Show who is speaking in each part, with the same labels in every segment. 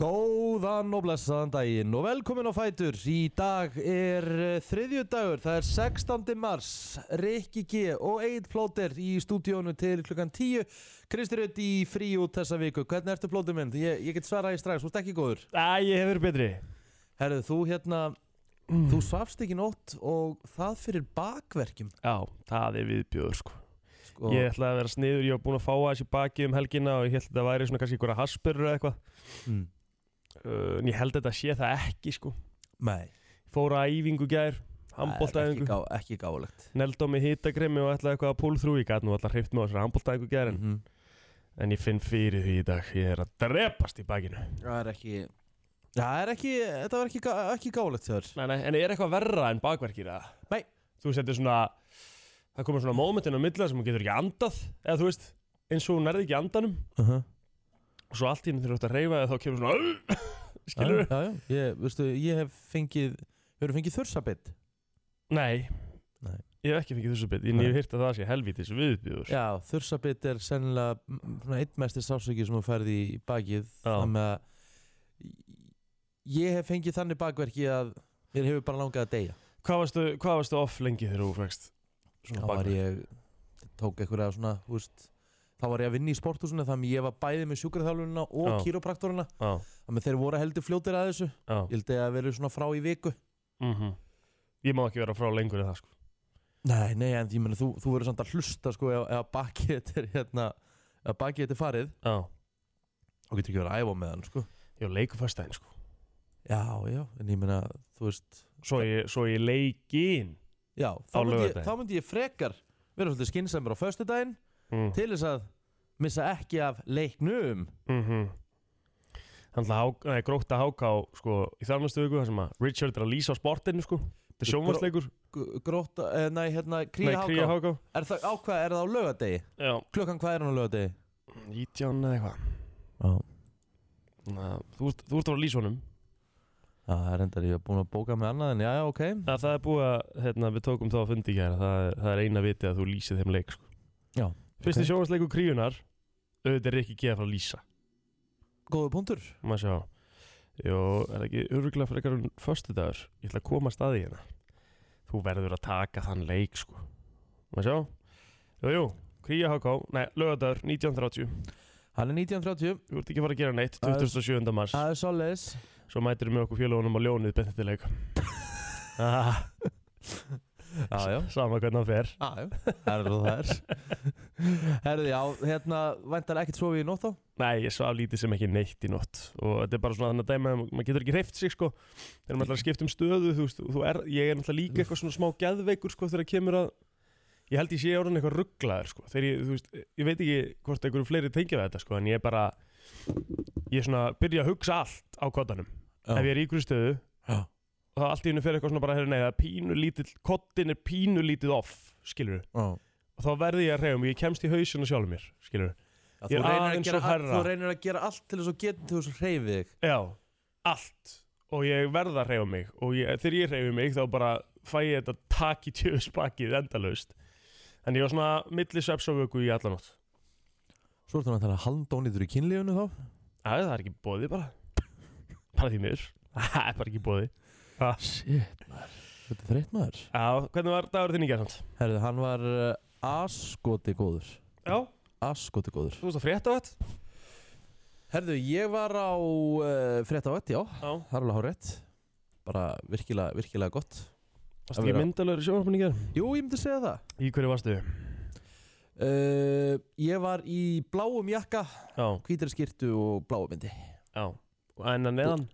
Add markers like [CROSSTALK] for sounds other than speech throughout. Speaker 1: Góðan og blessaðan daginn og velkomin á Fætur. Í dag er þriðju dagur, það er 16. mars. Rikki G og Eid Plóter í stúdíónu til klukkan 10. Kristi Rutt í frí út þessa viku. Hvernig ertu Plóter minn? Ég, ég get svaraði strax, þú ert ekki góður.
Speaker 2: Æ, ég hefur betri
Speaker 1: Herðu, þú hérna, þú svafst ekki nótt og það fyrir bakverkjum.
Speaker 2: Já, það er viðbjöður sko.
Speaker 1: Sko,
Speaker 2: Ég ætlaði að vera sniður, ég var búinn að fá aðeins í baki um helgina og ég held að það væri svona kannski einhverja haspurur eða eitthvað
Speaker 1: mm,
Speaker 2: uh, En ég held að þetta sé það ekki sko
Speaker 1: Nei,
Speaker 2: Fóra að æfingu í gær,
Speaker 1: það er ekki,
Speaker 2: handbóltaæfingu
Speaker 1: gá, ekki gáfulegt.
Speaker 2: Neld á mig hitagremi og ætlaði eitthvað að pull through Ég gat nú alltaf hreift með þessari handbóltaæfingu í gær en,
Speaker 1: Mhm.
Speaker 2: en ég finn fyrir því í dag, ég er að drepast í bakinu
Speaker 1: Það er ekki, það er ekki, þetta var ekki, gá- ekki gáfulegt þér.
Speaker 2: Nei, nei, en er eitthvað verra en bakverkir eða?
Speaker 1: Nei.
Speaker 2: Þú setur svona, það komur svona momentin á milli þar sem hún getur ekki andað, eða þú veist, eins og hún nærði ekki andanum
Speaker 1: Uh -huh.
Speaker 2: og svo allt í henni þegar þú ert að reyfa þá kemur svona [LAUGHS] skilur
Speaker 1: Já, já, já. Ég, veistu, ég hef fengið Hefur fengið þursabitt?
Speaker 2: nei.
Speaker 1: Nei.
Speaker 2: ég hef ekki fengið þessu bit en
Speaker 1: Nei.
Speaker 2: ég hef hýrt að það sé helvítis viðbjöður
Speaker 1: Já, þursabitt er sennilega mm, svona einn mestir sásöki sem þú færði í bakið þannig að ég hef fengið þannig bakverki að mér hefur bara langað að deyja
Speaker 2: hvað, varstu- hvað varstu off lengi þegar þú fækst
Speaker 1: Þá
Speaker 2: svona
Speaker 1: var
Speaker 2: bakverk?
Speaker 1: ég tók einhverja svona þú veist, þá var ég að vinna í sporthúsinu þannig að ég var bæði með sjúkraþjálfunina og
Speaker 2: Já.
Speaker 1: kýrópraktoruna
Speaker 2: já,
Speaker 1: þannig að þeir voru heldur fljótir að þessu
Speaker 2: já,
Speaker 1: ég held að vera svona frá í viku
Speaker 2: mhm ég má ekki vera frá lengur en það sko
Speaker 1: Nei, nei, en ég meina þú, þú verður samt að hlusta sko ef, ef bakið þetta er hérna ef bakið þetta er farið
Speaker 2: já,
Speaker 1: og getur ekki verið að æfa með hann sko
Speaker 2: ég var leikur fyrstæðin sko
Speaker 1: Já, já, en ég meina, þú veist
Speaker 2: svo ég, svo ég leikin
Speaker 1: Já, þá
Speaker 2: Á
Speaker 1: myndi, ég,
Speaker 2: laugardaginn.
Speaker 1: þá myndi ég frekar vera svolítið skynsæmur á föstudaginn
Speaker 2: mm.
Speaker 1: til þess að missa ekki af leiknum
Speaker 2: mm þannig að Hák- nei, gróta háká sko í þarnastu viku þar sem að Richard er að lýsa á sportinu sko þetta er
Speaker 1: Gró-
Speaker 2: sjónvarsleikur
Speaker 1: G- Gróta, eh, nei, hérna,
Speaker 2: nei,
Speaker 1: kríja
Speaker 2: kría
Speaker 1: háká
Speaker 2: háká
Speaker 1: Er það, á hvað, er það á laugardegi?
Speaker 2: já,
Speaker 1: Klukkan hvað er hann á laugardegi?
Speaker 2: 19 eða eitthvað
Speaker 1: Já,
Speaker 2: Þannig að þú ert þú ert að vera að lýsa honum
Speaker 1: það er endar, ég er búin að bóka með annað en já, já, ok
Speaker 2: Það, það er búið að, hérna, við tókum þá að fundi í gæra, það, er- það er eina viti að þú lýsið þeim leik, sko.
Speaker 1: Já,
Speaker 2: Fyrsti
Speaker 1: ok.
Speaker 2: okay. sjóhansleiku kríunar, auðvitað er ekki geða frá að lýsa,
Speaker 1: Góðu punktur
Speaker 2: má sjá. Jó, er það ekki öruglega frekar um föstudagur, ég ætla að koma að staði hérna. Þú verður að taka þann leik, sko. Má sjá. Jú, jú, kríja HK, nei, lögadagur, 1930,
Speaker 1: Hann er 1930,
Speaker 2: þú ert ekki að fara að gera neitt,
Speaker 1: Það er-
Speaker 2: 27. mars.
Speaker 1: það er svoleiðis
Speaker 2: Svo mætir við með okkur félagunum á ljónið
Speaker 1: [LAUGHS]
Speaker 2: bennetileik. ah,
Speaker 1: Já, já
Speaker 2: sama hvernig hann fer.
Speaker 1: Aðjó, herðu það er Herðu, já, hérna Væntar ekkert sofið í nótt þá
Speaker 2: Nei, ég svaf lítið sem ekki neitt í nótt og þetta er bara svona þannig að dæma að maður getur ekki hreift sig sko þegar maður ætlar að skipta um stöðu þú veist, og þú er, ég er náttúrulega líka eitthvað svona smá geðveikur sko þegar kemur að ég held ég sé orðin eitthvað rugglaður sko þegar ég, þú veist, ég veit ekki hvort einhverju fleiri tengja við þetta sko en ég er bara ég er svona, byrja að hugsa allt á kottanum ef ég er í ykkur stöðu
Speaker 1: Já.
Speaker 2: og þá allt í hennu fer eitthvað svona bara, heyrðu, nei, það er pínu lítill kottin er pínu lítið off, skilur
Speaker 1: Já.
Speaker 2: og þá verði ég að reyfum, ég kemst í hausina sjálfur mér, skilur
Speaker 1: Já,
Speaker 2: Ég
Speaker 1: Þú
Speaker 2: er
Speaker 1: reynir að
Speaker 2: aðeins og
Speaker 1: gera allt
Speaker 2: hærra.
Speaker 1: Þú reynir að gera allt til þess að geta þú þess að hreyfi þig
Speaker 2: Já, allt og ég verð að reyfa mig og ég, þegar ég reyfi mig þá bara fæ ég þetta tak í tjöfusbakið endalaust en ég var svona milli svepsávöku í allanótt
Speaker 1: Svo ertu náttúrulega handónýtur í kynlífunu þá
Speaker 2: Æ, það er ekki bóði bara [LAUGHS] bara því mér, [LAUGHS] það er bara ekki bóði
Speaker 1: Shit, maður Þetta er þreytt maður
Speaker 2: Já, hvernig var dagur þinn í gerðsamt?
Speaker 1: Herðu, hann var uh, askoti góður
Speaker 2: Já,
Speaker 1: Askoti góður
Speaker 2: þú veist að frétta á þetta?
Speaker 1: Herðu, ég var á uh, fréttavett, já
Speaker 2: Já,
Speaker 1: Það er alveg hárétt Bara virkilega, virkilega gott
Speaker 2: varstu ekki
Speaker 1: vera-
Speaker 2: myndalögur í sjónvarpinu í gerð?
Speaker 1: Jú, ég myndi segja það
Speaker 2: Í hverju varstu?
Speaker 1: uh, Ég var í bláum jakka,
Speaker 2: Já,
Speaker 1: hvítari skyrtu og bláum myndi
Speaker 2: já Og enn að neðan?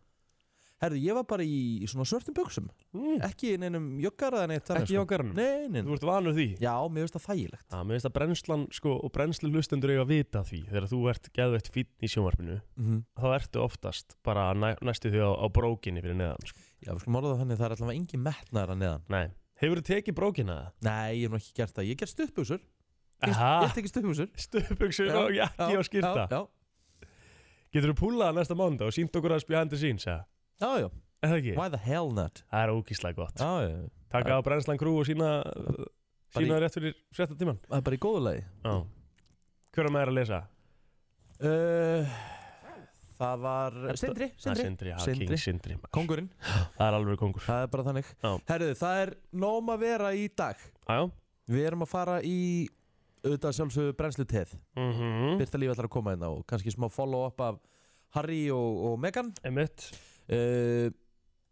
Speaker 1: Herðu, ég var bara í í svona svörtum buksum
Speaker 2: Mm,
Speaker 1: Ekki í neinum joggar eða neitt sko.
Speaker 2: ekki á garnum?
Speaker 1: Nei, nei, nei.
Speaker 2: Þú ert vanur því?
Speaker 1: Já, mér finnst það þægilegt
Speaker 2: Já, mér finnst að brennslan, sko, og brennslu hlustendur eiga að vita því þegar þú ert geðveitt fínn í sjónvarpinu
Speaker 1: Mhm.
Speaker 2: þá ertu oftast bara næ, næstu því á, á brókinni fyrir neðan, sko.
Speaker 1: Já, við skulum orða það þannig að það er allavega engin metnaðar að neðan
Speaker 2: Nei, hefur þú tekið brókina það?
Speaker 1: Nei, ég hef nú ekki gert það Ég ger stuttbuksur Ég
Speaker 2: Aha,
Speaker 1: ég tekið stuttbuksur
Speaker 2: stöpugsur
Speaker 1: Já,
Speaker 2: og jakki og skýrta.
Speaker 1: Já,
Speaker 2: Getur þú púlað næsta mánda og sínt okkur að spjá hendur síns, eða?
Speaker 1: já, já, já.
Speaker 2: Er það ekki?
Speaker 1: Why the hell not?
Speaker 2: Það er ókíslega gott.
Speaker 1: Já, já, já.
Speaker 2: Taka á brennslan krú og sína,
Speaker 1: Bara í-
Speaker 2: sína rétt fyrir frétta tíman.
Speaker 1: það er bara í góðu lagi [GASPS]
Speaker 2: Já. Hver er maður að lesa?
Speaker 1: uh, Eh, það var
Speaker 2: Það er sta-
Speaker 1: Sindri,
Speaker 2: Það er
Speaker 1: Sindri,
Speaker 2: Sindri, já,
Speaker 1: Sindri.
Speaker 2: King Sindri maður.
Speaker 1: kongurinn
Speaker 2: Það er alveg kongur
Speaker 1: það er bara þannig
Speaker 2: Já.
Speaker 1: herðu, það er nóm að vera í dag
Speaker 2: Æjá
Speaker 1: við erum að fara í auðvitað sjálfsögðu brennslu teð
Speaker 2: Mhm
Speaker 1: Birta Líf ætlar að koma hérna og kannski smá follow-up af Harry og, og Megan
Speaker 2: Emmett
Speaker 1: uh,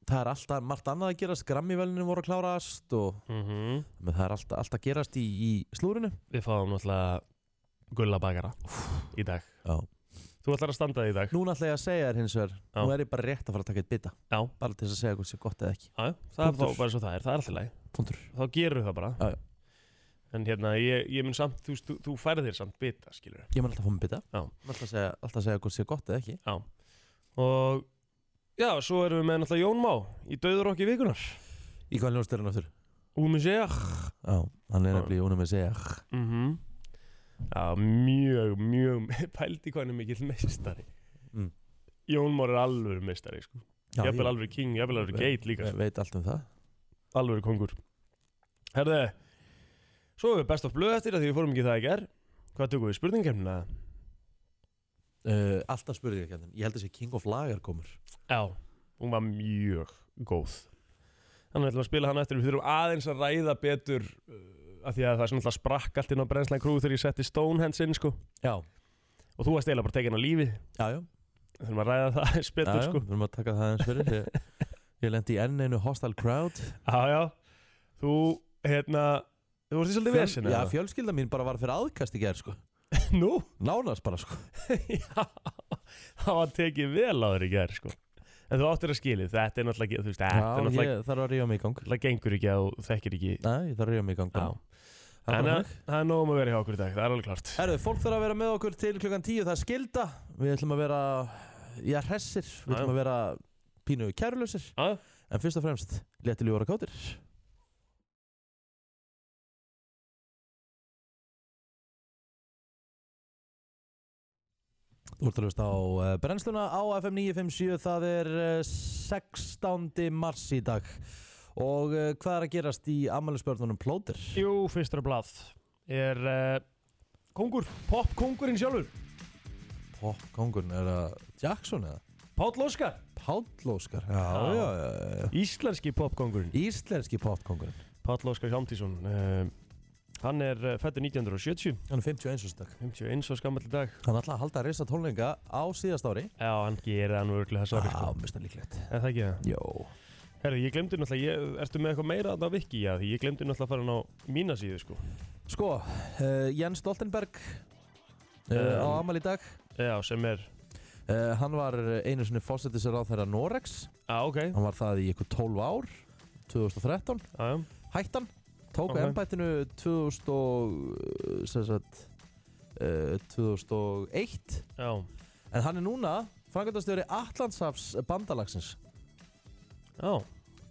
Speaker 1: það er alltaf margt annað að gerast Grammy-velinu voru að klárast og
Speaker 2: Mhm
Speaker 1: menn, það er alltaf, alltaf að gerast í, í slúrinu
Speaker 2: Við fáum náttúrulega gullabakara í dag
Speaker 1: Já.
Speaker 2: Þú ætlar að standa þig í dag
Speaker 1: núna ætla ég að segja þér hins vegar
Speaker 2: Já.
Speaker 1: nú er ég bara rétt að fara að taka eitt bita
Speaker 2: Já.
Speaker 1: bara til þess að segja hvort sé gott eða ekki
Speaker 2: Já, það er þá
Speaker 1: Punktur.
Speaker 2: bara svo það er, það er alltaf læg
Speaker 1: Puntur.
Speaker 2: Þá gerum við það bara
Speaker 1: Já, já.
Speaker 2: En hérna, ég, ég mun samt, þú, veist, þú, þú færið þér samt bita, skilur
Speaker 1: ég mun alltaf að fá mig bita
Speaker 2: Já.
Speaker 1: Mun alltaf að segja, alltaf að segja hvort sé gott eða ekki
Speaker 2: Og já, svo erum við með náttúrulega Jón Má í Dauður okki vikunar
Speaker 1: í hvað ljónst er hann aftur
Speaker 2: Úmusea [LAUGHS]
Speaker 1: Já, hann er
Speaker 2: Já.
Speaker 1: nefnilega unum að segja
Speaker 2: mm Já, mjög, mjög pældi hvað hann er mikill meistari
Speaker 1: Mm.
Speaker 2: Jón Már er alveg meistari sko.
Speaker 1: Já,
Speaker 2: Jafnvel alveg king, jafnvel alveg geit líka
Speaker 1: ég
Speaker 2: sko.
Speaker 1: veit allt um það
Speaker 2: Alveg kongur Herði, sko. svo erum við best of blöð eftir að því við fórum ekki í það í ger Hvað tökum við spurningkemna?
Speaker 1: uh, Alltaf spurði ég ekki ég held að sé King of Lager komur
Speaker 2: Já, hún var mjög góð Þannig ætlum við að spila hann eftir Við þurfum aðeins að ræða betur uh, af Því að það er svona alltaf sprakk allt inn á brennslan krú Þegar ég setti Stonehands inn sko
Speaker 1: Já,
Speaker 2: Og þú varst eiginlega bara tekin á lífi
Speaker 1: já, já
Speaker 2: Þurfum að ræða það aðeins
Speaker 1: Já,
Speaker 2: betur
Speaker 1: já,
Speaker 2: sko
Speaker 1: við erum að taka það eins fyrir Ég, ég lendi í enn einu hostile crowd
Speaker 2: Já, já Þú, hérna Þú vorst í svolítið
Speaker 1: Fjöl-
Speaker 2: vesina
Speaker 1: Já, fjölskylda mín bara var fyrir aðkast í gerð sko.
Speaker 2: [LAUGHS] Nú?
Speaker 1: Nánast bara sko.
Speaker 2: já Það var tekið vel á þér í gerð sko En þú áttir að skilið Þetta er náttúrulega ekki- Þú veist, þetta er
Speaker 1: Já,
Speaker 2: náttúrulega
Speaker 1: ég þarf að ríða mig í gang
Speaker 2: náttúrulega gengur ekki að þú þekkir ekki
Speaker 1: Nei, ég þarf að ríða mig í gang
Speaker 2: Já
Speaker 1: bara. Það er
Speaker 2: En
Speaker 1: bara
Speaker 2: að-
Speaker 1: þannig.
Speaker 2: það er nóg um að vera hjá okkur í dag Það er alveg klart
Speaker 1: Herðu, fólk þarf að vera með okkur til klukkan 10 Það er skilda Við ætlum að vera, já, hressir Við
Speaker 2: Já,
Speaker 1: ætlum að vera pínu kærulausir
Speaker 2: Já, já.
Speaker 1: En fyrst og fremst, leti ljúra kátir Þú ert að hlusta á uh, brennsluna á FM 957, það er uh, 16. mars í dag og uh, hvað er að gerast í ammælisbörnunum plótir?
Speaker 2: Jú, fyrstur blað er uh, kongur, popkongurinn sjálfur
Speaker 1: Popkongun, er það Jackson eða?
Speaker 2: Páll Óskar
Speaker 1: Páll Óskar,
Speaker 2: Já.
Speaker 1: já, já, já, já.
Speaker 2: Íslenski popkongurinn
Speaker 1: Íslenski popkongun
Speaker 2: Páll Óskar Hjálmtísson uh, Hann er uh, fættur 1970
Speaker 1: Hann er 51 árs í dag
Speaker 2: 51 svo skammall í dag
Speaker 1: Hann ætlaði að halda að reysa tónleika á síðast ári
Speaker 2: Já, hann gerir hann vörglega þess aðri sko
Speaker 1: Já, mest að líklegt
Speaker 2: Er það ekki það?
Speaker 1: Jó
Speaker 2: Herru, ég glemdi náttúrulega, ég, ertu með eitthvað meira að það viki? Já, því ég glemdi náttúrulega að fara hann á mína síðu sko
Speaker 1: Sko, uh, Jens Stoltenberg uh, á
Speaker 2: Um.
Speaker 1: amal í dag
Speaker 2: Já, sem er
Speaker 1: uh, Hann var einu sinni fósettisir á þeirra Norex
Speaker 2: Já, Ah, ok, já,
Speaker 1: Hann var það í ykkur 12 ár 2013
Speaker 2: já,
Speaker 1: Hættan Tók
Speaker 2: Ok.
Speaker 1: okay. ennbættinu 2000 og, eh, sem sagt, uh, 2001
Speaker 2: já.
Speaker 1: En hann er núna Frankandastjóri Atlantsafs bandalagsins
Speaker 2: já.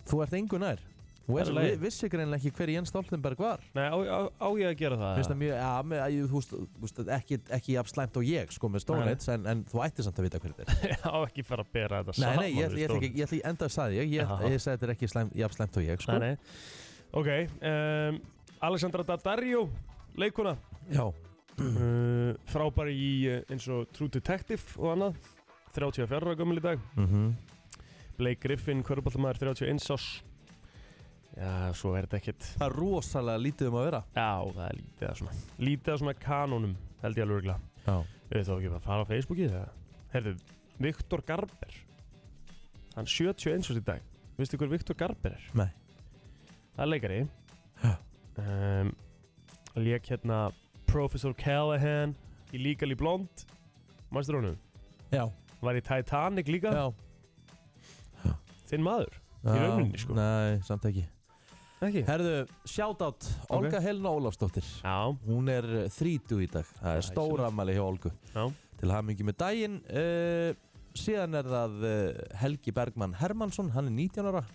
Speaker 1: Þú ert engu nær Þú
Speaker 2: Það er
Speaker 1: er,
Speaker 2: í lagi.
Speaker 1: vi- vissi greinlega ekki hver Jens Stoltenberg var
Speaker 2: Nei, á, á, á ég að gera það?
Speaker 1: Mér
Speaker 2: [LAUGHS]
Speaker 1: finnst það mjög, ja, með, ég, þú veist- þú veist, ekki, ekki jafn slæmt og ég sko með Stonehenge en, en þú ættir samt að vita hver þetta er
Speaker 2: Já, ekki fara að bera þetta
Speaker 1: Nei,
Speaker 2: saman
Speaker 1: nei, ég, ætla-
Speaker 2: við
Speaker 1: ég, ætla
Speaker 2: stór-
Speaker 1: ekki, ég ætla ekki enda að sagði ég ég,
Speaker 2: Jaha.
Speaker 1: ég sagði þetta er ekki slæmt, jafn slæmt og ég sko
Speaker 2: Nei, nei. Ok, um, Alexandra Daddario, leikuna,
Speaker 1: Já,
Speaker 2: uh, frábær í uh, eins og True Detective og annað, 34 ára gömul í dag,
Speaker 1: mm
Speaker 2: Blake Griffin, Körbáltamæður, 31 árs, já, svo er þetta ekkert,
Speaker 1: það er rosalega lítið um að vera
Speaker 2: já, það er lítið að svona, lítið að svona kanónum, held ég alveg örgla,
Speaker 1: Já,
Speaker 2: við þá ekki bara að fara á Facebookið það, herðu, Viktor Garber, hann 71 árs í dag, veistu hver Viktor Garber er?
Speaker 1: Nei.
Speaker 2: Það er leikari
Speaker 1: Já.
Speaker 2: um, Lék hérna Professor Callahan í Legally Blonde Mæstur honum
Speaker 1: já,
Speaker 2: Var í Titanic líka
Speaker 1: já
Speaker 2: Þinn maður
Speaker 1: Já,
Speaker 2: rauninni, sko.
Speaker 1: Nei, samt ekki
Speaker 2: Ekki
Speaker 1: Herðu, shoutout Olga Helena Ólafsdóttir
Speaker 2: Já
Speaker 1: Hún er eh, þrítu í dag Það er
Speaker 2: Glæsilegt.
Speaker 1: stóra ammali hjá Olgu
Speaker 2: Já.
Speaker 1: Til hamingi með daginn uh, Síðan er það uh, Helgi Bergmann Hermansson Hann er 19 ára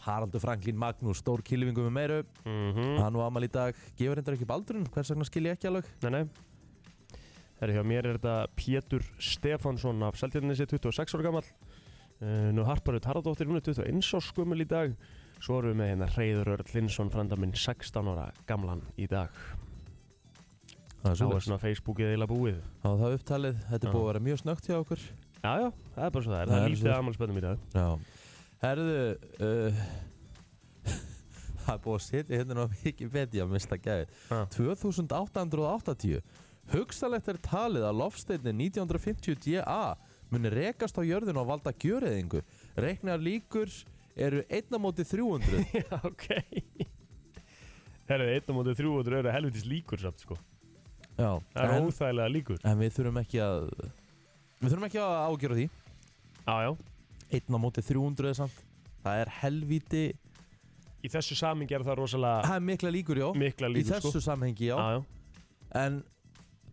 Speaker 1: Haraldur Franklín Magnús, stór kylfingu með meiru
Speaker 2: mm
Speaker 1: Hann og ammali í dag Gefur hendur ekki baldurinn, hvers vegna skil ég ekki alveg
Speaker 2: Nei, nei Herri, hjá mér er þetta Pétur Stefánsson af Seltjarnesi, 26 ára gamall uh, Nú Harparut Harðardóttir, hún er 21 árs skumul í dag Svo erum við með hérna Reyður Örl Linsson, frænda minn 16 ára gamlan í dag
Speaker 1: Það er
Speaker 2: Svo er
Speaker 1: svoleiðis.
Speaker 2: svona Facebookið eila búið
Speaker 1: Það var það upptalið, þetta er
Speaker 2: Já.
Speaker 1: búið að vera mjög snögt hjá okkur
Speaker 2: Já, já, það er bara svo það er. Það
Speaker 1: Það er
Speaker 2: er
Speaker 1: svo.
Speaker 2: lítið afmælisböndum í dag.
Speaker 1: Já. Herðu, uh, [LAUGHS] það er búið að setja hérna ná mikið betja að mista gæði.
Speaker 2: Ha.
Speaker 1: 2880. Hugsalegt er talið að lofsteinni 1950 DA muni rekast á jörðinu og valda gjöriðingu. Reknar líkur eru 1 á móti 300.
Speaker 2: [LAUGHS] Já, ok. Herru, einn á mótið 300 eru helvitis líkur samt, sko.
Speaker 1: Já,
Speaker 2: Það eru
Speaker 1: en,
Speaker 2: óþægilega líkur.
Speaker 1: en við þurfum ekki að, við þurfum ekki að ágjöra því.
Speaker 2: Já, já.
Speaker 1: 1 á móti 300 er samt. Það er helvíti,
Speaker 2: Í þessu samingi er það rosalega
Speaker 1: það er mikla líkur, já.
Speaker 2: mikla
Speaker 1: Í
Speaker 2: líkur,
Speaker 1: þessu
Speaker 2: sko.
Speaker 1: samhengi, já.
Speaker 2: Já, já,
Speaker 1: En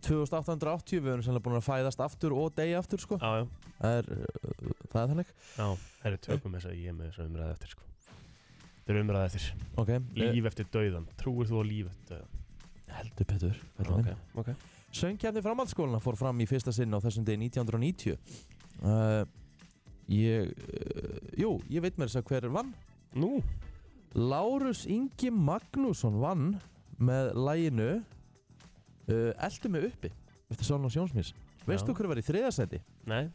Speaker 1: 2880 við erum sannlega búin að fæðast aftur og degja aftur sko
Speaker 2: já, já.
Speaker 1: Það er, uh, það er þannig
Speaker 2: Já, herru, tökum þess að ég er með þess að umræða eftir, sko. Þetta er umræða eftir.
Speaker 1: Ok, eh,
Speaker 2: Líf eftir dauðan. Trúir þú á líf eftir dauðan?
Speaker 1: heldur betur okay.
Speaker 2: ok.
Speaker 1: Söngkjarni framhaldsskólana fór fram í fyrsta sinn á þessum degi 1990 uh, Ég, uh, jú, ég veit mér þess að hver vann
Speaker 2: Nú,
Speaker 1: Lárus Ingi Magnússon vann með læginu uh, Eldu mig uppi eftir Sálun og Sjónsmís Veistu hver var í þriðasæti?
Speaker 2: nei.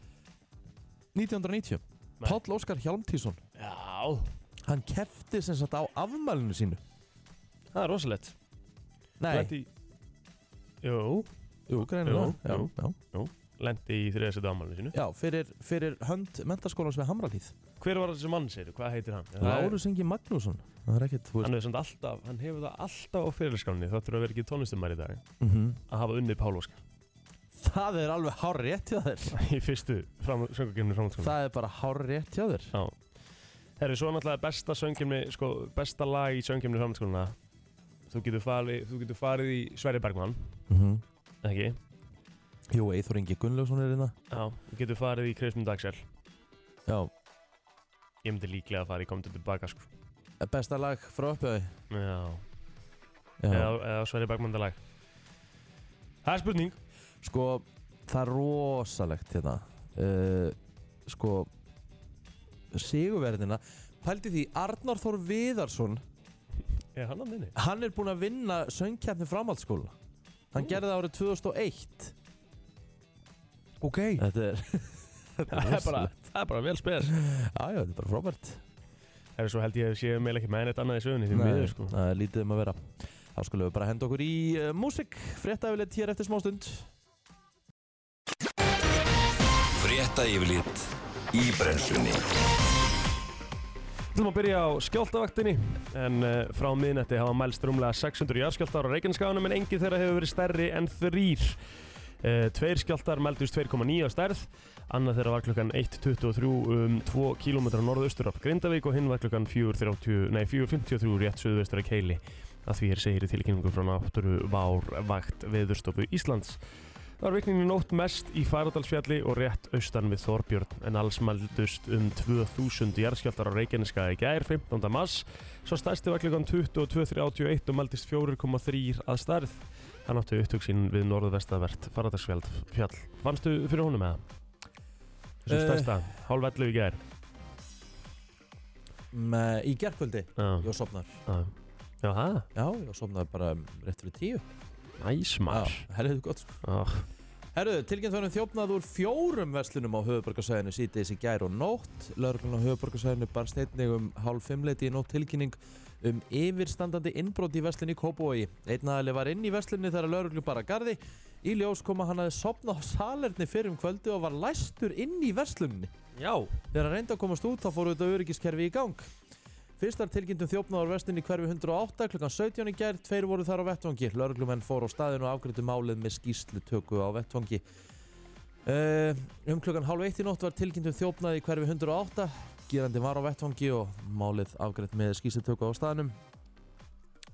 Speaker 2: Nei.
Speaker 1: 1990 Páll Óskar Hjálmtísson
Speaker 2: Já,
Speaker 1: Hann kefti sem sagt á afmælinu sínu
Speaker 2: það er rosalegt.
Speaker 1: Nei,
Speaker 2: Lendi... Jú,
Speaker 1: jú, greinilega
Speaker 2: Jú,
Speaker 1: já,
Speaker 2: jú.
Speaker 1: já.
Speaker 2: lendi í þriðasæti ámálinu sínu.
Speaker 1: já, fyrir, fyrir hönd mentaskólans við Hamralíð
Speaker 2: Hver var þessi mann, segir Hvað heitir hann? Það er-
Speaker 1: Lárus Ingi Magnússon Það er ekkert, þú veist
Speaker 2: Hann, hefur samt alltaf, hann hefur það alltaf á fyrirliskálinni Það þurfa að vera ekki tónlistumar í dag
Speaker 1: mm
Speaker 2: Að hafa unnið Pál Óskar
Speaker 1: Það er alveg hár rétt hjá þér
Speaker 2: [LAUGHS] Í fyrstu fram, söngakefni framhaldsskóla
Speaker 1: Það er bara hár rétt hjá þér
Speaker 2: Herri, svo er náttúrulega besta söngkefni sko, Besta lag í söngkefni framhaldsskóluna þú, getur farið- þú getur farið í Sverri Bergmann
Speaker 1: mm -hmm.
Speaker 2: Ekki?
Speaker 1: Jú, Eithor Ingi Gunnlaugsson er hérna
Speaker 2: Já Þú getur farið í Krismund Axel
Speaker 1: Já,
Speaker 2: Ég myndi líklega að fara í Komdu tilbaka sko.
Speaker 1: Eh, besta lag frá uppjöði
Speaker 2: Já
Speaker 1: Já,
Speaker 2: Eða, eða Sverri Bergmann
Speaker 1: [LAUGHS]
Speaker 2: lag Það er spurning
Speaker 1: sko, það er rosalegt hérna uh, Sko, sigurverðina Pældi því, Arnar Þór Viðarsson
Speaker 2: Er hann að minni?
Speaker 1: hann er búinn að vinna söngkjarni framhaldsskóla hann
Speaker 2: Ú.
Speaker 1: gerði það árið 2001
Speaker 2: Ok
Speaker 1: þetta
Speaker 2: [LAUGHS]
Speaker 1: er
Speaker 2: Það er bara,
Speaker 1: rosalegt.
Speaker 2: það er bara vel spes
Speaker 1: [LAUGHS] já, já, þetta er bara frábært
Speaker 2: Það er svo held ég að séu meðlega ekki með neitt annað í sögunni því
Speaker 1: Nei,
Speaker 2: miður sko.
Speaker 1: það er lítið um að vera þá skulum við bara henda okkur í uh, músik fréttafilið hér eftir smástund
Speaker 3: Frétta yfirlit í brennslunni
Speaker 2: Við ætlum að byrja á skjáltavaktinni en uh, frá miðnætti hafa mælst rúmlega 600 jarðskjáltar á Reykjaneskaganum en engin þeirra hefur verið stærri en þrýr. Uh, tveir skjáltar meldust 2,9 á stærð, annað þeirra var klukkan 1.23 um 2 km norðaustur af Grindavík og hinn var klukkan 4.30 nei, 4.53 rétt suðvestur af Keili að því er segir í tilkynningu frá náttúru Vár Vakt Veðurstofu Íslands. Það var vikninni nótt mest í Færadalsfjalli og rétt austan við Þorbjörn en alls mældust um 2000 jarðskjáltar á Reykjaneska í gær 15. mars svo stærsti var klukkan 22.31 og mældist 4,3 að stærð Hann átti upptök sín við norðvestavert Færadalsfjall fjall. Fannstu fyrir honum eða? Þessum
Speaker 1: Eh.
Speaker 2: stærsta, hálf 11 í gær
Speaker 1: með, í gerkvöldi
Speaker 2: Já,
Speaker 1: ég sopnar
Speaker 2: já, já, ha?
Speaker 1: já, ég sopnar bara um, rétt fyrir tíu
Speaker 2: næs maður Ah.
Speaker 1: já, herriðu gott sko
Speaker 2: Já,
Speaker 1: Herruðu, tilkynnt varum þjófnað úr fjórum verslunum á höfuborgarsæðinu sítiðis í gær og nótt. Lörglun á höfuborgarsæðinu bar steinnig um hálf fimmleiti í nótt tilkynning um yfirstandandi innbrot í verslunni í Kópói. Einn aðali var inn í verslunni þegar lörglun bara gardi. Í ljós kom að hann hafði sopnað á salerni fyrir um kvöldi og var læstur inn í verslunni.
Speaker 2: já.
Speaker 1: Þegar hann reyndi að komast út þá fór auðvitað öryggiskerfi í gang. Fyrstar tilkynntum þjófnaður vestin í hverfi 108 klukkan 17 í gær, tveir voru þar á vettvangi. Lörglumenn fór á staðinu og afgriðtu málið með skýslutöku á vettvangi. Eh, Um klukkan hálf eitt í nótt var tilkynntum þjófnaði í hverfi 108. Gerandi var á vettvangi og málið afgriðt með skýslutöku á staðinum.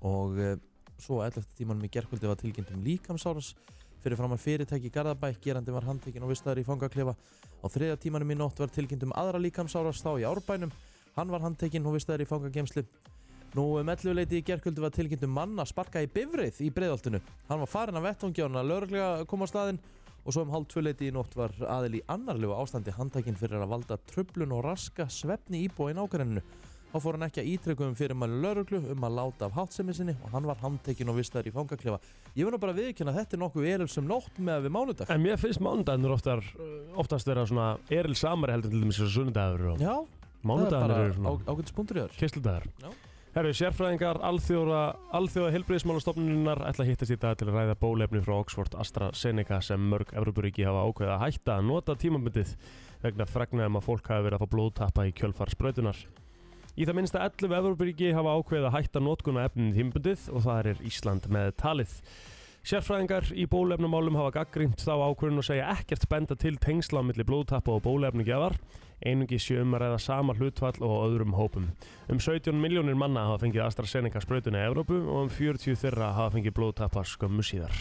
Speaker 1: Og eh, svo 11. tímanum í gerkvöldi var tilkynntum líkamsáras fyrir framar fyrirtæki í Garðabæk. Gerandi var handtekinn og vistaður í fangaklefa. Á þriðja tímanum í nótt var tilkynnt um aðra líkamsáras þá í árbænum. Hann var handtekinn og vistaður í fangagemslu. Nú um 11 leiti í gerkvöldu var tilkynnt um mann að sparka í bifrið í breiðoltinu. Hann var farinn af vettungi á hann að lögreglega kom á staðinn og svo um hálf tvö leiti í nótt var aðil í annarlegu ástandi handtekinn fyrir að valda trublun og raska svefni íbúa í nákvæmninu. Þá fór hann ekki að ítreka um fyrir maður lauruglu um að láta af háttsemi sinni og hann var handtekinn og vistar í fangaklefa. Ég verð nú bara að viðkynna að þetta er nokkuð elil sem nótt með að við mánudag.
Speaker 2: En mér finnst mánudagarnir oftar, oftast vera svona eril samari heldur en til dæmis þessu sunnudagur og
Speaker 1: Já, það er
Speaker 2: mánudagarnir
Speaker 1: bara
Speaker 2: eru svona
Speaker 1: ágættis punktur í þér.
Speaker 2: keisludagar.
Speaker 1: Já.
Speaker 2: Herru, sérfræðingar alþjóða, alþjóða helbriðismálastofnunar ætla að hittast í dag til að ræða bólefni frá Oxford AstraZeneca sem mörg Evrópuríki hafa ákveða að hætta að nota tímabundið vegna fregnaðum að fólk hafi verið að fá blóðtappa í kjölfar sprautunar. Í það minnsta 11 Evrópuríki hafa ákveða að hætta notkuna efnin tímabundið og það er Ísland með talið. Sérfræðingar í bólefnumálum hafa gaggrínt þá ákvörðun og segja ekkert benda til tengsla á milli blóðtappa og bólefnugjafar, einungi sjöum um að ræða sama hlutfall og á öðrum hópum. Um 17 miljónir manna hafa fengið AstraZeneca sprautuna í Evrópu og um 40 þeirra hafa fengið blóðtappa skömmu síðar.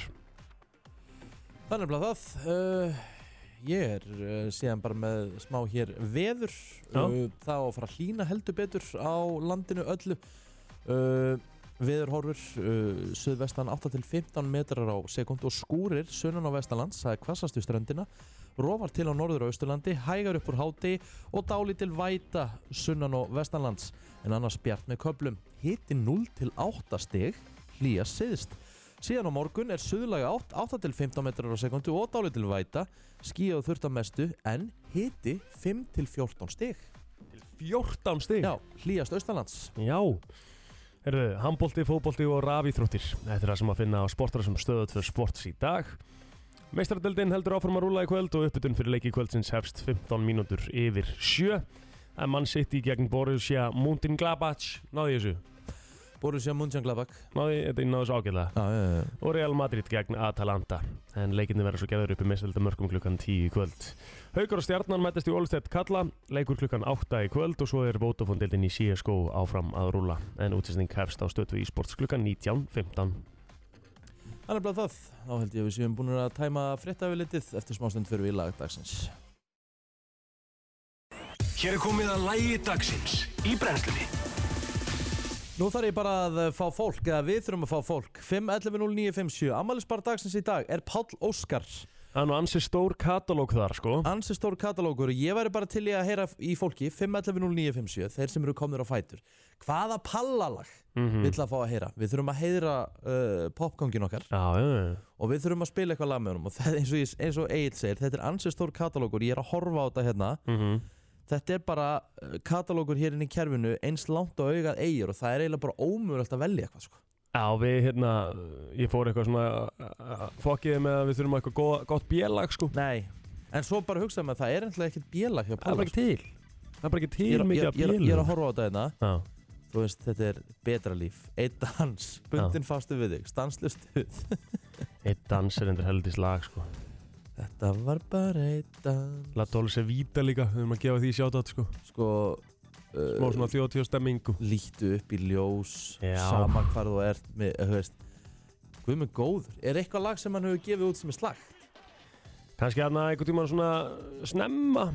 Speaker 1: Það er nefnilega það. Uh, ég er uh, síðan bara með smá hér veður.
Speaker 2: Já.
Speaker 1: Uh, það á að fara að hlýna heldur betur á landinu öllu. Uh, veðurhorfur, uh, suðvestan 8-15 metrar á sekund og skúrir sunnan á vestanlands, það er hvassastu ströndina. Rófar til á norður og austurlandi, hægar upp úr háti og dálítil væta sunnan og vestanlands. En annars bjart með köplum. Hiti 0-8 stig, hlýja syðst. Síðan á morgun er suðlaga 8, 8 til 15 metrar á sekundu og dálitil væta, skíða og þurft að mestu en hiti 5 til 14 stig.
Speaker 2: 14 stig?
Speaker 1: Já, hlýjast austalands.
Speaker 2: Já. Herðu, handbólti, fótbólti og rafíþróttir. Þetta er það sem að finna á sportar sem stöðut fyrir sports í dag. Meistradeldin heldur áfram að rúla í kvöld og uppbytun fyrir leiki kvöldsins hefst 15 mínútur yfir 7. En mann sitt í gegn Borussia Mönchengladbach. Náði ég þessu?
Speaker 1: Borussia Mönchengladbach.
Speaker 2: Náði, þetta ég náði þessu ágæðlega.
Speaker 1: Já, já, já.
Speaker 2: og Real Madrid gegn Atalanta en leikinni verður svo geður upp í mestveldamörkum klukkan 10 í kvöld Haugur og Stjarnan mætast í Olstedt Kalla leikur klukkan 8 í kvöld og svo er Votafondildin í CSGO áfram að rúla en útsending hefst á stötu í sports klukkan 19.15
Speaker 1: Þannig bara það. Þá held ég að við séum búin að tæma fréttafilitið eftir smástund fyrir við í lagdagsins.
Speaker 3: Hér er komið að lægi dagsins í brennslunni
Speaker 1: Nú þarf ég bara að eh, fá fólk, eða við þurfum að fá fólk. 5.11.09.57, ammælisbar dagsins í dag er Páll Óskar.
Speaker 2: Það er nú ansi stór katalóg þar sko
Speaker 1: ansi stór katalógur og ég væri bara til í að heyra í fólki 5.11.09.57, þeir sem eru komnir á fætur hvaða pallalag
Speaker 2: mm
Speaker 1: vill að fá að heyra við þurfum að heyra uh, popkongin okkar
Speaker 2: Já, já, já.
Speaker 1: og við þurfum að spila eitthvað lag með honum og það, eins og, ég- eins og Egil segir, þetta er ansi stór katalógur ég er að horfa á þetta hérna
Speaker 2: Mhm.
Speaker 1: þetta er bara uh, katalógur hér inn í kerfinu eins langt á augað eigir og það er eiginlega bara ómögulegt að velja eitthvað sko.
Speaker 2: Já, við hérna, ég fór eitthvað svona fokkiði með að við þurfum eitthvað góð, gott bjellag sko
Speaker 1: nei, en svo bara hugsaðum að það er eitthvað ekkert bjelag hjá
Speaker 2: Það er bara
Speaker 1: pallag
Speaker 2: ekki til Það er bara ekki
Speaker 1: ég,
Speaker 2: til
Speaker 1: er- ég,
Speaker 2: mikið
Speaker 1: er-
Speaker 2: að
Speaker 1: ég, er- ég er að
Speaker 2: bjellag
Speaker 1: horfa á þetta hérna
Speaker 2: Já,
Speaker 1: þú veist, þetta er betra líf einn dans, bundin fastu við þig
Speaker 2: [LAUGHS]
Speaker 1: stanslust stuð
Speaker 2: eitt dans er endur heldis lag sko
Speaker 1: þetta var bara einn dans
Speaker 2: La Dolce Vita líka, við erum að gefa því sjátat sko
Speaker 1: sko
Speaker 2: Má
Speaker 1: uh,
Speaker 2: svona 30 stemmingu
Speaker 1: lítu upp í ljós
Speaker 2: Já.
Speaker 1: sama hvar þú ert með, þú veist Guð með góður, er eitthvað lag sem hann hefur gefið út sem er slag?
Speaker 2: Kannski hann að einhvern tímann svona uh, snemma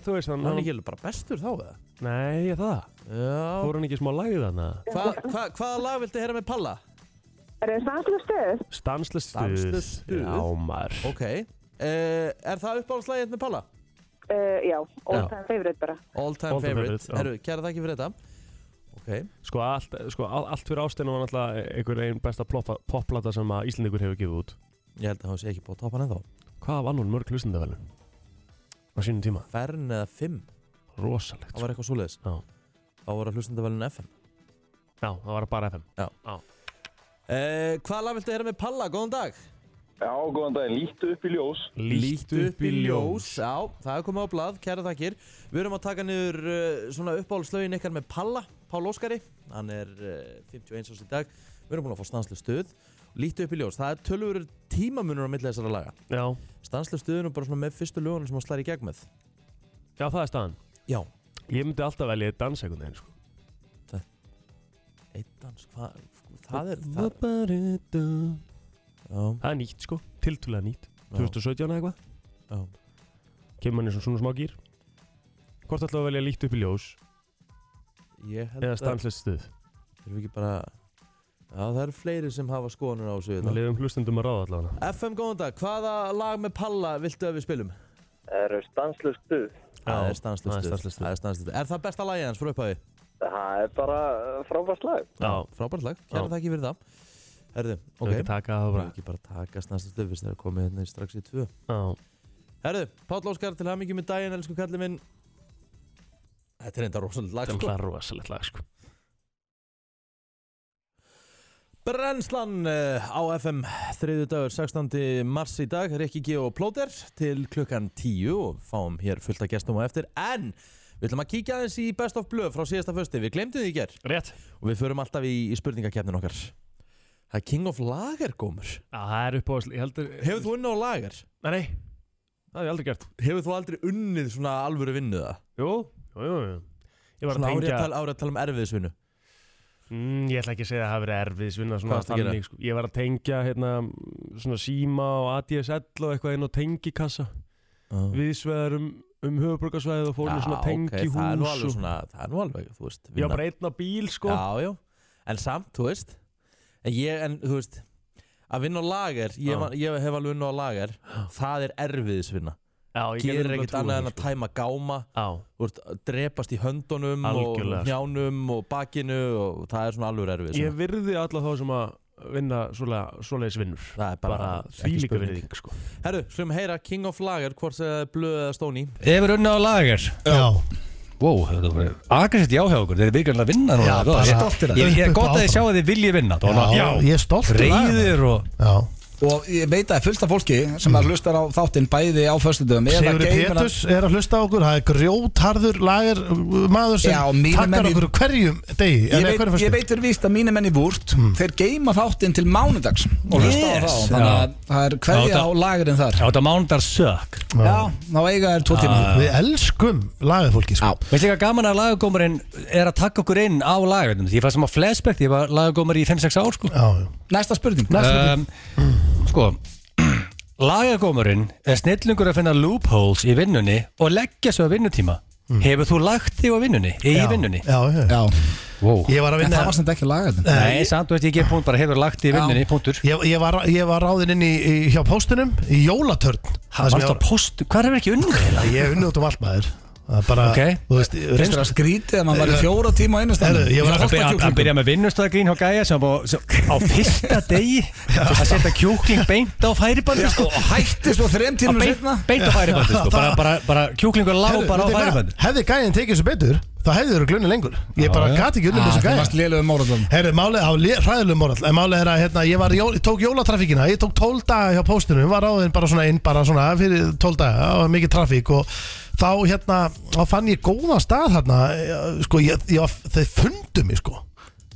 Speaker 2: Þú veist hann,
Speaker 1: Hann er ekki alveg bara bestur þá eða?
Speaker 2: Nei, ég það
Speaker 1: Já
Speaker 2: Fór hann ekki í smá lagið hann að
Speaker 1: hva, hva, Hvaða lag viltu heyra með Palla?
Speaker 4: Er það stanslust stuð?
Speaker 2: Stansless stuð
Speaker 1: Stanslaust stuð.
Speaker 2: Já maður
Speaker 1: Ok uh, Er það uppáhaldslagið með Palla?
Speaker 4: Uh, já, all time favorite bara.
Speaker 1: All time
Speaker 2: All time
Speaker 1: favorite,
Speaker 2: favorite, já.
Speaker 1: Herru, kæra þakki fyrir þetta Ok
Speaker 2: Sko allt, sko, all, allt fyrir ástæðinu var náttúrulega e-, einhver einn besta ploppa- popplata sem að Íslandingur hefur gefið út
Speaker 1: Ég held að hann sé ekki búið að topa hann ennþá
Speaker 2: Hvað var nú mörg hlustendavælun? Á sínum tíma
Speaker 1: Fern eða fimm
Speaker 2: Rosalegt sko.
Speaker 1: Það var eitthvað svoleiðis
Speaker 2: Já.
Speaker 1: Þá var að hlustendavælun FM
Speaker 2: Já, það var bara FM
Speaker 1: eh, Hvað lag viltu heyra með Palla? Góðan dag
Speaker 5: Já, góðan daginn, lítu upp í ljós.
Speaker 1: Já, það er komið á blað, kæra takkir Við erum að taka niður uh, svona uppáhaldslögin ykkar með Palla Pál Óskari, hann er uh, 51 árs í dag Við erum búin að fá stanslu stuð Lítu upp í ljós, það er tölvur tímamunur á milli þessara laga
Speaker 2: Já,
Speaker 1: Stanslu stuðinu bara svona með fyrstu lögunum sem hann slær í gegn með
Speaker 2: já það er staðan
Speaker 1: Já,
Speaker 2: Ég myndi alltaf velja dansekundin sko
Speaker 1: eitt dans, hvað, það er það,
Speaker 2: það
Speaker 1: já,
Speaker 2: Það er nýtt sko, tiltúlega nýtt 2017 eða eitthvað,
Speaker 1: já,
Speaker 2: kemur manni svona, svona smá gýr Hvort ætlaðu að velja líkt upp í ljós
Speaker 1: ég held
Speaker 2: eða stanslist stuð
Speaker 1: Erum við ekki bara Já, það eru fleiri sem hafa skoðanur á þessu
Speaker 2: Við
Speaker 1: hérna.
Speaker 2: lefum hlustendum að ráða allavega
Speaker 1: FM, góðan dag, hvaða lag með Palla viltu að við spilum?
Speaker 5: Er stanslust stuð?
Speaker 1: Það er stanslust
Speaker 2: það er
Speaker 1: stuð.
Speaker 2: stanslaust stuð.
Speaker 1: Það er stanslust stuð. Er það besta lagið hans frá upphæði?
Speaker 5: Það er bara eh, frábært lag.
Speaker 2: Já,
Speaker 1: Frábært lag, kæra
Speaker 2: Já.
Speaker 1: þakki fyrir það Herðu,
Speaker 2: ok.
Speaker 1: ok
Speaker 2: Ekki taka það
Speaker 1: Það
Speaker 2: bara.
Speaker 1: er ekki bara að taka snæsta stöfis þegar komið hérna í strax í tvö
Speaker 2: Já.
Speaker 1: Herðu, Páll Óskar til hamingjum með daginn, elsku kallið minn Þetta er enda rosalega lag
Speaker 2: Það er
Speaker 1: sko.
Speaker 2: náttúrulega rosalegt lag, sko.
Speaker 1: Brennslan eh, á FM þriðu dagur 16. mars í dag Rikki G og Plóter til klukkan 10 og fáum hér fullt af gestum á eftir en við ætlum að kíkja aðeins í Best of Blöð frá síðasta fösti, við glemdum því í ger
Speaker 2: Rétt.
Speaker 1: og við förum alltaf í, í spurningakefnin okkar Það er King of Lager gómur
Speaker 2: Já, það er upp á, ég heldur...
Speaker 1: Hefur þú unnið á lager?
Speaker 2: Nei, nei. Það hef ég aldrei gert.
Speaker 1: Hefur þú aldrei unnið svona alvöru vinnu það?
Speaker 2: Jú, jú, jú, jú. Ég var að
Speaker 1: Svona árið
Speaker 2: tengja...
Speaker 1: að, tala, árið að tala um erfiðisvinnu
Speaker 2: Mm, ég ætla ekki að segja að það hafi verið erfiðisvinna svona
Speaker 1: Hvað varstu að gera?
Speaker 2: þannig, sko. Ég var að tengja hérna svona síma og ADSL og eitthvað inn á tengikassa viðsveðar um, um höfuborgarsvæðið og fórum í svona tengihús
Speaker 1: Ah. Það er nú alveg
Speaker 2: og...
Speaker 1: svona, það er nú alveg, þú veist
Speaker 2: Ég var bara einn á bíl sko
Speaker 1: Já, já, en samt, þú veist En ég, en þú veist Að vinna á lager,
Speaker 2: Já.
Speaker 1: ég, var, ég hef alveg unna á lager Það er erfiðisvinna
Speaker 2: Já, ég gerði
Speaker 1: Gerir
Speaker 2: nefnilega
Speaker 1: ekkert
Speaker 2: trú á
Speaker 1: annað
Speaker 2: því,
Speaker 1: en að
Speaker 2: sko.
Speaker 1: tæma gáma
Speaker 2: Já,
Speaker 1: Þú veist, drepast í höndunum
Speaker 2: Algjörlega,
Speaker 1: og
Speaker 2: sko.
Speaker 1: njánum og bakinu og það er svona alveg
Speaker 2: ég
Speaker 1: erfiðisvinna
Speaker 2: virði alla þá sem að vinna svolega, svoleiðis vinnur
Speaker 1: Það er bara,
Speaker 2: bara
Speaker 1: ekki
Speaker 2: þvílíka
Speaker 1: spurning.
Speaker 2: virðing sko.
Speaker 1: Herru, slum heyra King of Lager, hvort segja blöð eða stóni
Speaker 6: Hefur unna á lager
Speaker 7: Já,
Speaker 6: Wow, þetta var agressivt já hjá okkur Þeir eru virkilega að vinna núna
Speaker 7: Já,
Speaker 6: Góð.
Speaker 7: bara
Speaker 6: Ég-
Speaker 7: stoltir af þeim.
Speaker 6: Ég er
Speaker 7: Upp, upp,
Speaker 6: gott að þið
Speaker 7: áfram.
Speaker 6: sjá að þið viljið vinna Það var
Speaker 7: já,
Speaker 6: alveg,
Speaker 7: ég er stolt
Speaker 6: já, Reyðir og
Speaker 7: Já,
Speaker 8: og ég veit að fullt af fólki sem að hlustar á þáttinn bæði á föstudöfum eða
Speaker 7: Sigur
Speaker 8: geimina
Speaker 7: Petus er að hlusta á okkur Það er grjótharður lager uh, maður sem
Speaker 8: Já, mínir
Speaker 7: takkar
Speaker 8: menn í-
Speaker 7: okkur á hverjum degi
Speaker 8: ég veit,
Speaker 7: en hverjum Mm. föstu.
Speaker 8: ég veit fyrir víst að mínu menn í vúrt þeir geima þáttinn til mánudags og hlusta á
Speaker 6: Yes,
Speaker 8: þá þannig
Speaker 6: já.
Speaker 8: að það er hverja
Speaker 6: Já,
Speaker 8: á
Speaker 6: þetta-
Speaker 8: lagerinn þar
Speaker 6: Já, þetta mánundar sök
Speaker 8: já, þá eiga er tvo
Speaker 6: Ah.
Speaker 8: tíma
Speaker 7: Við elskum lagerfólki sko.
Speaker 6: Veist ekki að gaman að lagagómarinn er að taka okkur inn á lagarnum Því ég fann sem að flashback, því ég var lagagómar í 5-6 ár sko.
Speaker 7: já, já.
Speaker 8: næsta spurning Ehm,
Speaker 6: um, Sko [CLEARS THROAT] Lagagómarinn er snillingur að finna loopholes í vinnunni og leggja svo á vinnutíma Hefur þú lagt þig á vinnunni? Í
Speaker 7: Mm. Já,
Speaker 6: vinnunni?
Speaker 7: já, já.
Speaker 8: já,
Speaker 6: Wow.
Speaker 7: Ég var að
Speaker 8: en
Speaker 7: vinna
Speaker 8: það var sem þetta ekki lagerinn
Speaker 6: Nei, samt, þú veist, ég gef punkt bara hefur lagt þig í
Speaker 8: Já.
Speaker 6: vinnunni, punktur
Speaker 7: Ég, ég, var, ég var ráðinn inn í, í, hjá póstunum í jólatörn Það sem
Speaker 6: Varst
Speaker 7: ég
Speaker 6: á
Speaker 7: var-
Speaker 6: postu, hvað hefur ekki unnið? eiginlega?
Speaker 7: Ég er unnið út um allt maður Það er bara,
Speaker 6: Ok.
Speaker 7: þú veist,
Speaker 8: finnst þér
Speaker 7: reynsla
Speaker 8: að skrítið að maður var í fjóra tíma á
Speaker 7: Heyrðu,
Speaker 8: einastæðinu
Speaker 7: ég var að
Speaker 6: Að byrja- að- að byrja með vinnustagrín hjá gæja sem á, sem á fyrsta degi að setja kjúkling beint á færibandi sko.
Speaker 8: og hætti svo þrem
Speaker 6: Að
Speaker 8: tíma
Speaker 6: beint,
Speaker 8: setna
Speaker 6: beint á færibandi sko.
Speaker 7: Já,
Speaker 6: bara,
Speaker 7: það-
Speaker 6: bara, bara kjúklingur lág bara á færibandi
Speaker 7: Hefði gæðin tekið þessu betur Það hefði þeirra glunni lengur Ég bara
Speaker 6: já.
Speaker 7: gati ekki unnið með þessu
Speaker 8: það
Speaker 7: gæja
Speaker 8: varst liðlega móraldan
Speaker 7: Herri, málið á hræðilegu morall En málið er að hérna, ég, var, í jól- ég tók jólatrafíkina Ég tók 12 daga hjá póstinum Var ráðinn bara svona inn bara svona fyrir 12 daga Það var mikið trafík og þá hérna Þá fann ég góðan stað hérna eh, Sko, ég, ég, var- þeir fundu mig sko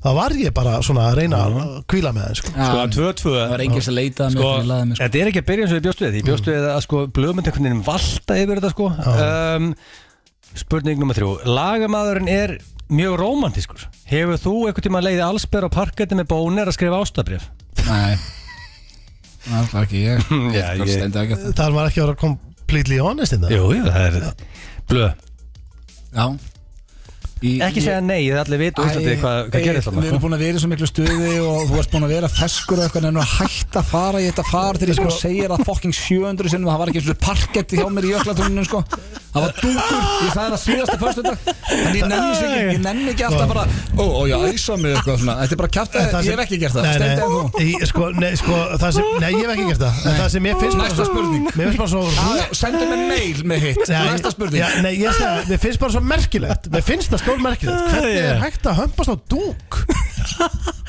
Speaker 7: Það var ég bara svona að reyna að kvíla með þeim sko
Speaker 6: sko, að 2-2
Speaker 8: það var enginn sem leitaði mig,
Speaker 6: sko,
Speaker 8: sem laði mig sko.
Speaker 6: þetta er ekki að byrja eins og ég bjóst við ég bjóst við að sko, blöðmynd einhvern veginn valta yfir þetta sko. um, spurning nummer þrjú lagamæðurinn er mjög rómantískur hefur þú einhvern tíma leiði allsber á parketti með bónir að skrifa ástabrif
Speaker 8: nei það er ekki ég
Speaker 7: [LAUGHS]
Speaker 6: Já,
Speaker 8: það
Speaker 6: ég-
Speaker 8: stendur ekki að það
Speaker 7: Það var ekki að vera completely honest in það
Speaker 6: jú, jú, það er blöð
Speaker 8: Já í,
Speaker 6: Ekki segja nei, það allir vita úr þetta hvað, sko? hvað gerir
Speaker 8: Við erum
Speaker 6: það
Speaker 8: búin að vera í svo miklu stuði og þú ert búin að vera feskur og eitthvað en að hætta að fara í þetta fara þegar ég sko segir að fokking 700 sinnum það var ekki eins og parketti hjá mér í jöklatúninu sko Það var dúkur, ég sagði það síðasta fyrstu dag En ég nenni sér ekki, ég nenni ekki alltaf bara Ó, ó, ég æsa mig eitthvað svona Þetta er bara kjátt
Speaker 7: En það
Speaker 8: að ég
Speaker 7: sem-
Speaker 8: hef ekki gert það
Speaker 7: Nei,
Speaker 8: Stendur en þú
Speaker 7: nei, í- sko, nei, sko, það sem, nei, ég hef ekki gert það En það sem ég finnst bara
Speaker 8: Næsta
Speaker 7: svo-
Speaker 8: spurning.
Speaker 7: Mér finnst bara svo
Speaker 8: Á, Sendu mér mail með hitt
Speaker 7: Nei,
Speaker 8: Næsta
Speaker 7: já,
Speaker 8: spurning Ah,
Speaker 7: Nei, ég segi það, mér finnst bara svo merkilegt Mér finnst það stór merkilegt Hvernig er hægt að hömpast á dúk?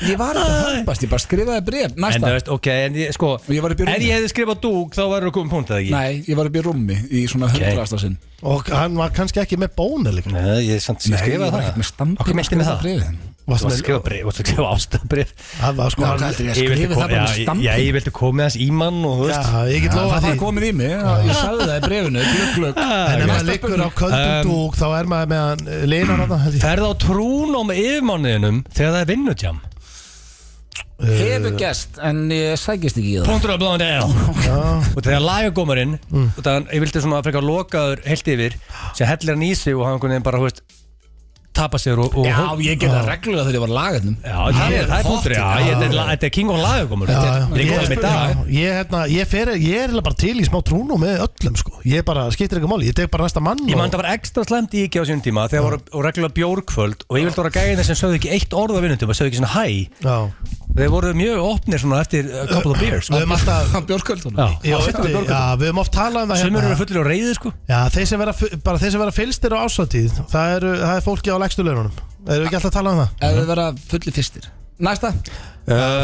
Speaker 8: Ég var ekki að höfast, ég bara skrifaði bref
Speaker 6: En það
Speaker 8: Næsta,
Speaker 6: veist, ok, en ég, sko
Speaker 8: ég var upp í
Speaker 6: Ef
Speaker 8: rúmi
Speaker 6: ég hefði skrifað dúk, þá verður þú komið punkt eða ekki
Speaker 8: Nei, ég var upp í rúmi í svona hundraðasta sinn
Speaker 7: Og hann var kannski ekki með bónu líka
Speaker 6: Nei, ég, samt, ég skrifaði
Speaker 8: var
Speaker 6: það
Speaker 8: ekkert með stampið
Speaker 6: Okkur meinti með það
Speaker 8: Bréfin.
Speaker 6: Þú varst að skrifa brif, þú varst að skrifa ástabrif
Speaker 7: Það var sko
Speaker 8: Já,
Speaker 7: hann-
Speaker 8: hvað heldur ég að skrifa það bara með
Speaker 6: Já,
Speaker 8: stampið?
Speaker 6: ég vildi komið hans í mann og þú
Speaker 7: Já,
Speaker 6: veist
Speaker 7: ég get
Speaker 8: Já,
Speaker 7: lofa
Speaker 8: það
Speaker 7: því
Speaker 8: var komið í mig, já, ég sagði það í brefinu, glögg, glögg
Speaker 6: Ah,
Speaker 7: En ef
Speaker 8: Næsta
Speaker 7: maður liggur á
Speaker 8: spurning.
Speaker 7: köldum
Speaker 6: Um,
Speaker 7: dúk Þá er maður með hann eh, linar hann held ég.
Speaker 6: Ferð á trúnum yfirmanniðinum þegar það er vinnutjám
Speaker 7: Eh,
Speaker 8: Hefur gest, en ég sækist ekki í það
Speaker 6: Punktur að bláðan dæl Og þegar lagagómarinn
Speaker 7: Mm.
Speaker 6: Og þannig, ég vildi svona frekar lokaður heilt yfir sem hellir hann í sig og hann einhvern veginn bara, þú veist tapa sér og, og
Speaker 8: Já, ég gerði það reglulega þegar ég var lagarnum
Speaker 6: Já, það er það er punktur já, ég- þetta er la- Þetta er king og lagugumur
Speaker 7: Já, já.
Speaker 6: Þetta er góð með dag
Speaker 7: Já, Ég, hérna, ég, fer, ég er eiginlega bara til í smá trúnu með öllum sko. Ég bara skiptir ekki máli, ég tek bara næsta mann
Speaker 6: Ég man
Speaker 7: og,
Speaker 6: það var ekstra slæmt í ekki á sínum tíma þegar voru og reglulega bjórkvöld og ég vildi voru að gæja þeir sem sögðu ekki eitt orð á vinnutum og sögðu ekki svona hæ
Speaker 7: já,
Speaker 6: Þeir voru mjög opnir svona eftir a couple of beers sko.
Speaker 7: Við höfum alltaf
Speaker 8: Björkvöldunum
Speaker 6: Já,
Speaker 7: Já, veitu, já, við höfum oft talað um það
Speaker 6: Sumur eru fullir á reyði sko
Speaker 7: Já, þeir sem vera, fu- bara þeir sem vera fylstir á ásatíð það, eru, það er fólki á legstu laununum Erum við ekki alltaf að tala um það?
Speaker 8: Ef þið vera fulli fyrstir Næsta
Speaker 7: Um,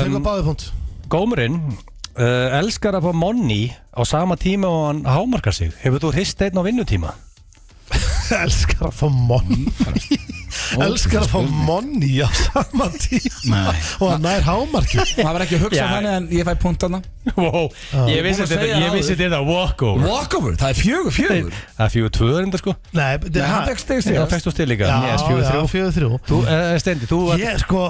Speaker 7: Fengu báðupunkt
Speaker 6: Gómurinn uh, elskar að fá monni á sama tíma og hann hámarkar sig Hefur þú hrist einn á vinnutíma?
Speaker 7: [LAUGHS] Elskar að fá
Speaker 6: [LAUGHS]
Speaker 7: monni Elskar að fá monni á [LAUGHS] sama tíma
Speaker 8: Nei.
Speaker 7: Og hann nær hámarki
Speaker 8: [LAUGHS] Það var ekki að hugsa
Speaker 6: Já.
Speaker 8: þannig en ég fæ punktana
Speaker 6: Wow, ég
Speaker 8: Ég
Speaker 6: vissi
Speaker 8: var að
Speaker 6: þetta,
Speaker 8: segja
Speaker 6: ég
Speaker 8: það
Speaker 6: vissi
Speaker 8: áður.
Speaker 6: þetta walkover
Speaker 8: Walkover, það er fjögur fjögur
Speaker 6: Það er fjögur tvöður enda sko
Speaker 7: Nei,
Speaker 8: Nei, hann fekk stig síðast.
Speaker 6: Það fækst þú stil líka
Speaker 7: Já,
Speaker 6: Yes, fjögur
Speaker 7: já,
Speaker 6: þrjú
Speaker 7: fjögur þrjú
Speaker 6: Þú, eh, Steindi, þú var
Speaker 7: Ég sko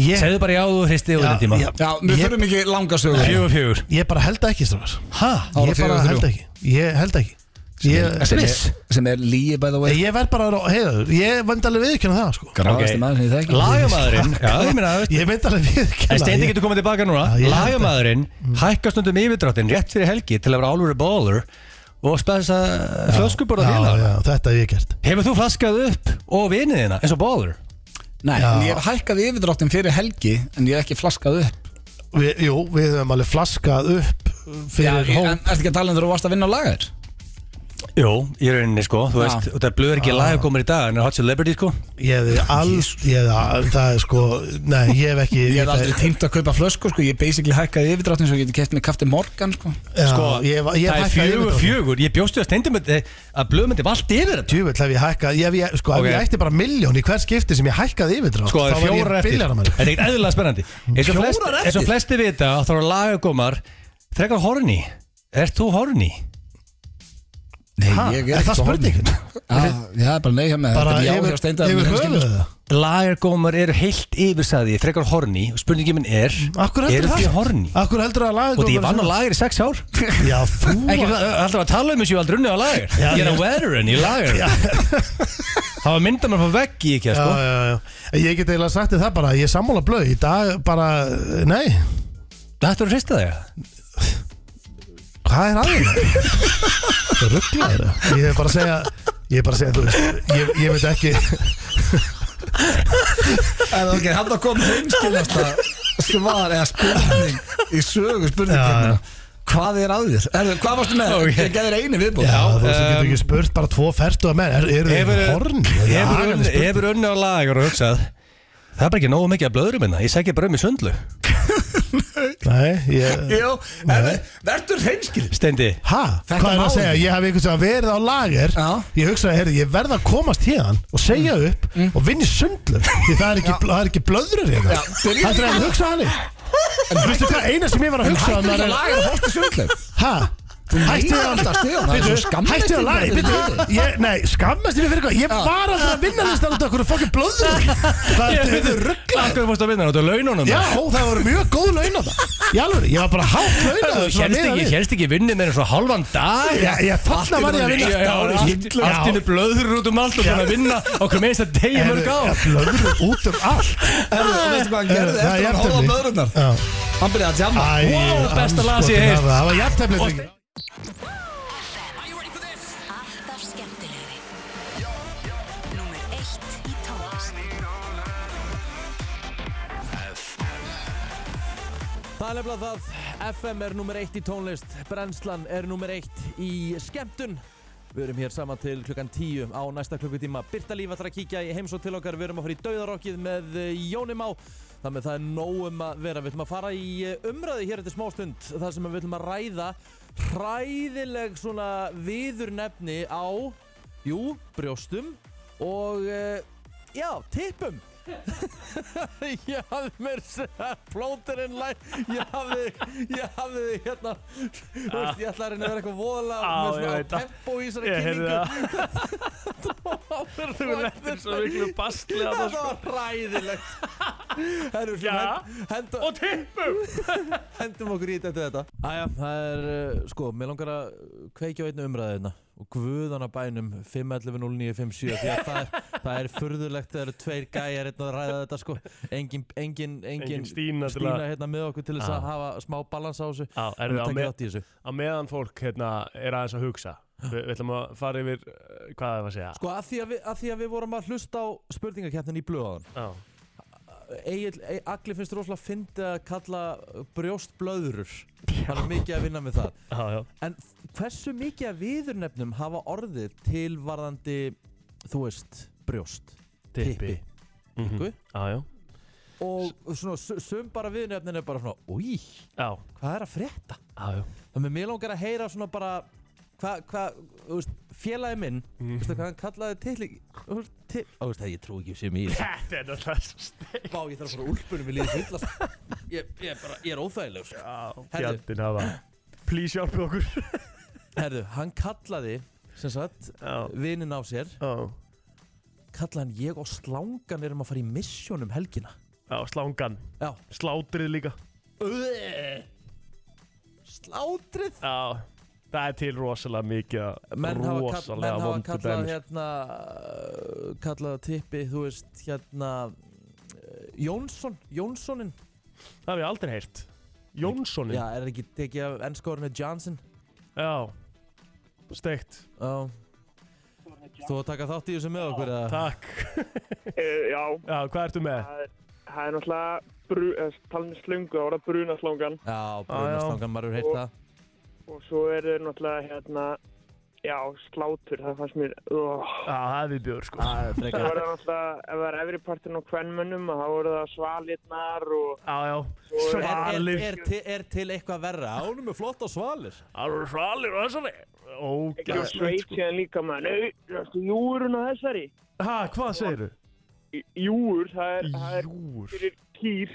Speaker 7: Ég-
Speaker 6: Segðu bara já, þú hristi yfir
Speaker 7: Já,
Speaker 6: þenn tíma
Speaker 7: já.
Speaker 8: Já, við
Speaker 7: Ég-
Speaker 8: þurfum ekki langa sögur
Speaker 6: Fjögur, fjögur
Speaker 7: Ég bara held ekki strafar
Speaker 6: Hæ?
Speaker 8: var
Speaker 7: Ég
Speaker 8: fjögur
Speaker 7: bara
Speaker 8: þrjú.
Speaker 7: held ekki Ég held ekki Ég,
Speaker 8: Sem
Speaker 6: Chris.
Speaker 8: er- Sem er líi by the way
Speaker 7: ég verð bara að heiða Ég vend alveg viðkjöna það sko
Speaker 8: Gráðasti maður sem ég þekki
Speaker 6: Lagamaðurinn Já, ég meina það
Speaker 7: [LAUGHS] Ég vend alveg viðkjöna
Speaker 6: En Steindi getur komið tilbaka núna
Speaker 7: Já, ég Mm. held að-
Speaker 6: Lagamaðurinn hækkar stundum yfirdráttin rétt fyrir helgi til að vera álfur baller og spæðis að flöskubor á
Speaker 7: Já,
Speaker 6: félag
Speaker 7: já, þetta hef ég gert
Speaker 6: Hefur þú flaskað upp og vinið þina eins og baller?
Speaker 8: Nei, en ég hef hækkað yfirdráttin fyrir helgi En ég hef ekki flaskað upp
Speaker 7: Vi, Jú, við höfum alveg flaskað upp
Speaker 8: Já,
Speaker 7: fyrir
Speaker 8: ég-
Speaker 7: hó
Speaker 8: En ertu ekki að tala um þegar þú varst að vinna á lagar?
Speaker 6: Jú, í rauninni sko Þú
Speaker 8: Já.
Speaker 6: veist, og það er blöður ekki lagakomur í dag en er hot celebrity sko
Speaker 7: Ég hef alls, ég hef al- það er sko Nei, ég hef ekki
Speaker 8: Ég hef aldrei týmt að kaupa flösku sko. Ég basically hækkaði yfirdráttin Svo ég geti keft með kafti morgan sko.
Speaker 7: já,
Speaker 6: Sko,
Speaker 7: ég, hef- ég
Speaker 6: það
Speaker 7: hef
Speaker 6: er
Speaker 7: hækkað
Speaker 6: fjögur,
Speaker 7: yfirdráttinn.
Speaker 6: fjögur Ég bjóstu að Steindi myndi að blöður myndi vallt yfir þetta
Speaker 7: Djúvill hef ég hækkað, ég, ég, sko,
Speaker 6: Ok.
Speaker 7: ef ég ætti bara milljón í hver skipti sem ég hækkaði yfirdrátt
Speaker 6: Sko, það
Speaker 7: þá
Speaker 6: er
Speaker 7: var ég
Speaker 6: fjórar eftir
Speaker 7: biljarðamaður.
Speaker 6: Þetta er ekkert eðlilega spennandi Eins og,
Speaker 8: Fjórar
Speaker 6: flest,
Speaker 8: eftir?
Speaker 6: eins og flesti vita þá eru lagagómar Þrekar horni Ert þú horni?
Speaker 8: Nei,
Speaker 7: Ha,
Speaker 8: ég
Speaker 7: er það
Speaker 8: svo
Speaker 7: spurningin?
Speaker 8: horny. Já, það er bara nei hjá mig
Speaker 7: Bara
Speaker 8: Þetta er já hjá
Speaker 7: yfir,
Speaker 8: Steindar,
Speaker 7: yfir
Speaker 8: mér
Speaker 7: höfuðu
Speaker 8: skilur.
Speaker 7: það
Speaker 6: Lagagómar eru heilt yfirsaði Þrekar horni og Spurningin minn er
Speaker 7: Akkur heldur
Speaker 6: Eru
Speaker 7: það?
Speaker 6: því horni?
Speaker 7: Akkur heldur það að laga
Speaker 6: Og því ég vann á lager í sex ár
Speaker 7: Já, þú
Speaker 6: [LAUGHS] Ekki það, heldur að tala um þessu ég hef aldrei unnið á lager
Speaker 7: Já,
Speaker 6: Ég er
Speaker 7: já.
Speaker 6: að veteran í lager Það var myndað mér frá veggi ekki
Speaker 7: Já,
Speaker 6: sko.
Speaker 7: já, já. Ég get eiginlega sagt þér það bara, ég er sammála blöð í dag bara, nei,
Speaker 6: Þetta eru hristað þegar
Speaker 7: hvað er aðeins? Það rugglaður Ég hef bara að segja, ég hef bara að segja, þú veist Ég, ég veit ekki,
Speaker 8: [LAUGHS] En ok, hann að koma hinskilast að svar eða spurning í sögu spurningkennina Hvað er að þér? Erðu, hvað varstu með?
Speaker 6: Ok. Um,
Speaker 8: Ég gæði þér einu Um, viðbúð
Speaker 7: Já, þú veist, þú getur ekki spurt bara tvo fertu að menn, eru er þeir horn?
Speaker 6: Hefur unnið- hefur unnið á lager og hugsað Það er bara ekki nógu mikið að blöðurum minna Ég segja bara um í sundlu
Speaker 7: Nei, ég...
Speaker 8: Jó, en verður hinskil
Speaker 6: Steindi
Speaker 7: Hæ?
Speaker 8: Þetta
Speaker 7: Hvað er það að
Speaker 8: málið.
Speaker 7: segja? Ég hef einhvers veginn verið á lager
Speaker 8: Já. Mm.
Speaker 7: Ég hugsaði, herri, ég verð að komast hérðan og segja upp og vinni sundlu Því það er ekki, það er ekki blöðrur hérna
Speaker 8: Já, byrjum
Speaker 7: Það er að hugsa hannig En veistu hvað eina sem ég var að hugsa
Speaker 8: Hættu ekki
Speaker 7: um er
Speaker 8: að laga það fórstu sjöngleif
Speaker 7: Hæ? Hætti
Speaker 8: neitar alltaf stigann, það er svo skammast
Speaker 7: Hætti að
Speaker 8: þín
Speaker 7: laga
Speaker 8: fyrir
Speaker 7: Bíddu,
Speaker 8: liðið.
Speaker 7: ég- Nei, skammast þín fyrir hvað Ég var alltaf að
Speaker 8: [LAUGHS]
Speaker 7: vinna listan út af okkur fokkin blöður Það er þetta ruggla
Speaker 6: Akkur fórst að vinna þetta á laununum
Speaker 7: Já, það voru mjög góð laun á það Í alveg, ég var bara hátt launaður svona
Speaker 6: Hérst
Speaker 7: miðað
Speaker 6: ekki,
Speaker 7: við.
Speaker 6: hérst ekki vinnið með svona halvan dag
Speaker 7: Já, ég þarna var ég að vinna
Speaker 6: Alltinu blöður út um allt og búin að vinna okkur með þess að degi mörg á
Speaker 7: Blöður út um allt
Speaker 8: Erðu, veistu hvað hann gerði
Speaker 7: Það
Speaker 8: eftir að
Speaker 7: er jafntefli.
Speaker 8: hóla möðrunar?
Speaker 7: Já.
Speaker 8: Hann byrjaði að jamma
Speaker 7: Æ,
Speaker 6: Vá, besta
Speaker 7: andskotinn
Speaker 6: lag sem ég
Speaker 7: af
Speaker 6: heyrt.
Speaker 7: það. Það var jafntefnið drengir.
Speaker 9: Alltaf skemmtilegri Númer eitt í tónlist
Speaker 1: Það er nefnilega það, FM er nummer eitt í tónlist, brennslan er nummer eitt í skemmtun. Við erum hér saman til klukkan tíu á næsta klukkutíma. Birta Líf ætlar að kíkja í heimsótt til okkar, við erum að fara í dauðarokkið með eh, Jóni Má. Þannig að það er nóg um að vera. Við ætlum að fara í eh, umræðu hér eftir smástund, þar sem við ætlum að ræða hræðileg svona viðurnefni á, jú, brjóstum og, eh, já, tippum. [LAUGHS] ég hafði mér plóterinn læ ég hafði ég hafði hérna þú veist ég ætlaði að reyna að vera eitthvað voðalega
Speaker 2: Á,
Speaker 1: með
Speaker 2: ég
Speaker 1: svona
Speaker 2: veit það.
Speaker 1: tempo í þessari
Speaker 2: Ég heyrði
Speaker 1: kynningu
Speaker 2: það
Speaker 1: [LAUGHS]
Speaker 2: Þú lentir svo miklu sko. bastli að það
Speaker 1: þetta var ræðilegt Herru,
Speaker 2: Já.
Speaker 1: hend, hend,
Speaker 2: Og tippum
Speaker 1: eh, hendum okkur í þetta eftir þetta Æja, það er, uh, sko, mér langar að kveikja á einu umræðina og guðana bænum 511-0957 því að það er, það er furðulegt þegar eru tveir gæjar hérna að ræða þetta sko engin, engin, engin,
Speaker 2: Engin Stína til
Speaker 1: Stína
Speaker 2: að- Ah.
Speaker 1: hérna með okkur til þess
Speaker 2: Já.
Speaker 1: að hafa smá balans á þessu
Speaker 2: Á, er
Speaker 1: Hún
Speaker 2: það á
Speaker 1: tekur
Speaker 2: með-
Speaker 1: þátt í þessu.
Speaker 2: að meðan fólk hérna, er aðeins að hugsa Vi, við ætlum að fara yfir uh, hvað það var að segja
Speaker 1: Sko að því að, við, að því að við vorum að hlusta á spurningakeppnin í blöðan
Speaker 2: Já.
Speaker 1: Egil, e, Agli finnst rosalega fyndi að kalla brjóst blöðurur Hann er mikið að vinna með það
Speaker 2: [LAUGHS] Já, já.
Speaker 1: En hversu mikið af viðurnefnum hafa orðið til varðandi, þú veist, brjóst?
Speaker 2: Tippi. Mhm.
Speaker 1: Tippu.
Speaker 2: Já, já.
Speaker 1: Og svona, su- sum bara viðurnefnin er bara svona, úi,
Speaker 2: Já,
Speaker 1: hvað er að frétta?
Speaker 2: já, já.
Speaker 1: Þannig að mér langar að heyra svona bara, hvað, hvað, þú veist, félagi minn, þú
Speaker 2: Mhm.
Speaker 1: veist hvað hann kallaði til, þú veist, til, þú veist það, ég trú ekki sem ég,
Speaker 2: Þetta er náttúrulega svo steg
Speaker 1: bá, ég þarf að fara úlpunum í liðið fyllast. Ég, ég er bara, ég er óþægileg, sko.
Speaker 2: [LAUGHS]
Speaker 1: Herðu.
Speaker 2: Fjandinn hafa Please hjálpi okkur
Speaker 1: Herðu, hann kallaði, sem sagt,
Speaker 2: Já,
Speaker 1: vinnin á sér,
Speaker 2: já,
Speaker 1: kallaði hann ég og slangan erum að fara í misjónum helgina.
Speaker 2: já slángan
Speaker 1: Já.
Speaker 2: Slátrið líka
Speaker 1: Slátrið.
Speaker 2: Já, það er til rosalega mikið
Speaker 1: menn hafa, kall, menn
Speaker 2: rosalega sko.
Speaker 1: hafa
Speaker 2: vondu
Speaker 1: kallað
Speaker 2: dæmis
Speaker 1: hérna uh, kallað tippi þú veist hérna uh, Jónsson, Jónssonin
Speaker 2: Það hef ég aldrei heyrt Jónssonin
Speaker 1: já, er ekki tekið af ennskórinu Johnson
Speaker 2: Já Steikt,
Speaker 1: já þú að taka þátt í þessu með okkur eða?
Speaker 2: takk
Speaker 5: Uh, já,
Speaker 2: Já, hvað ertu með?
Speaker 5: það er náttúrulega brú, eh, talin slungu, það voru að bruna slungan
Speaker 2: Já,
Speaker 1: já,
Speaker 2: já.
Speaker 1: brunastangan, maður hefur heyrt það
Speaker 5: og svo er þeir náttúrulega hérna, já, slátur, það fannst mér, oh.
Speaker 2: Já, það er við björ sko
Speaker 1: það er
Speaker 5: það
Speaker 1: frekar
Speaker 5: voru náttúrulega, ef það er efri partin á kvennmönnum, þá voru það svalirnar og
Speaker 2: Já, já,
Speaker 5: Svo
Speaker 1: Er, er,
Speaker 2: svalir
Speaker 1: er, til, er til eitthvað verra? Ánum er flott á svalir
Speaker 2: Það eru svalir og þessari
Speaker 5: ekki og sveit
Speaker 2: Ógæðsveit sko
Speaker 5: síðan líka maður, ney, náttúrulega, júurinn á þessari,
Speaker 2: Ha, hvað segirðu?
Speaker 5: Í- júur, það er, það er
Speaker 2: Júr
Speaker 5: fyrir kýr,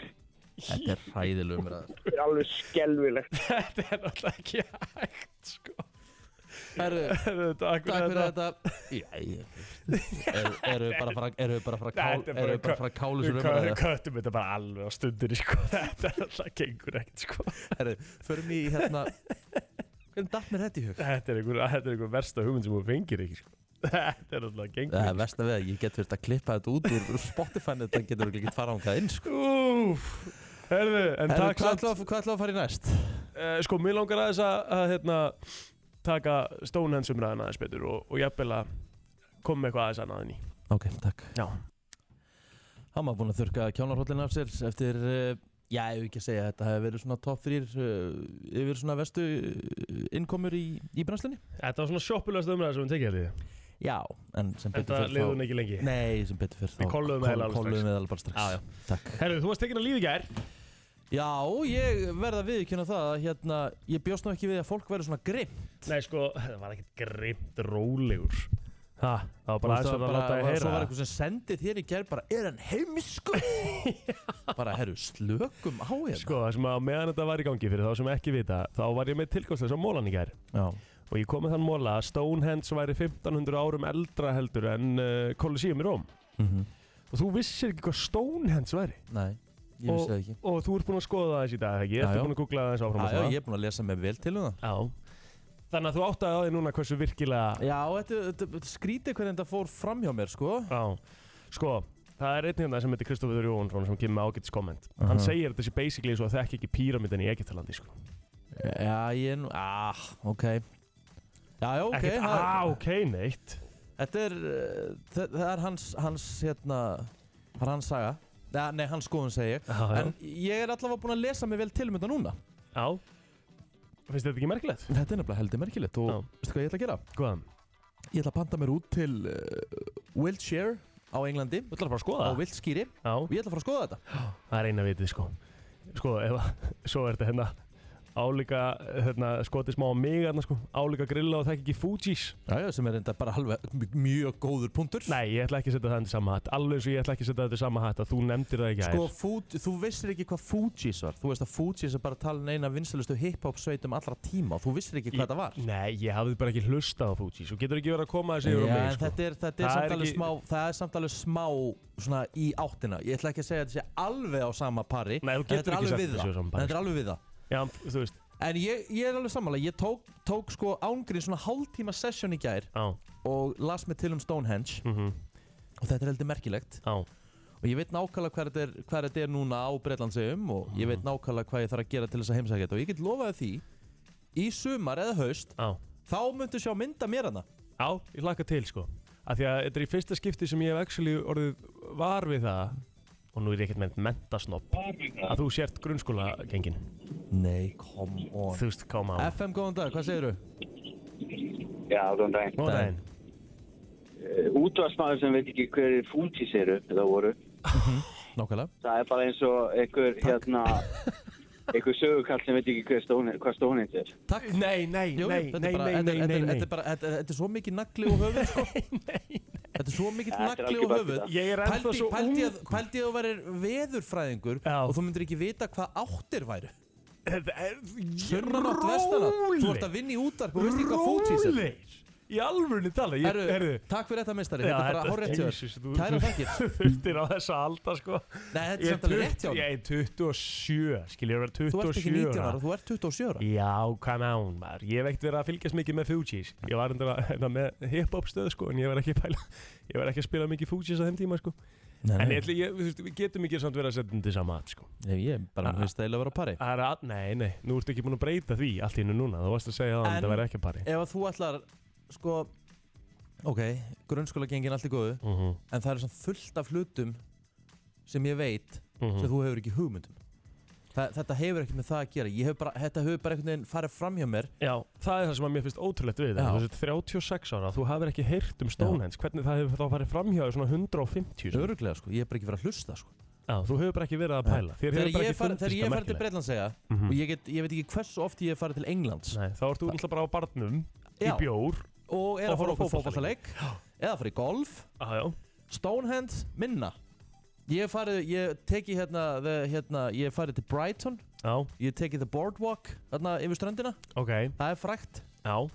Speaker 1: Þetta er hræðilegum ræðar
Speaker 5: það er alveg skelvilegt,
Speaker 2: [LAUGHS] Þetta er náttúrulega ekki hægt sko [LAUGHS]
Speaker 1: Takk
Speaker 2: Takk
Speaker 1: fyrir þetta Já, ég- Eru- Eru við bara að fara- eru við bara að fara að kál-
Speaker 2: Þetta er bara
Speaker 1: eru við bara að fara að kálu sér um
Speaker 2: Við köttum þetta bara alveg á stundinni sko [LAUGHS] Þetta er alltaf gengur ekkert sko
Speaker 1: Herri, förum í hérna Hvernig datt mér þetta í hug?
Speaker 2: Þetta er einhver, þetta er einhver versta hugmynd sem þú fengir ekki sko [LAUGHS] Þetta er alltaf gengur
Speaker 1: Það
Speaker 2: ekki
Speaker 1: er verst að við að ég get verið að klippa þetta út úr Spotify en þetta getur ekki fara ánkað inn sko.
Speaker 2: Úf Herðu, en
Speaker 1: Herri,
Speaker 2: takk
Speaker 1: Hvað
Speaker 2: samt
Speaker 1: ætlum að- hvað ætlum að fara í næst?
Speaker 2: uh, Sko, mér langar aðeins að, að hérna, taka Stonehenge umræðan aðeins betur og, og jafnvel að koma með eitthvað aðeins annað en í
Speaker 1: Ok, takk
Speaker 2: Já.
Speaker 1: Hann var búin að þurka kjánarhóllin af sér eftir eh, Já, ég vil ekki að segja að þetta hefur verið svona top 3 yfir svona vestu eh, innkomur í, í brennslunni
Speaker 2: Þetta var svona sjoppulegast umræðan sem við tekið þetta í
Speaker 1: Já, en sem
Speaker 2: Þetta
Speaker 1: betur
Speaker 2: liði
Speaker 1: fyrir
Speaker 2: hún
Speaker 1: þá
Speaker 2: ekki lengi
Speaker 1: Nei, sem betur fyrir þá
Speaker 2: Við kolluðum
Speaker 1: kol-
Speaker 2: eiginlega alveg strax.
Speaker 1: kolluðum við alveg bara strax
Speaker 2: Já, já.
Speaker 1: Takk
Speaker 2: Herðu, þú varst tekinn að lífi gær
Speaker 1: Já, ég verða viðkjöna það að hérna, ég bjóst nú ekki við að fólk verður svona grimm
Speaker 2: Nei, sko, það var ekkert grimt rólegur Ha, það var
Speaker 1: Þú
Speaker 2: bara
Speaker 1: veist,
Speaker 2: aðeins
Speaker 1: það
Speaker 2: að
Speaker 1: var
Speaker 2: láta að
Speaker 1: bara- Svo
Speaker 2: heyra
Speaker 1: var
Speaker 2: það.
Speaker 1: eitthvað sem sendið þér í gerð bara, er hann heimsku? bara, herru, slökum á hérna
Speaker 2: Sko, það sem að meðan þetta var í gangi fyrir þá sem ekki vita Þá var ég með tilkvæmstlega svo mólan í gær
Speaker 1: Já,
Speaker 2: Og ég kom með þann móla að Stonehenge væri 1500 árum eldra heldur en uh, Colosseum í Róm
Speaker 1: mm
Speaker 2: Og þú vissir ekki hvað Stonehenge væri
Speaker 1: nei, ég vissi það ekki
Speaker 2: Og þú ert búinn að skoða það þessi dag, ekki?
Speaker 1: Já,
Speaker 2: Ertu
Speaker 1: já.
Speaker 2: búinn að googla það þessi áfram
Speaker 1: Já,
Speaker 2: og
Speaker 1: já,
Speaker 2: svona?
Speaker 1: ég er búin að lesa mig vel til um það
Speaker 2: Já. Þannig að þú áttaði á því núna hversu virkilega...
Speaker 1: Já, þetta, þetta, þetta skrítið hvernig þetta fór fram hjá mér, sko
Speaker 2: Já. Sko, það er einn hérna sem heitir Kristofur Jónsson sem kemur með ágætis komment. Hann segir þetta sé basically svo að þekki ekki píramidin í Egyptalandi, sko.
Speaker 1: Já, ég er nú, ah, ok Já, já, ok
Speaker 2: Ekkert,
Speaker 1: það-
Speaker 2: ah, ok, neitt.
Speaker 1: Þetta er, uh, það, það er hans, hans, hérna, það er hans saga. Ja, nei, hans skoðun segi ég.
Speaker 2: Já, já.
Speaker 1: En ég er allavega búinn að lesa mig vel til um þetta núna.
Speaker 2: Já. Finnst þér þetta ekki merkilegt?
Speaker 1: Þetta er nefnilega heldur merkilegt og
Speaker 2: Já.
Speaker 1: veistu hvað ég ætla að gera?
Speaker 2: Hvað?
Speaker 1: Ég ætla að panta mér út til uh, Wiltshire á Englandi,
Speaker 2: Þú ætlar bara að skoða
Speaker 1: á
Speaker 2: það?
Speaker 1: Wiltskýri og
Speaker 2: Já.
Speaker 1: ég ætla að fara að skoða þetta.
Speaker 2: [GASPS] Það er eina vitið, sko. Sko, ef að, [LAUGHS] svo er þetta hérna álíka, hérna, skotið smá á mig hérna, sko, álíka grilla og þekki ekki Fuji's.
Speaker 1: Já, já, sem er enda bara alveg m- mjög góður punktur.
Speaker 2: Nei, ég ætla ekki að setja það undir sama hatt Alveg eins og ég ætla ekki að setja það undir sama hatt að þú nefndir það ekki
Speaker 1: Sko, Fuji, þú vissir ekki hvað Fuji's var. Þú veist að Fuji's er bara talin eina vinsalustu hip-hop sveitum um allra tíma og þú vissir ekki hvað þetta var.
Speaker 2: Nei, ég hafði bara ekki hlustað á Fuji Svo getur ekki verið að koma þessi
Speaker 1: Já,
Speaker 2: yfir á mig
Speaker 1: en
Speaker 2: sko.
Speaker 1: þetta er, þetta er
Speaker 2: Það er
Speaker 1: samt alveg
Speaker 2: ekki-
Speaker 1: smá það er samt alveg smá svona í áttina ég ætla ekki að segja að þetta sé alveg á sama pari
Speaker 2: Nei, þú
Speaker 1: en
Speaker 2: getur
Speaker 1: þetta
Speaker 2: ekki
Speaker 1: er alveg
Speaker 2: sagt
Speaker 1: við
Speaker 2: þetta sé á
Speaker 1: það
Speaker 2: sama
Speaker 1: en
Speaker 2: pari, sko.
Speaker 1: þetta er alveg við það
Speaker 2: Já, en þú veist
Speaker 1: En ég, ég er alveg sammála, ég tók, tók sko ángrið svona hálftíma sesjón í gær
Speaker 2: á,
Speaker 1: og las mig til um Stonehenge
Speaker 2: mhm,
Speaker 1: og þetta er heldur merkilegt
Speaker 2: á
Speaker 1: og ég veit nákvæmlega hvað þetta er, hvað þetta er núna á Bretlandsegum og
Speaker 2: Mhm.
Speaker 1: ég veit nákvæmlega hvað ég þarf að gera til þess að heimsækja þetta og ég get lofaði því í sumar eða haust
Speaker 2: á,
Speaker 1: þá myndu sjá mynda mér hana
Speaker 2: á, ég laka til sko af því að þetta er í fyrsta skipti sem ég hef actually orðið var við það og nú er ég ekkert með mentasnopp að þú sért grunnskóla gengin
Speaker 1: Nei, come on
Speaker 2: þú veist, koma á
Speaker 1: FM, góðan dag, hvað segiru?
Speaker 10: Já, góðan daginn.
Speaker 2: Góðan daginn.
Speaker 5: Eh,
Speaker 10: Útvarsmaður sem veit ekki hverjir fúntís eru, eða voru,
Speaker 1: Nákvæmlega
Speaker 10: það er bara eins og einhver, hérna, einhver sögurkall sem veit ekki hver stóni, hvað stónið er.
Speaker 1: Takk
Speaker 2: Nei, nei,
Speaker 1: Jú,
Speaker 2: nei,
Speaker 1: þetta
Speaker 2: nei,
Speaker 1: er bara-
Speaker 2: nei,
Speaker 1: þetta
Speaker 2: nei,
Speaker 1: er-
Speaker 2: nei,
Speaker 1: þetta er-
Speaker 2: nei.
Speaker 1: Þetta er bara, þetta er- þetta er svo mikið nagli og höfuð
Speaker 2: [LAUGHS]
Speaker 1: sko. Þetta er svo mikið
Speaker 10: Þetta er
Speaker 1: nagli og
Speaker 10: algjör
Speaker 1: höfuð
Speaker 10: bakvið það.
Speaker 2: Ég er ennþá
Speaker 1: Pældi
Speaker 2: svo
Speaker 1: pældi
Speaker 2: ung
Speaker 1: að pældi að þú værir veðurfræðingur
Speaker 2: Já.
Speaker 1: og þú myndir ekki vita hvað áttir væru
Speaker 2: Þetta er
Speaker 1: Sunnanátt vestana Þú ert að vinna í útarp og veist ekki hvað fótsís er
Speaker 2: Rólegir. Í alvörni tala ég,
Speaker 1: Herru,
Speaker 2: Herru,
Speaker 1: takk fyrir þetta meistari, þetta er bara horrið
Speaker 2: Jesus,
Speaker 1: tjóð
Speaker 2: þú-
Speaker 1: Kæra
Speaker 2: þú-
Speaker 1: þakkir
Speaker 2: [LAUGHS] Þú þurftir á þessa alda sko
Speaker 1: Nei, þetta er
Speaker 2: Ég
Speaker 1: samt alveg rétt hjá
Speaker 2: tutt-
Speaker 1: honum.
Speaker 2: Ég er 27, skiljur vera 27
Speaker 1: Þú ert ekki 19 ára, þú ert 27 ára
Speaker 2: Já, come on maður, ég hef ekkert verið að fylgjast mikið með Fugees Ég var endur að, hérna, með hip-hop stöð sko, en ég var ekki að pæla Ég var ekki að spila mikið Fugees á þeim tíma sko
Speaker 1: Nei,
Speaker 2: En
Speaker 1: nei,
Speaker 2: ég, ætli- ég, þú veist, við getum ekki samt verið að setja undir sama mat sko
Speaker 1: nei, ég bara
Speaker 2: Ah.
Speaker 1: veist eiginlega að vera á pari
Speaker 2: Það er að, nei, nei, nú ertu ekki búin að breyta því allt í hennu núna Þú varst að segja að
Speaker 1: En-
Speaker 2: þetta væri ekki að pari
Speaker 1: Ef að þú ætlar, sko Ok, grunnskóla gengin allt í góðu
Speaker 2: uh -huh,
Speaker 1: En það er svona fullt af hlutum sem ég veit
Speaker 2: uh
Speaker 1: sem þú hefur ekki hugmyndum Þa, Þetta hefur ekki með það að gera Ég hef bara, þetta hefur bara einhvern veginn farið fram hjá mér
Speaker 2: Já, það er það sem að mér finnst ótrúlegt við
Speaker 1: Já.
Speaker 2: það. Þú veist, 36 ára, þú hafir ekki heyrt um Stonehenge Hvernig það hefur þá farið framhjáður svona 150 sem-
Speaker 1: Öruglega, sko, ég hef bara ekki verið að hlusta, sko
Speaker 2: Já, þú hefur bara ekki verið að pæla Þér hefur
Speaker 1: Þegar
Speaker 2: bara
Speaker 1: ég
Speaker 2: ekki
Speaker 1: farið
Speaker 2: fundist það
Speaker 1: fari til
Speaker 2: merkilegt
Speaker 1: Breitlandsega
Speaker 2: Mhm.
Speaker 1: og ég, get, ég veit ekki hversu oft ég hef farið til Englands
Speaker 2: Nei, þá ertu útla bara á barnum Í
Speaker 1: Já.
Speaker 2: bjór
Speaker 1: og er
Speaker 2: Og
Speaker 1: að fara
Speaker 2: horfa á
Speaker 1: okkur fótballaleik
Speaker 2: [GASPS]
Speaker 1: eða fara í golf,
Speaker 2: ah, já.
Speaker 1: stonehand, minna ég hef farið, ég teki hérna, the, hérna ég hef farið til Brighton
Speaker 2: já,
Speaker 1: ég hef tekið the boardwalk þarna yfir ströndina,
Speaker 2: ok,
Speaker 1: það er frækt
Speaker 2: já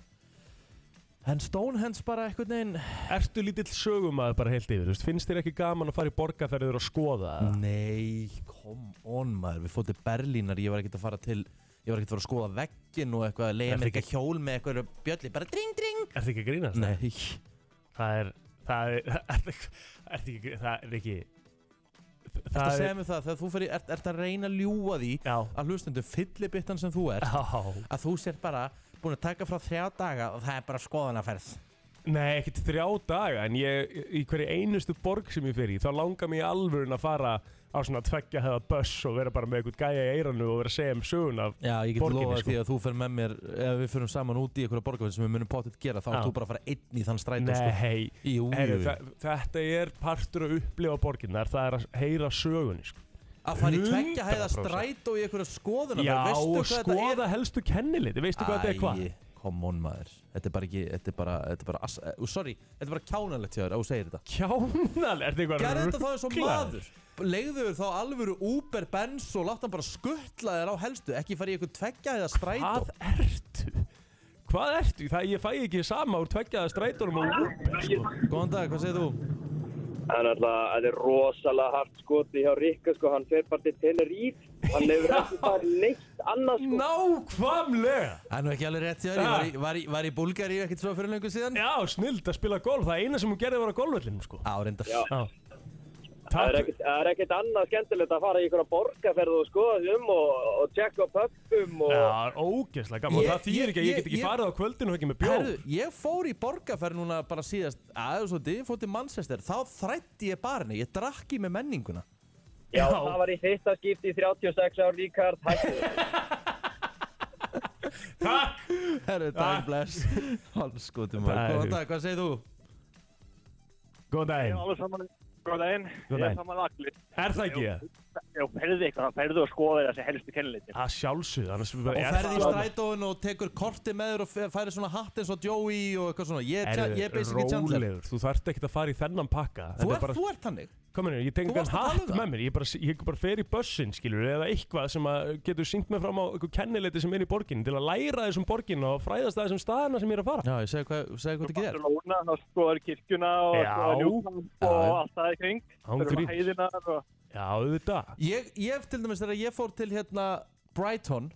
Speaker 1: en stonehand bara einhvern veginn
Speaker 2: Ertu lítill sögumæður bara heilt yfir, þú veist, finnst þér ekki gaman að fara í borgarferðir og skoða það?
Speaker 1: nei, come on maður við fórum til Berlínar, ég var ekkert að fara til ég var ekkert að fara að skoða veggin og eitthvað leiða mér
Speaker 2: Ertu
Speaker 1: ekki að hjól með eitthvað bjölli, bara dring dring
Speaker 2: Ertu ekki að grínast?
Speaker 1: nei,
Speaker 2: Það er, það er, [LAUGHS] ertu ertu ekki, það er ekki
Speaker 1: þetta segja mér það þegar þú fyrir, ert, ert að reyna að ljúa því
Speaker 2: Já,
Speaker 1: að hlustundum fyllibittan sem þú ert
Speaker 2: já
Speaker 1: að þú sér bara búin að taka frá þrjá daga og það er bara skoðanaferð
Speaker 2: Nei, ekkert þrjá daga en ég, í hverju einustu borg sem ég fer í þá langar mér í alvörun að fara á svona tveggja hefða buss og vera bara með einhvern gæja í eiranu og vera að segja um sögun af
Speaker 1: Já, ég get
Speaker 2: Borginni,
Speaker 1: lofað
Speaker 2: sko.
Speaker 1: því að þú fer með mér ef við förum saman út í einhverja borgarfinn sem við munum potið gera þá
Speaker 2: Já.
Speaker 1: ert þú bara að fara einn í þann strætó
Speaker 2: Nei,
Speaker 1: sko.
Speaker 2: hei,
Speaker 1: Jú,
Speaker 2: heru,
Speaker 1: jú, jú.
Speaker 2: þa þetta er partur að upplifa borginnar, það er að heyra sögunni sko.
Speaker 1: Að fara í tveggja hæða
Speaker 2: 100%
Speaker 1: strætó í einhverja skoðanaferð
Speaker 2: Já,
Speaker 1: Veistu
Speaker 2: og
Speaker 1: hvað þetta er?
Speaker 2: skoða helstu kenniliti, veistu hvað þetta er hvað?
Speaker 1: Æi, come on maður Þetta er bara ekki, þetta er bara, þetta er bara ass, uh, Sorry, þetta er bara kjánalegt hjá þér að þú segir þetta
Speaker 2: Kjánal, er þetta eitthvað
Speaker 1: Gerðu þetta þá eins og
Speaker 2: ruglaður?
Speaker 1: maður Legðu þér þá alvöru Uber, Benz og látt hann bara skuttla þér á helstu Ekki fara í einhver tveggja hæða strætó
Speaker 2: Hvað ertu? Hvað ertu? Það ég fæ ekki sama úr tveggjaða strætónum og Uber sko.
Speaker 1: Góðan dag, hvað segir þú?
Speaker 5: hérna, Það er alltaf, þetta er rosalega hart skoti hjá Rikka sko, hann fer bara til Tenerife, hann hefur ekki farið neitt annað sko.
Speaker 2: Nákvæmlega
Speaker 1: Það er nú ekki alveg rétt hjá þér, ég var í, var í, var í Búlgari ekkert svo fyrir lengur síðan
Speaker 2: Já, snild að spila golf, það eina sem hún gerði var á golfvellinum sko
Speaker 1: Á, reyndar
Speaker 2: Já
Speaker 5: Það er
Speaker 2: Takk,
Speaker 5: ekkert- það er ekkert annað skemmtilegt að fara í einhverja borgarferð og skoða sig um og, og tjekka á pöppum og...
Speaker 2: já, ógeðslega gaman
Speaker 1: Ég-
Speaker 2: og það þýðir ekki að ég
Speaker 1: ég-
Speaker 2: get ekki
Speaker 1: ég-
Speaker 2: farið á kvöldinu og ekki með bjóð
Speaker 1: Herðu, ég fór í borgarferð núna bara síðast aðeins og þið, fór til Manchester þá þrætti ég barni, ég drakk í með menninguna
Speaker 5: Já, það var í fyrsta skipti í 36 ár Ríkard Hætti.
Speaker 1: [LAUGHS]
Speaker 2: Takk
Speaker 1: Herru, dag bless Hans skotum maður,
Speaker 2: Dag.
Speaker 1: góðan dag, hvað segir þú?
Speaker 2: Góðan daginn,
Speaker 5: Alveg saman, góða einn,
Speaker 2: Góðan daginn.
Speaker 5: saman allir.
Speaker 2: er það ekki ég?
Speaker 5: Já, ferðu eitthvað, þá ferðu að skoða þessi helstu kennileitin.
Speaker 2: Að sjálfsögð, annars er
Speaker 1: Og
Speaker 2: bara-
Speaker 1: ferði í
Speaker 2: er-
Speaker 1: strætóin og tekur korti með þér og fe- færir svona hatt eins og Joey og eitthvað svona Ég, er- ég er basically Chandler
Speaker 2: Rólegur, þú þarft ekkert að fara í þennan pakka
Speaker 1: Þú
Speaker 2: Þetta er
Speaker 1: ert,
Speaker 2: bara,
Speaker 1: þú ert hannig
Speaker 2: komin hér, ég tengi
Speaker 1: þú varst
Speaker 2: hann
Speaker 1: að tala um
Speaker 2: hatt
Speaker 1: það.
Speaker 2: með mér Ég bara, ég bara fer í bussin, skilur Eða eitthvað sem að getur syngt mig fram á einhver kennileiti sem er í borgin Til að læra þessum borgin og fræðast að þessum staðina sem ég er að fara
Speaker 1: Já, ég segi hvað, segi hvað þetta gerir
Speaker 5: Barcelona, þá skoðar kirkjuna og
Speaker 2: Já.
Speaker 5: skoðar Ljúkland og
Speaker 1: Já.
Speaker 5: allt það í kring.
Speaker 2: Án
Speaker 5: Fyrir
Speaker 2: gríns.
Speaker 5: hæðinar og...
Speaker 2: Já, auðvitað
Speaker 1: Ég, ég til dæmis þegar ég fór til hérna Brighton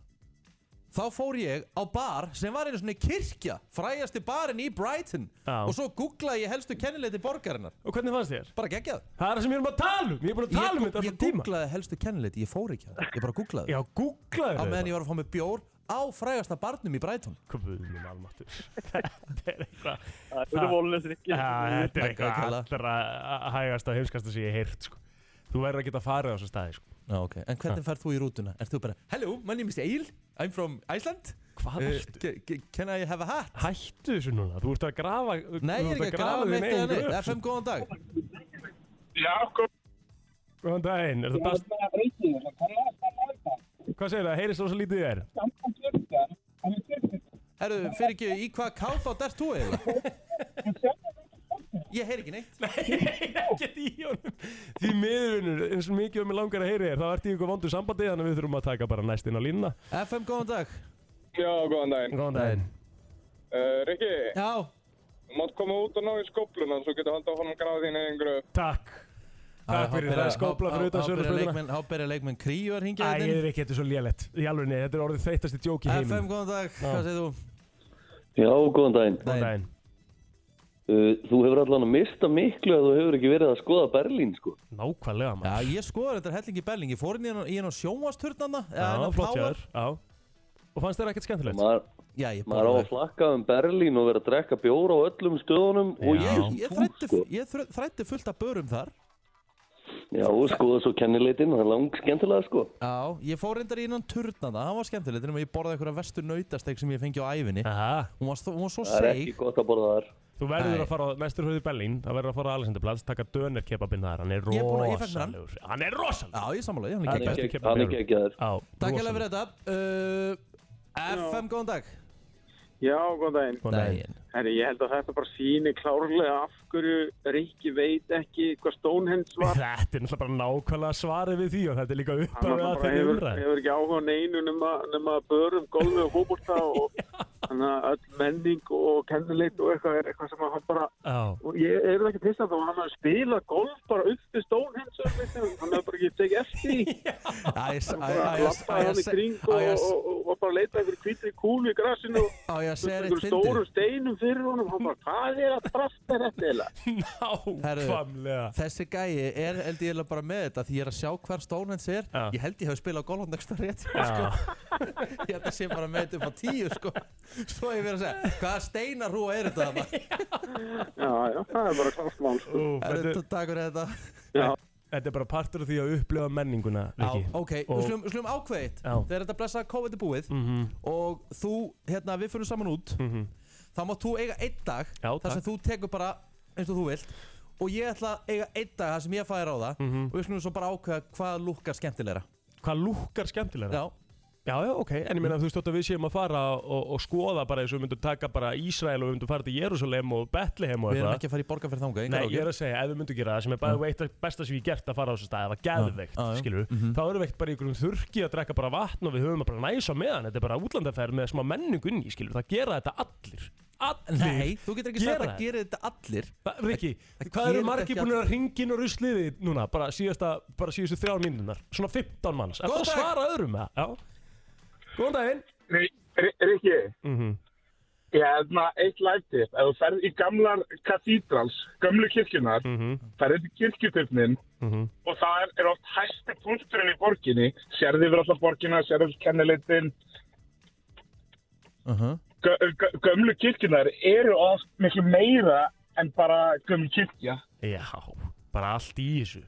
Speaker 1: þá fór ég á bar sem var einu svona kirkja frægasti barinn í Brighton
Speaker 2: Já.
Speaker 1: og svo googlaði ég helstu kennileiti borgarinnar
Speaker 2: Og hvernig fannst þér?
Speaker 1: bara geggjað
Speaker 2: Það er það sem ég er um að tala um Ég er búin að
Speaker 1: ég,
Speaker 2: tala um þetta
Speaker 1: gú- ég
Speaker 2: alltaf tíma
Speaker 1: googlaði helstu kennileiti, ég fór ekki að það ég bara googlaði
Speaker 2: Já, googlaði
Speaker 1: á
Speaker 2: þetta
Speaker 1: meðan ég var að fá mig bjór á frægasta barnum í Brighton
Speaker 2: Guð minn almáttur Þetta er eitthvað
Speaker 1: Það eru vonlausir
Speaker 2: ekki Þetta er
Speaker 1: Takk,
Speaker 2: eitthvað
Speaker 1: Kalla.
Speaker 2: allra hægast og heimskasta sem ég hef heyrt sko. Þú verður að geta farið á þessu staði sko.
Speaker 1: Já, ok En hvernig færð þú í rútuna? Ert þú bara Hello, my name is Egil I'm from Iceland
Speaker 2: Hvað
Speaker 1: Eh,
Speaker 2: ertu?
Speaker 1: ca- ca- Can I have a hat?
Speaker 2: Hættu þessu núna, þú ert að grafa
Speaker 1: Nei,
Speaker 2: þú
Speaker 1: ég
Speaker 2: ert
Speaker 1: er ekki að grafa
Speaker 2: þín
Speaker 1: mitt
Speaker 2: eigin
Speaker 1: eða neitt
Speaker 2: gröf, sko.
Speaker 1: FM, góðan dag
Speaker 11: Já,
Speaker 2: Góðan daginn, er þetta best? Hvað segir það, heyrist þú svo lítið þér?
Speaker 1: Herru, fyrir ekki, í hvað kátt á dert þú eiginlega? Ég heyr ekki neitt
Speaker 2: Ekkert í honum Því miðurvinnur, eins og mikið um mig langar að heyri þér Þá ert í ykkur vondu sambandi þannig að við þurfum að taka bara næst inn á línuna
Speaker 1: FM, góðan dag
Speaker 11: Já, góðan daginn.
Speaker 2: Góðan daginn
Speaker 11: Uh, Rikki,
Speaker 1: Já
Speaker 11: mátt koma út og ná í skópluna svo getur haldið áfram að grafa þín eigin gröf.
Speaker 2: Takk. Takk fyrir það, skópla fyrir utan sögursbrautina.
Speaker 1: Há byrja leikmenn kríu að hringja
Speaker 2: Æ, ég er ekki, þetta er svo lélegt Í alvegni, þetta er orðið þreytasti djók í
Speaker 1: hérna
Speaker 2: heiminn
Speaker 1: FM, góðan dag, hvað segir þú?
Speaker 12: Já, góðan daginn.
Speaker 1: Góðan
Speaker 2: daginn.
Speaker 12: Uh, þú hefur allan að mista miklu að þú hefur ekki verið að skoða Berlín, sko.
Speaker 2: Nákvæmlega,
Speaker 1: maður. Já, ég skoður þetta helling í Berling Ég fór inn í hérna hann- í hann á sjónvasturnanna
Speaker 12: Já, flott hjá þér,
Speaker 2: Já Og fannst þér ekkert skemmtilegt?
Speaker 12: Maður,
Speaker 1: Já, ég
Speaker 12: maður á að flakka um Berlín og vera að drekka bjóra á öllum stöðunum og
Speaker 1: Ég,
Speaker 12: ég, sko.
Speaker 1: ég, þræddi, ég þr- þræddi fullt af börum þar
Speaker 12: já, og skoða svo kennileitin, það er lang skemmtilega, sko.
Speaker 1: Já, ég fór reyndar í innan turnana, það var skemmtilegt nema ég borðaði einhverja vestu nautasteg sem ég fengi á æfinni
Speaker 2: Aha.
Speaker 1: Hún var, svo- hún var svo
Speaker 12: Það er
Speaker 1: seig
Speaker 12: ekki gott að borða þar.
Speaker 2: Þú verður
Speaker 1: Nei.
Speaker 2: að fara á næstur höfðu í Berlín Það verður að fara á Alexanderplatz Taka döner kebabinn þar Hann er
Speaker 1: Ég er búinn að- ég fekk mér hann.
Speaker 2: rosalegur Hann er rosalegur
Speaker 1: Já, ég samanlega, hann
Speaker 12: Hann
Speaker 1: er
Speaker 12: er
Speaker 1: ekki
Speaker 12: gegg- hann er geggjaður.
Speaker 1: Takk hella fyrir þetta uh, FM, góðan dag
Speaker 11: Já, góðan daginn.
Speaker 1: Góðan daginn.
Speaker 11: Herri, ég held að þetta bara síni klárlega af hverju Rikki veit ekki hvað Stonehenge var.
Speaker 2: Þetta er náttúrulega bara nákvæmlega svarið við því Og þetta er líka
Speaker 11: Hann
Speaker 2: uppafið að
Speaker 11: bara
Speaker 2: þeirri
Speaker 11: hefur,
Speaker 2: umræð
Speaker 11: hefur ekki áhuga á neinu nema, nema börum, golfi og fókbólta og þannig að öll menning og kennileit og eitthvað er eitthvað sem að hann bara
Speaker 2: Já
Speaker 11: og ég er það ekki til þess að hann hafi spilað golf bara upp til Stonehenge og veistu, hann hefur bara ekki tekið eftir því.
Speaker 1: Æs,
Speaker 11: hann bara lappaði hann í kring og, og, og, og bara leitaði fyrir kvítri kúlu í grassinu
Speaker 1: og
Speaker 11: þú veist,
Speaker 1: segja eitt
Speaker 11: einhverjum
Speaker 1: fyndið?
Speaker 11: stórum steinum fyrir honum hann bara hvað er að drasta þetta eða
Speaker 2: Nákvæmlega
Speaker 1: Þessi gæi er held ég eiginlega bara með þetta því ég er að sjá hver stónhens er Ég held ég hef spilað golfhónd nægsta rétt sko. [LAUGHS] Ég held að sé bara með þetta upp á tíu sko. Svo ég verið að segja Hvaða steinarúa er þetta þarna?
Speaker 11: já já það er bara klart mál sko.
Speaker 1: Herru, Takk fyrir þetta
Speaker 2: Þetta er bara partur af því að upplifa menninguna Riki.
Speaker 1: Já, ok,
Speaker 2: Og-
Speaker 1: við slum, við slum ákveðið
Speaker 2: Já. Mhm.
Speaker 1: Þegar þetta blessa COVID er búið Og þú, hérna, við fyrir saman út Þá mátt þú eiga einn dag
Speaker 2: Já,
Speaker 1: Þar sem
Speaker 2: takk.
Speaker 1: þú tekur bara eins og þú vilt Og ég ætla að eiga einn dag þar sem ég fæði ráða
Speaker 2: Mhm.
Speaker 1: Og við slum svo bara ákveða hvað lúkkar skemmtilegra
Speaker 2: Hvað lúkkar skemmtilegra?
Speaker 1: Já
Speaker 2: Já, já, ok, en ég meina þú stótt að við séum að fara og, og skoða bara eins og við myndum taka bara Ísrael og við myndum fara til Jerusalem og Bethlehem og
Speaker 1: Við erum
Speaker 2: eitthvað.
Speaker 1: ekki að fara í borgarferð þangað
Speaker 2: Nei, ég er að segja, ef við myndum gera það sem er bæðið veitt besta sem ég hef gert að fara á þessu stað, það var geðveikt,
Speaker 1: Já, Mhm. já.
Speaker 2: skilur við þá erum við ekkert bara í einhverjum þurki að drekka bara vatn og við höfum að bara næsa meðan, þetta er bara útlandaferð með smá menningu inn í, skilur við, það gera þetta allir allir
Speaker 1: Nei, þú getur ekki sagt
Speaker 2: gera
Speaker 1: að gera þetta allir
Speaker 2: það Riki,
Speaker 1: það
Speaker 2: hvað eru
Speaker 1: gerir
Speaker 2: margir
Speaker 1: ekki
Speaker 2: búin að ringin og rusliði núna, bara síðasta, bara síðustu þrjár mínunar, svona 15 manns er það
Speaker 11: Góðan
Speaker 2: að
Speaker 11: dag.
Speaker 2: svara öðrum með það? Góðan daginn
Speaker 11: Rikki
Speaker 2: mm -hmm.
Speaker 11: Ég hefna eitt lætið, ef þú ferð í gamlar kathídrals, gömlu kirkjunar, mm
Speaker 1: Mhm.
Speaker 11: -hmm. ferðið til kirkjutöfnin
Speaker 2: Mhm.
Speaker 11: og það er, oft hæsti punkturinn í borginni, sérði yfir alla borginna, sérði yfir kennileitin,
Speaker 1: uh -huh.
Speaker 11: gö- gö- gömlu kirkjunar eru oft miklu meira en bara gömlu kirkja.
Speaker 2: Já, bara allt í þessu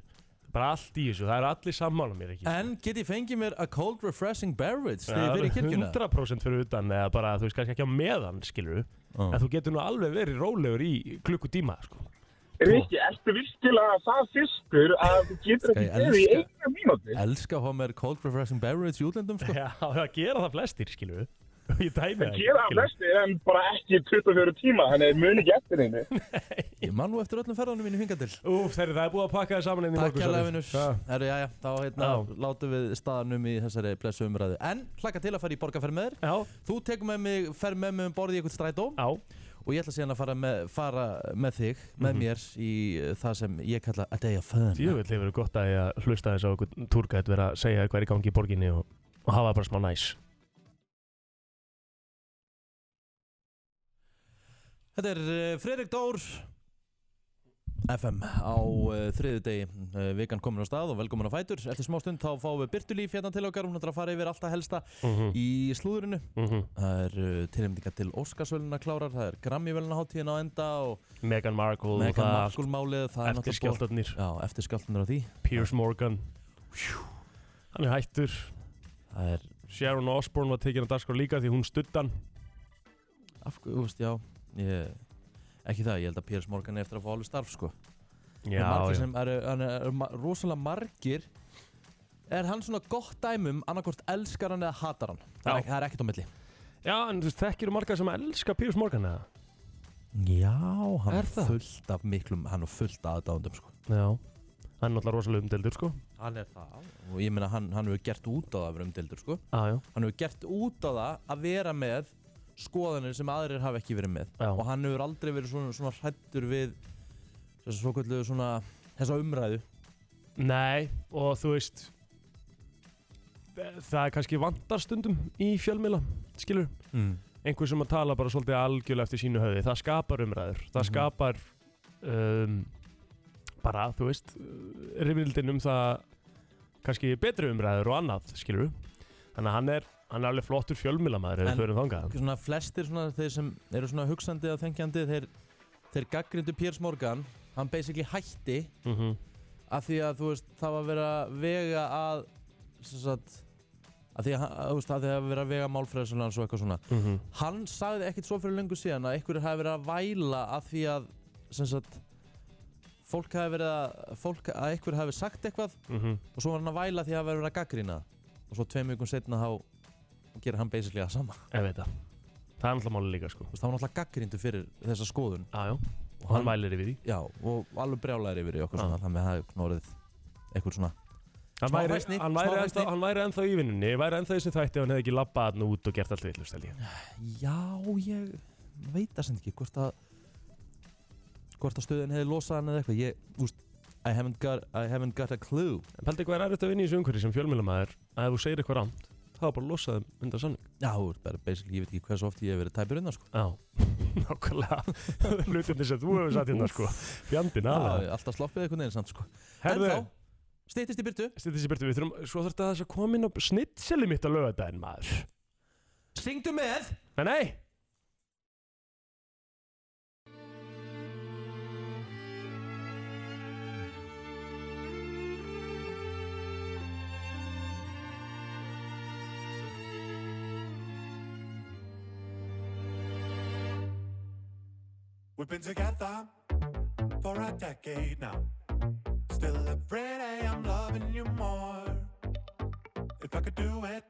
Speaker 2: bara allt í þessu, það eru allir sammála mér ekki
Speaker 1: En get ég fengið mér a cold refreshing beverage Þegar fyrir kirkjuna
Speaker 2: 100% fyrir utan eða bara þú veist kannski ekki á meðan skilur en þú getur nú alveg verið rólegur í klukkutíma sko.
Speaker 11: Rikki, ertu virkilega það fyrstur að þú getur ekki
Speaker 1: Skal ég
Speaker 11: verið í
Speaker 1: elska?
Speaker 11: einu mínúti?
Speaker 1: Elska að hafa mér cold refreshing beverage í útlendum sko.
Speaker 2: Já, það gera það flestir skilur [LAUGHS] Ég dæmi
Speaker 11: Það gera það flestir en bara ekki í 24 tíma, þannig að muni ekki eftir einu.
Speaker 1: Ég man nú eftir öllum ferðanum mínu hingað til
Speaker 2: Úf, þeirri, það er búið að pakka það saman inn í
Speaker 1: Takk
Speaker 2: morgun
Speaker 1: hérlega
Speaker 2: sorry.
Speaker 1: vinnur
Speaker 2: Já.
Speaker 1: Herru, já, já, þá hérna
Speaker 2: Já.
Speaker 1: látum við staðanum í þessari blessu umræðu En, hlakka til að fara í borgarferð með
Speaker 2: þér já.
Speaker 1: Þú tekur með mig, fer með mig um borðið í eitthvað strætó
Speaker 2: já. Mhm.
Speaker 1: Og ég ætla síðan að fara með, fara með þig, með mér Í uh, það sem ég kalla a day of fun
Speaker 2: Djöfull hefur verið gott að ég að hlusta þess á einhvern túrgætt vera að segja þér hvað er í gangi í borginni og, og hafa bara smá næs
Speaker 1: Þetta er uh, Fredrik Dór FM á uh, þriðu degi uh, vikan komin á stað og velkomin á fætur eftir smá stund þá fáum við Byrtu Líf hérna til okkar hún ætlar að fara yfir alltaf helsta
Speaker 2: Mhm.
Speaker 1: í slúðurinu
Speaker 2: Mhm.
Speaker 1: það er uh, tilhemninga til Óskarsvöluna klárar það er Grammyvöluna hátíðin á enda og
Speaker 2: Meghan Markle og
Speaker 1: Meghan
Speaker 2: það allt.
Speaker 1: Markle málið það er
Speaker 2: Eftir
Speaker 1: skjáltarnir Já, eftir skjáltarnir á því
Speaker 2: Piers Morgan Hann er hættur
Speaker 1: er...
Speaker 2: Sharon Osbourne var tekin að dagskrá líka því hún studdan
Speaker 1: Af hverju, þú veist, já ég, Ekki það, ég held að Piers Morgan er eftir að fá alveg starf sko
Speaker 2: Já,
Speaker 1: Margir
Speaker 2: já.
Speaker 1: sem eru, er, er, er, ma- rosalega margir Er hann svona gott dæmum annarkvort elskar hann eða hatar hann Það er,
Speaker 2: Já.
Speaker 1: ekki- það er ekkert á milli
Speaker 2: Já, en þú veist, þekkir þú marga sem elska Piers Morgan eða?
Speaker 1: Já, hann
Speaker 2: Er það?
Speaker 1: fullt af miklum Hann er fullt aðdándum sko
Speaker 2: Já Hann er náttúrulega rosalega umdeldur sko
Speaker 1: Hann er það Og ég meina hann, hann hefur gert út á það að vera umdildur sko
Speaker 2: Já, já
Speaker 1: Hann hefur gert út á það að vera með skoðanir sem aðrir hafa ekki verið með
Speaker 2: Já.
Speaker 1: og hann hefur aldrei verið svona, svona hrættur við þessa svoköllu svona þessa umræðu
Speaker 2: Nei, og þú veist Það er kannski vandar stundum í fjölmiðla, skilur
Speaker 1: Mm.
Speaker 2: Einhver sem að tala bara svolítið algjörlega eftir sínu höfði Það skapar umræður, það
Speaker 1: Mhm.
Speaker 2: skapar um, bara, þú veist rifrildin um það kannski betri umræður og annað, skilur Þannig að hann er, hann er alveg flottur fjölmiðlamaður ef
Speaker 1: En
Speaker 2: við förum þangað
Speaker 1: svona flestir svona þeir sem eru svona hugsandi eða þengjandi þeir, þeir gaggrindu Piers Morgan hann basically hætti
Speaker 2: Mhm.
Speaker 1: af því að þú veist það var verið að vega að sem sagt að því að, hann- að, þú veist, að því að vera að vega málfræðislega og eitthvað svona
Speaker 2: Mhm.
Speaker 1: hann sagði ekkit svo fyrir lengur síðan að einhverjir hafi verið að væla að því að sem sagt fólk hafi verið að fólk, að einhver hafi sagt eitthvað
Speaker 2: Mhm.
Speaker 1: og svo var hann að væla því að hafi verið að gaggrina það. og svo tveim vikum setna þá gerir hann basically það sama
Speaker 2: Ég veit það Það er alltaf máli líka sko
Speaker 1: Það var alltaf gaggrindu fyrir þessa skoðun
Speaker 2: Já, já Og hann vælir yfir því
Speaker 1: Já, og alveg brjálæðir yfir því okkur svona Þannig að það er knorið eitthvað svona
Speaker 2: Hann
Speaker 1: Smá
Speaker 2: væri,
Speaker 1: hræsni,
Speaker 2: hann,
Speaker 1: smá
Speaker 2: væri
Speaker 1: hræsni.
Speaker 2: ennþá, hann væri ennþá í vinnunni, væri ennþá í þessu þætti og hann hefði ekki labbað hann út og gert allt villust held ég.
Speaker 1: Já, ég veit það sem ekki hvort að hvort að stöðin hefði losað hann eða eitthvað Ég, úst, I haven't got, I haven't got a clue
Speaker 2: En pældi hvað er erfitt að vinna í þessu umhverfi sem fjölmjölamæður að ef þú segir eitthvað rámt, þá er bara að losa þeim undan sanning.
Speaker 1: Já, þú ert bara basically, ég veit ekki hversu oft ég hef verið tæpur innan sko
Speaker 2: Já, [LAUGHS] nákvæmlega Hlutinni sem þú hefur satt hérna sko Fjandinn aðlega.
Speaker 1: Já, alltaf sloppið einhvern veginn samt sko
Speaker 2: Herðu,
Speaker 1: En þá, stýttist í byrtu
Speaker 2: Stýttist í byrtu, við þurfum, svo þurfti að þess að koma inn á snittseli mitt að löga daginn maður.
Speaker 1: Syngdu með
Speaker 2: Nei, nei!
Speaker 13: We've been together for a decade now. Still every day I'm loving you more. If I could do it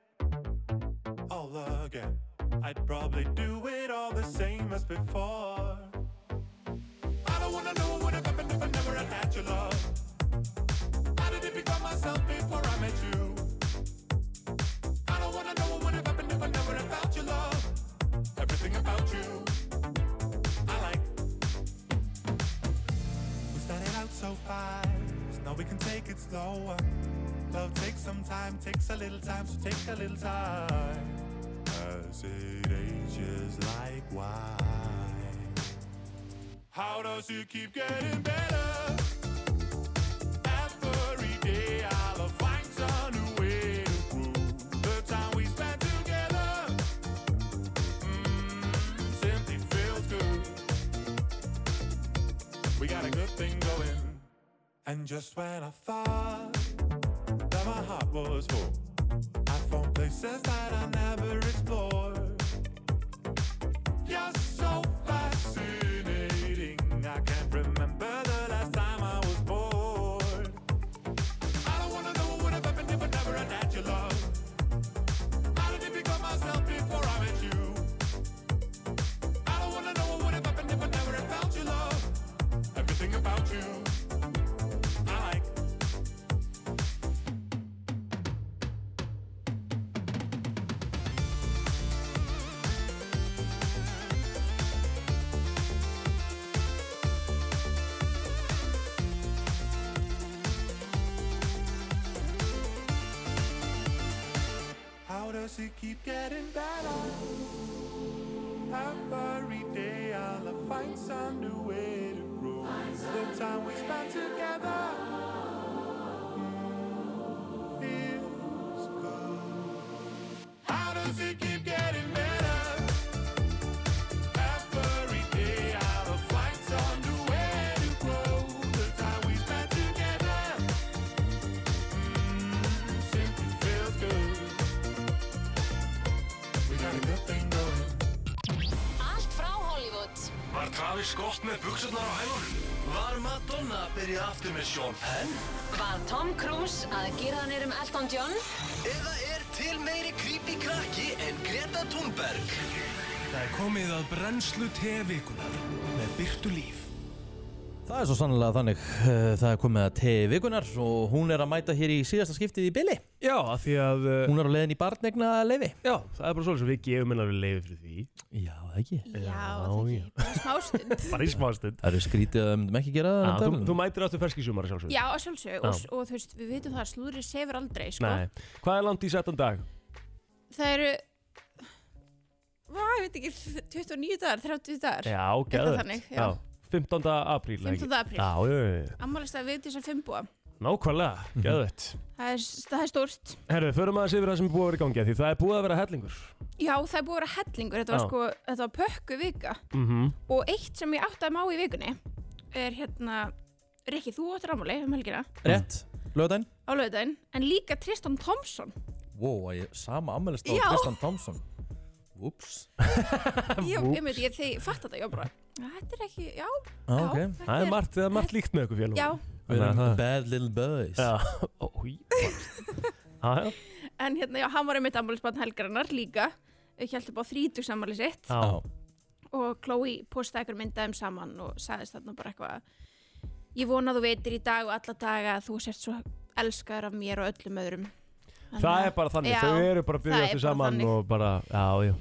Speaker 13: all again, I'd probably do it all the same as before. I don't wanna know what have happened if I never had had your love. How did it become myself before I met you? I don't wanna know what have happened if I never had felt your love. Everything about you, I like. We started out so fast, now we can take it slower. Love takes some time, takes a little time, so take a little time. As it ages like wine. How does it keep getting better? Every day I'll find some new way to prove the time we spent together. Mm, simply feels good. We got a good thing going. And just when I thought that my heart was full, I found places that I never explored. You're so fascinating. I can't remember the last time I was bored. I don't wanna know what have happened if I never had had your love. How did it become myself before I met you? I don't wanna know what have happened if I never had felt your love. Everything about you, I like. How does it keep getting better? Every day I'll find does it keep getting better? Every day our flight's on the way to grow. The time we spent together mm, simply feels good. We got a good thing going.
Speaker 9: Allt frá Hollywood
Speaker 3: Var Travis Scott með buksurnar á hælunum? Var Madonna að byrja aftur með Sean Penn?
Speaker 9: Var Tom Cruise að gera hann um Elton John?
Speaker 3: Eða er til meiri creepy krakki en Greta Thunberg? Það er komið að brennslu tevikunar með byrtu líf.
Speaker 1: Það er svo sannlega þannig, eh, það er komið að tegi vikunar og hún er að mæta hér í síðasta skiptið í bylli.
Speaker 2: Já, af því að... Uh,
Speaker 1: hún er á leiðin í barnegna leiði.
Speaker 2: Já, það er bara svolítið sem við gefum hennar við leiði fyrir því.
Speaker 1: Já, það ekki.
Speaker 2: Já, það ekki.
Speaker 14: smástund
Speaker 2: Bara í smástund.
Speaker 1: Það eru skrítið að við myndum ekki gera
Speaker 2: Já,
Speaker 1: það.
Speaker 2: þú, þú mætir áttu ferskísumar sjálfsög.
Speaker 14: Já, að sjálfsög og,
Speaker 2: Já.
Speaker 14: og þú veist, við vitum það að slúðrið sefur aldrei sko.
Speaker 2: Nei. Hvað er langt í settan dag?
Speaker 14: Það eru Vá, ég veit ekki, 29 dagar, 30 dagar
Speaker 2: Já,
Speaker 14: Eitthvað
Speaker 2: geðvegt.
Speaker 14: þannig, já.
Speaker 2: 15. apríl. ekki?
Speaker 14: 15. apríl.
Speaker 2: Já, já, já, já.
Speaker 14: Ammálist að við þess að fimmbúa
Speaker 2: Nákvæmlega,
Speaker 1: Mhm.
Speaker 2: geðvett.
Speaker 14: það er, það er stórt
Speaker 2: Herru, förum aðeins yfir það sem er búið að vera í gangi af Því það er búið að vera hellingur
Speaker 14: Já, það er búið að vera hellingur, þetta var
Speaker 2: Já.
Speaker 14: sko Þetta var pökku vika
Speaker 2: mm -hmm.
Speaker 14: Og eitt sem ég átti að má í vikunni Er hérna, Rikki, þú áttir ámáli um helgina
Speaker 1: Rétt, lögdæn.
Speaker 14: á laugardaginn En líka Tristan Thompson
Speaker 1: Wow, ég, sama ammælist á
Speaker 14: Já.
Speaker 1: Tristan Thompson. Úps.
Speaker 14: Ég, ég veit, ég þegi, fatt þetta, ég var bara Þetta er ekki, já,
Speaker 1: Já,
Speaker 14: já
Speaker 1: ok.
Speaker 14: þetta
Speaker 2: Ah, Það er margt, það er margt líkt með ykkur félagum
Speaker 14: Já.
Speaker 1: Við erum
Speaker 2: það
Speaker 1: bad little boys
Speaker 2: Já, [LAUGHS] ói Já, já,
Speaker 14: En hérna, já, hann var einmitt ammælisbarn helgarinnar líka Hjælti upp á þrítugsammæli sitt
Speaker 2: já
Speaker 14: Og Chloe postaði ykkur myndaðum saman Og sagðist þarna bara eitthvað Ég vona að þú veitir í dag og alla daga að Þú sért svo elskaður af mér og öllum öðrum Þannig
Speaker 2: Það
Speaker 14: að-
Speaker 2: er bara þannig,
Speaker 14: Já,
Speaker 2: þau eru bara að
Speaker 14: það
Speaker 2: byrja
Speaker 14: er bara
Speaker 2: aftur saman
Speaker 14: þannig.
Speaker 2: og bara, já, já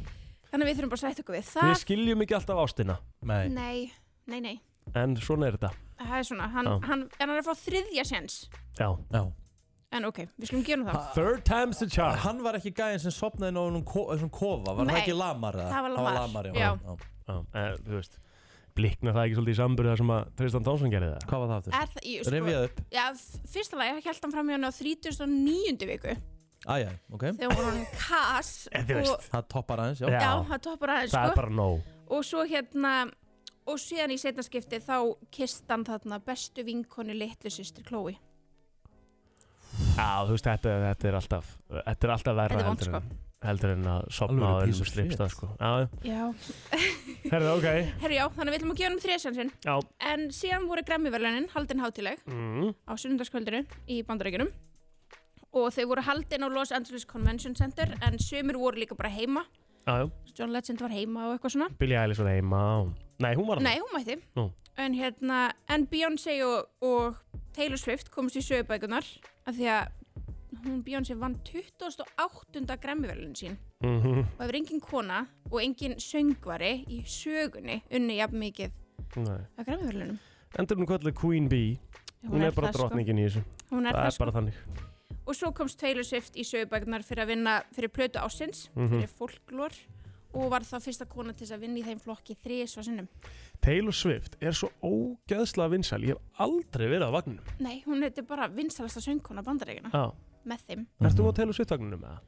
Speaker 14: Þannig að við þurfum bara að sætta okkur við
Speaker 2: Við
Speaker 14: það
Speaker 2: skiljum ekki alltaf ástina
Speaker 1: Nei
Speaker 14: Nei, nei, nei
Speaker 2: En svona er þetta
Speaker 14: Það er svona, hann,
Speaker 2: Já.
Speaker 14: hann, en hann er að fá þriðja séns
Speaker 2: Já,
Speaker 1: já
Speaker 14: En ok, við skulum gera nú það
Speaker 2: Third time's the charm
Speaker 1: Hann var ekki gæðin sem sopnaði ná um þessum kofa, var það
Speaker 14: Nei,
Speaker 1: ekki lamar? eða?
Speaker 14: það var Lamar,
Speaker 1: já.
Speaker 14: já.
Speaker 2: Já, en, þú veist Blikna það ekki svolítið í samburða sem að Tristan Thompson gerði það
Speaker 1: Hvað var það
Speaker 14: Er það, ég,
Speaker 1: Rifjaðu upp.
Speaker 14: Já, f- fyrsta lagi, hægt hann fram í hann á 39. viku
Speaker 1: Æjæ, ok.
Speaker 14: Þegar hún var hann kass
Speaker 1: Eh, þú
Speaker 14: og,
Speaker 1: veist. Það toppar aðeins, já.
Speaker 14: Já, það toppar aðeins
Speaker 2: Það
Speaker 14: sko.
Speaker 2: er bara nóg
Speaker 14: Og svo hérna Og síðan í setna skipti þá kist hann þarna bestu vinkonu litlu systri Chloe
Speaker 2: Já, þú veist, þetta, þetta er alltaf Þetta er alltaf verra
Speaker 14: Þetta er vont, sko.
Speaker 2: heldur, en, heldur en að sopna á
Speaker 1: Alvöru piece
Speaker 2: öðrum
Speaker 1: of shit.
Speaker 2: slipstað sko. Já, já.
Speaker 14: Já
Speaker 2: herðu, ok
Speaker 14: Herru já, þannig að við ætlum að gefa hann um þriðsjansin
Speaker 2: Já
Speaker 14: En síðan voru Grammyverlunin haldin hátileg
Speaker 2: mm.
Speaker 14: á sunnundaskvöldinu í bandarækjunum og þau voru haldin á Los Angeles Convention Center en sömur voru líka bara heima
Speaker 2: Já, já
Speaker 14: John Legend var heima og eitthvað svona
Speaker 2: Billie Eilish var heima og... Nei, hún var hann
Speaker 14: Nei, hún mætti
Speaker 2: Nú.
Speaker 14: En hérna, en Beyoncé og, og Taylor Swift komist í sögubækunar af því að hún Beyoncé vann 28. gremmiverlun sín
Speaker 2: Mhm.
Speaker 14: og hefur engin kona og engin söngvari í sögunni unni jafn mikið
Speaker 2: Nei.
Speaker 14: að gremmiverlunum
Speaker 2: Endur hún kvöldu Queen Bee
Speaker 14: Já,
Speaker 2: Hún er bara
Speaker 14: það, sko.
Speaker 2: drottningin í þessu
Speaker 14: Hún er
Speaker 2: Það
Speaker 14: það, sko.
Speaker 2: er bara þannig
Speaker 14: Og svo komst Taylor Swift í sögubækunar fyrir að vinna fyrir plötu ásins,
Speaker 2: Mhm.
Speaker 14: fyrir folklor og var þá fyrsta kona til þess að vinna í þeim flokki þrið svo sinnum.
Speaker 2: Taylor Swift er svo ógeðslega vinsæl Ég hef aldrei verið á vagninum
Speaker 14: Nei, hún er bara vinsalasta söngkona bandaríkina
Speaker 2: Já
Speaker 14: með þeim.
Speaker 1: Mhm.
Speaker 2: Ertu á Taylor Swift vagninum um eða?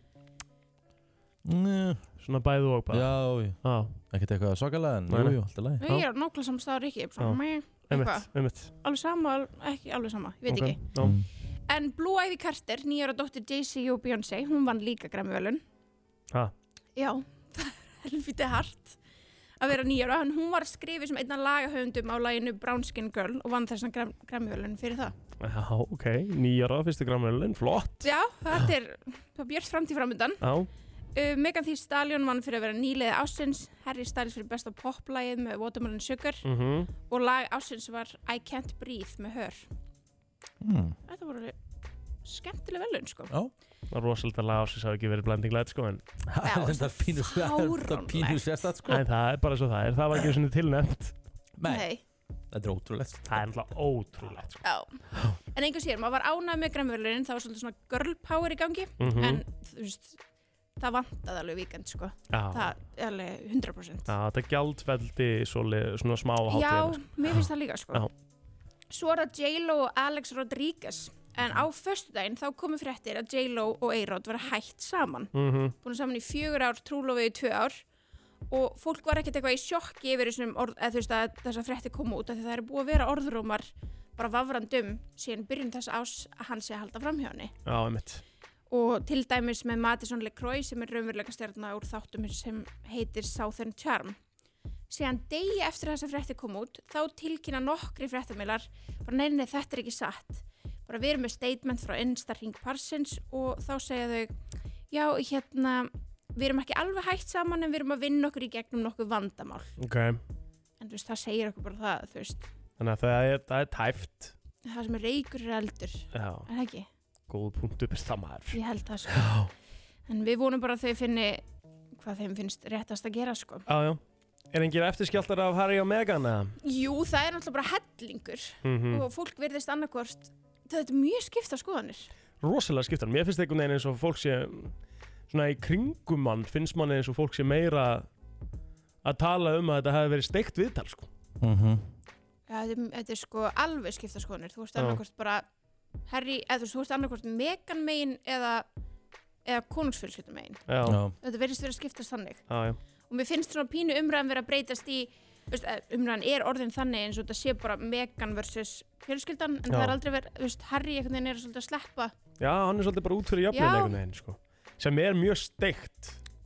Speaker 1: Njö.
Speaker 2: Svona bæðu og bara
Speaker 1: Já, já.
Speaker 2: Já.
Speaker 1: Ekkert eitthvað svakalega, en
Speaker 2: Nei, nei.
Speaker 1: jú, jú, alltaf læg.
Speaker 14: Ég er á nákvæmlega saman staður ekki, ég er bara
Speaker 1: Já.
Speaker 14: meh,
Speaker 2: Einmitt,
Speaker 14: eitthvað.
Speaker 2: einmitt
Speaker 14: Alveg sama, al- ekki alveg sama, ég veit
Speaker 2: Ok,
Speaker 14: ekki.
Speaker 2: já.
Speaker 1: Mm.
Speaker 14: En Blue Ivy Carter, nýjara dóttir Jay-Z og Beyoncé, hún vann líka Grammy-völun.
Speaker 2: Ha,
Speaker 14: Já, [LAUGHS] það er helviti hart að vera nýjara, en hún var skrifið sem einna lagahöfundum á laginu Brown Skin Girl og vann þessan Gram- Grammy-völun fyrir það.
Speaker 2: Já, ok, nýjara, fyrstu grammelin, flott
Speaker 14: Já, þetta er, það er björt framtíð framöndan.
Speaker 2: Já,
Speaker 14: Uh, Megan Thee Stallion vann fyrir að vera nýlega ásins, Harry Styles fyrir besta poplagið með Watermelon Sugar
Speaker 2: mhm
Speaker 14: og lag ásins var I Can't Breathe með Hör.
Speaker 2: mm.
Speaker 14: Þetta voru alveg skemmtileg velun sko.
Speaker 2: Það er rosalega lag ásins að ekki verið blending light sko en
Speaker 1: Það er [LAUGHS] þetta pínu, það er þetta pínu sérstætt sko.
Speaker 2: En það er bara svo það er, það var ekki svona tilnæmt
Speaker 1: Nei. Þetta er ótrúlegt. sko.
Speaker 2: Það er náttúrulega ótrúlegt sko.
Speaker 14: Já. En einhvers sér, maður var ánað með græmurlunin, það var svolítið svona girl power í gangi,
Speaker 2: Mhm.
Speaker 14: en þú veist, það vantaði alveg víkend, sko.
Speaker 2: Já.
Speaker 14: Það er alveg 100%.
Speaker 2: Já, þetta gjaldveldi svoleið, svona smá hátíðina
Speaker 14: Já,
Speaker 2: sko.
Speaker 14: mér finnst það líka, sko.
Speaker 2: Já,
Speaker 14: Svo er það J-Lo og Alex Rodriguez, En á föstudaginn þá komu fréttir að J-Lo og A-Rod var hætt saman.
Speaker 2: Mhm.
Speaker 14: Búin saman í fjögur ár, trúlofið í tvö ár og fólk var ekkert eitthvað í sjokki yfir þessum orð, eða þú veist að þessar fréttir koma út af því það er búið að vera orðrómar bara vafrandum síðan byrjun þess ás að hann sé að halda fram hjá henni.
Speaker 2: Já, einmitt
Speaker 14: Og til dæmis með Madison LeCroy sem er raunverulega stjárna úr þáttum sem heitir Southern Charm. Síðan degi eftir að þessar fréttir koma út þá tilkynna nokkri fréttamilar bara nei, nei, þetta er ekki satt. Bara við erum með statement frá innsta ring parsins og þá segja þau já, hérna, við erum ekki alveg hægt saman en við erum að vinna okkur í gegnum nokkuð vandamál.
Speaker 2: Ok,
Speaker 14: En þú veist, það segir okkur bara það, þú veist,
Speaker 2: þannig að það er, það er tæft
Speaker 14: það sem er reykur er eldur,
Speaker 2: Já,
Speaker 14: er það ekki?
Speaker 2: góð punktu upp það maður
Speaker 14: Ég held það sko. En við vonum bara að þau finni hvað þeim finnst réttast að gera sko.
Speaker 2: Já, já Er engir eftirskjáltar af Harry og Meghan eða?
Speaker 14: Jú, það er náttúrulega bara hellingur
Speaker 2: Mhm.
Speaker 14: og fólk verðist annarkvort. Þetta er mjög skipta skoðanir.
Speaker 2: Rosalega skiptar, mér finnst einhvern veginn eins og fólk sé mm, Svona í kringum mann finnst mann eins og fólk sé meira Að tala um að þetta hafi verið steikt viðtal sko
Speaker 14: Ja, þetta, er- þetta er sko alveg skipta skoðanir. Þú ert
Speaker 2: Já.
Speaker 14: annarkvort bara Harry, eða þú veist, þú ert annarkvort megan megin eða, eða konungsfjölskyldum megin.
Speaker 2: Já. Já.
Speaker 14: Þetta verðist verið að skiptast þannig.
Speaker 2: Já, já
Speaker 14: og mér finnst svona pínu umræðan vera að breytast í þú veist, eh, umræðan er orðin þannig eins og þetta sé bara Megan versus fjölskyldan en það
Speaker 2: Já.
Speaker 14: er aldrei verið, þú veist, Harry einhvern veginn er svolítið að sleppa
Speaker 2: Já, hann er svolítið bara út fyrir
Speaker 14: Já.
Speaker 2: jafnir einhvern veginn sko Sem er mjög steikt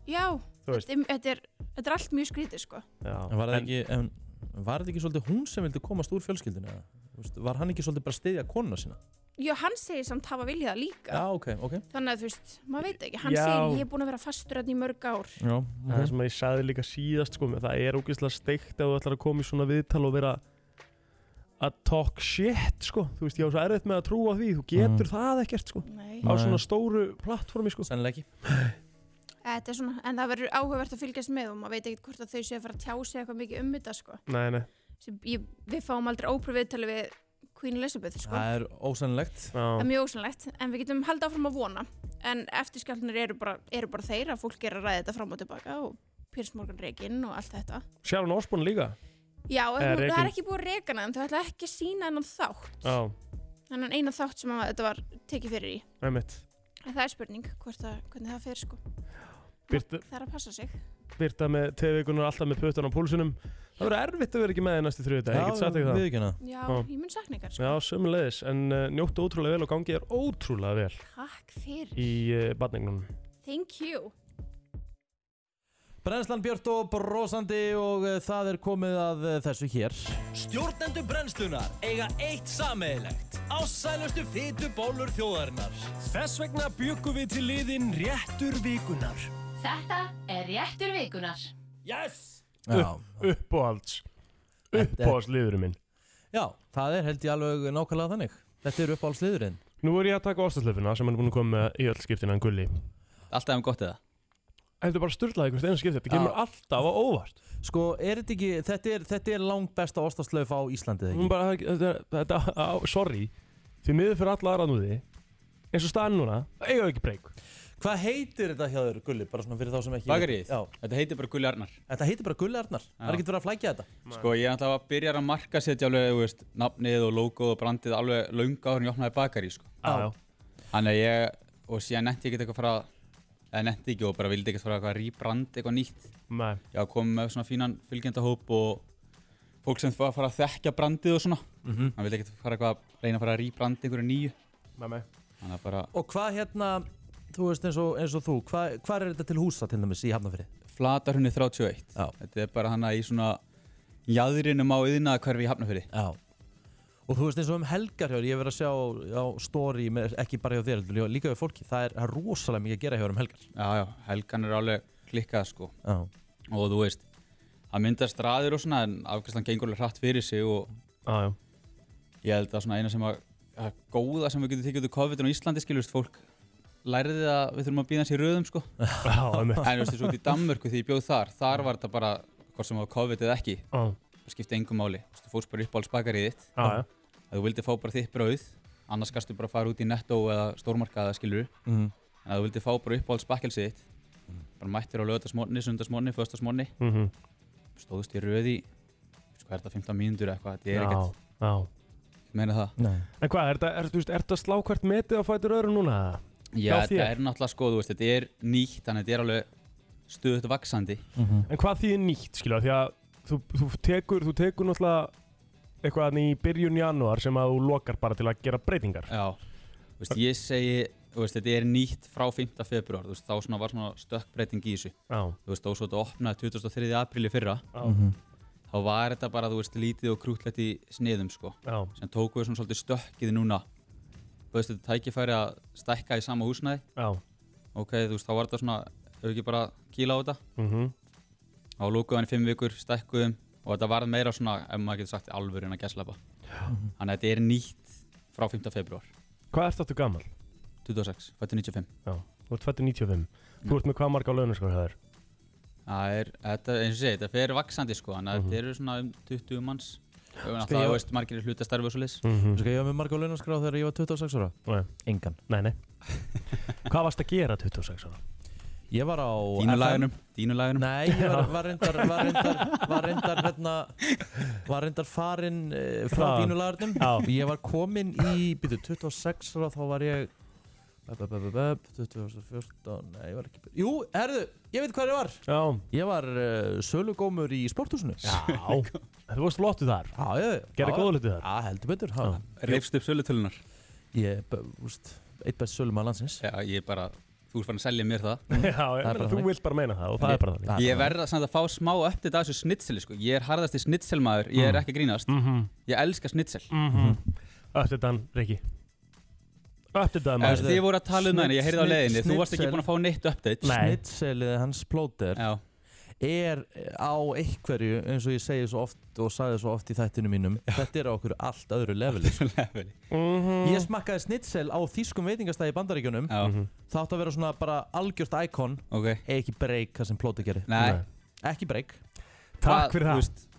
Speaker 14: já,
Speaker 2: Þú veist.
Speaker 14: þetta, er- þetta, er, þetta er allt mjög skrítið sko
Speaker 1: En var það ekki, en, var þetta ekki svolítið hún sem vildi komast úr fjölskyldinu? eða? Þú veist, Var hann ekki svolítið bara að styðja konuna sína?
Speaker 14: já, hann segir samt hafa viljað það líka
Speaker 1: Já, ok, ok.
Speaker 14: þannig að þú veist, maður veit ekki hann
Speaker 2: Já.
Speaker 14: segir ég er búin að vera fastur hann í mörg ár
Speaker 1: Já,
Speaker 2: Það er sem að ég sagði líka síðast sko, það er ógeðslega steikt ef þú ætlar að koma í svona viðtal og vera að talk shit sko, þú veist ég á svo erfitt með að trúa því, þú getur það ekkert sko
Speaker 14: Nei.
Speaker 2: á svona
Speaker 1: Mm. Nei.
Speaker 2: stóru plattformi sko
Speaker 1: Sennilega ekki
Speaker 14: Eh, Þetta er svona, en það verður áhugavert að fylgjast með og maður veit ekkert hvort að þau séu að fara að tjá sig eitthvað mikið um þetta sko
Speaker 2: Nei, nei,
Speaker 14: Sem ég, við fáum aldrei ópröfiðtali við Queen Elizabeth sko
Speaker 1: Það er ósennilegt
Speaker 14: það er mjög ósannlegt en við getum haldið áfram að vona en eftirskjálfnir eru bara, eru bara þeir að fólk er að ræða þetta fram og tilbaka og Piers Morgan reikinn og allt þetta
Speaker 2: Sharon Osbourne líka
Speaker 14: já, en
Speaker 2: Eh,
Speaker 14: hún, það
Speaker 2: rekin.
Speaker 14: er ekki búið að reika hana en þau ætla ekki að sína hennan þátt
Speaker 2: Já,
Speaker 14: hennan eina þátt sem að, þetta var tekið fyrir í
Speaker 2: einmitt
Speaker 14: en það er spurning hvort að, hvernig það fer sko
Speaker 2: Birta,
Speaker 14: það er að passa sig
Speaker 2: Birta með TV-vikunar alltaf með puttan á púlsunum Það verður erfitt að vera ekki með þér næstu þrjóðu dag,
Speaker 1: Já,
Speaker 2: ég get sagt ekki það
Speaker 1: við ekki hana.
Speaker 14: já, ég mun sakna ykkar sko.
Speaker 2: Já, sömulegis, en uh, njóttu ótrúlega vel og gangi þér ótrúlega vel
Speaker 14: takk fyrir,
Speaker 2: í uh, badningnum
Speaker 14: thank you
Speaker 1: Brennslan Björn og brosandi og eh, það er komið að eh, þessu hér
Speaker 3: Stjórnendu brennslunar eiga eitt sameigilegt Ásælustu fytu bólur þjóðarinnar Þess vegna byggum við til liðin réttur vikunar
Speaker 9: Þetta er réttur vikunar.
Speaker 3: Yes!
Speaker 1: Já.
Speaker 2: Uppáhalds Uppáhaldsliðurinn minn
Speaker 1: Já, það er held ég alveg nákvæmlega þannig Þetta er uppáhaldsliðurinn
Speaker 2: Nú er ég að taka ástæðslefina sem hann er búin að koma með í öll skiptina en gulli
Speaker 15: Alltaf um gott eða?
Speaker 2: Þetta er bara styrlaði hvert einu skipti, þetta kemur alltaf á óvart
Speaker 1: Sko, er þetta ekki, þetta er, þetta er langt besta ostaslauf á Íslandið
Speaker 2: Hún
Speaker 1: ekki?
Speaker 2: Mm, bara, þetta, þetta, á, sorry Því miður fyrir alla aðra núði eins og staðan núna, það eiga ekki breyk
Speaker 1: Hvað heitir þetta hjá þér, Gulli, bara svona fyrir þá sem ekki
Speaker 15: Bakaríið?
Speaker 1: Já,
Speaker 15: Þetta heitir bara Gulli Arnar
Speaker 1: þetta heitir bara Gulli Arnar Það er ekki verið að flækja þetta
Speaker 15: Sko ég er alltaf að byrja að marka setja alveg, þú veist, nafnið og logoð og brandið alveg löngu áður en ég opnaði bakari, sko
Speaker 1: Já, já.
Speaker 15: Þannig að ég, og síðan netti ég ekkert eitthvað frá eða netti ekki og bara vildi ekkert frá eitthvað rýbrand eitthvað nýtt
Speaker 2: Nei.
Speaker 15: Ég var komið með svona fínan fylgjendahóp og fólk sem var að fara að þekkja brandið og svona
Speaker 1: Mhm.
Speaker 15: Hann vildi ekkert fara eitthvað að reyna að fara að rýbrandi einhverju nýju
Speaker 2: Nei, nei.
Speaker 15: Þannig að bara
Speaker 1: Og hvað hérna, þú veist eins og, eins og þú hvað, hvað er þetta til húsa til dæmis í Hafnafyrði?
Speaker 15: Flatarhunni 31
Speaker 1: Já.
Speaker 15: Þetta er bara hana í svona jaðrinum á yðnaða hverfi í Hafnafyrði
Speaker 1: Já Og þú veist eins og um helgar hjá þér, ég hef verið að sjá á story, með, ekki bara hjá þér, heldur líka hjá fólki, það er, það er rosalega mikið að gera hjá þér um helgar.
Speaker 15: já, já, helgan er alveg klikkað sko
Speaker 1: Já.
Speaker 15: og þú veist það myndast raðir og svona en afgjörslan gengur alveg hratt fyrir sig og
Speaker 2: já, já.
Speaker 15: ég held að svona eina sem að, að góða sem við getum tekið út úr COVID-19 á Íslandi skilurst fólk læriði að við þurfum að býða hans í röðum sko
Speaker 2: já,
Speaker 15: en þú veist þessu út í Danmörku því ég bjóð þar þar var þetta bara hvort sem það var COVID eða ekki
Speaker 2: Já.
Speaker 15: það skipti engum máli Þú veist, þú fórst bara upp á alls bakarið þitt
Speaker 2: Já, já.
Speaker 15: að þú vildi fá bara þitt brauð annars gastu bara að fara út í netto eða stórmarkaða skilur
Speaker 1: Mhm.
Speaker 15: en að þú vildi fá bara upp á alls bakkelsið þitt bara mættir á lögatasmónni, sundarsmónni, föstasmónni
Speaker 2: Mhm.
Speaker 15: stóðust í röði hvað er þetta, 15 mínútur eða eitthvað þetta er
Speaker 2: Já,
Speaker 15: ekkert
Speaker 2: já.
Speaker 15: meina það
Speaker 6: Nei.
Speaker 2: En hvað, er þetta- er þú veist, er þetta slá hvert metið á fætur öðru núna?
Speaker 15: Já,
Speaker 2: Hjá
Speaker 15: þetta
Speaker 2: þér?
Speaker 15: er náttúrulega sko, þú veist, þetta er nýtt, þannig að þetta er alveg stöðut vaksandi.
Speaker 2: En hvað þýðir nýtt, skilja, því að þú, þú, tekur, þú tekur náttúrulega eitthvað þarna í byrjun janúar sem að þú lokar bara til að gera breytingar.
Speaker 15: Já, þú veist, ég segi, þú veist, þetta er nýtt frá 5. februar, þú veist, þá svona var svona stökkbreyting í þessu.
Speaker 2: Já.
Speaker 15: Þú veist, þá svo þetta opnaði 23. apríli fyrra.
Speaker 2: Já.
Speaker 6: Mhm.
Speaker 15: Þá var þetta bara, þú veist, lítið og krútlegt í sniðum, sko.
Speaker 2: Já.
Speaker 15: Sem tóku við svona svolítið stökkið núna. Þú veist, þetta tækifæri að stækka í sama húsnæði.
Speaker 2: Já.
Speaker 15: Ok, þú veist, þá var þetta svona, ef ekki bara kíla á þetta.
Speaker 2: Mhm.
Speaker 15: Á lókuðan í fimm vikur, stækkuðum og þetta varð meira svona, ef maður getur sagt, alvöru en að gæslepa. Þannig að þetta er nýtt frá 5. februar.
Speaker 2: Hvað ert þetta gammal?
Speaker 15: 26, fættu 95.
Speaker 2: Já, þú ert fættur 95. Þú ert með hvað marga á launum, sko, það er?
Speaker 15: Það er, þetta, eins og ég segi, þetta fer vaksandi sko, þannig að þetta eru svona um 20 manns. Það
Speaker 1: Mhm. Sko, ég- Mhm.
Speaker 15: er veist margir eru hlutastarfi og svo leys.
Speaker 1: Ska ég hafa með marga launaskrá þegar ég var 26 ára?
Speaker 2: Mhm. Nei.
Speaker 1: Engan
Speaker 2: Nei, nei. [LAUGHS] Hvað varst að gera 26 ára?
Speaker 1: Ég var á
Speaker 15: Dínu
Speaker 1: FM.
Speaker 15: laginum, dínu laginum.
Speaker 1: Nei, ég var, var reyndar var reyndar, var reyndar, hérna, var reyndar farin uh, frá
Speaker 2: Já.
Speaker 1: dínulagarnum
Speaker 2: Já.
Speaker 1: Ég var komin í, býtu, 26 ára þá var ég bæ, bæ, bæ, bæ, bæ, 2014, nei, ég var ekki Jú, herðu, ég veit hvað ég var
Speaker 2: Já.
Speaker 1: Ég var uh, sölugómur í sporthúsinu
Speaker 2: Já, þú varst flottu þar
Speaker 1: Já, ég
Speaker 2: Gerði
Speaker 1: já.
Speaker 2: góða hluti þar
Speaker 1: Já, heldur betur já.
Speaker 15: Reifst upp sölutölunar.
Speaker 1: Ég, bara, þú veist, eitt best sölumann landsins
Speaker 15: Já, ég er bara, þú ert farin að selja mér það.
Speaker 2: [LAUGHS] Já, ég meina, þú vilt bara meina það og það er bara þannig
Speaker 15: Ég verða samt að fá smá uppdætt af þessu snitseli sko. Ég er harðasti snitselmaður, ég er
Speaker 2: Mm.
Speaker 15: ekki að grínast.
Speaker 2: Mhm.
Speaker 15: Ég elska snitsel.
Speaker 1: Mhm.
Speaker 2: Öttið hann, Riki Öttið hann
Speaker 15: Ef þið voru að tala um henni, ég heyrði á leiðinni, þú varst ekki búin að fá neitt update.
Speaker 1: Snitselið hans plóter
Speaker 15: Já.
Speaker 1: er á einhverju eins og ég segi svo oft og sagði svo oft í þættinu mínum þetta er á okkur allt öðru leveli, sko.
Speaker 15: leveli.
Speaker 2: Mhm.
Speaker 1: Ég smakkaði snitsel á þýskum veitingastæði í bandaríkjunum
Speaker 15: Já. Mhm.
Speaker 1: Það átti að vera svona bara algjört íkon
Speaker 15: okay.
Speaker 1: Ekki breyk það sem plóti gerir
Speaker 15: Nei.
Speaker 1: Ekki breyk
Speaker 15: Hvað, þú veist,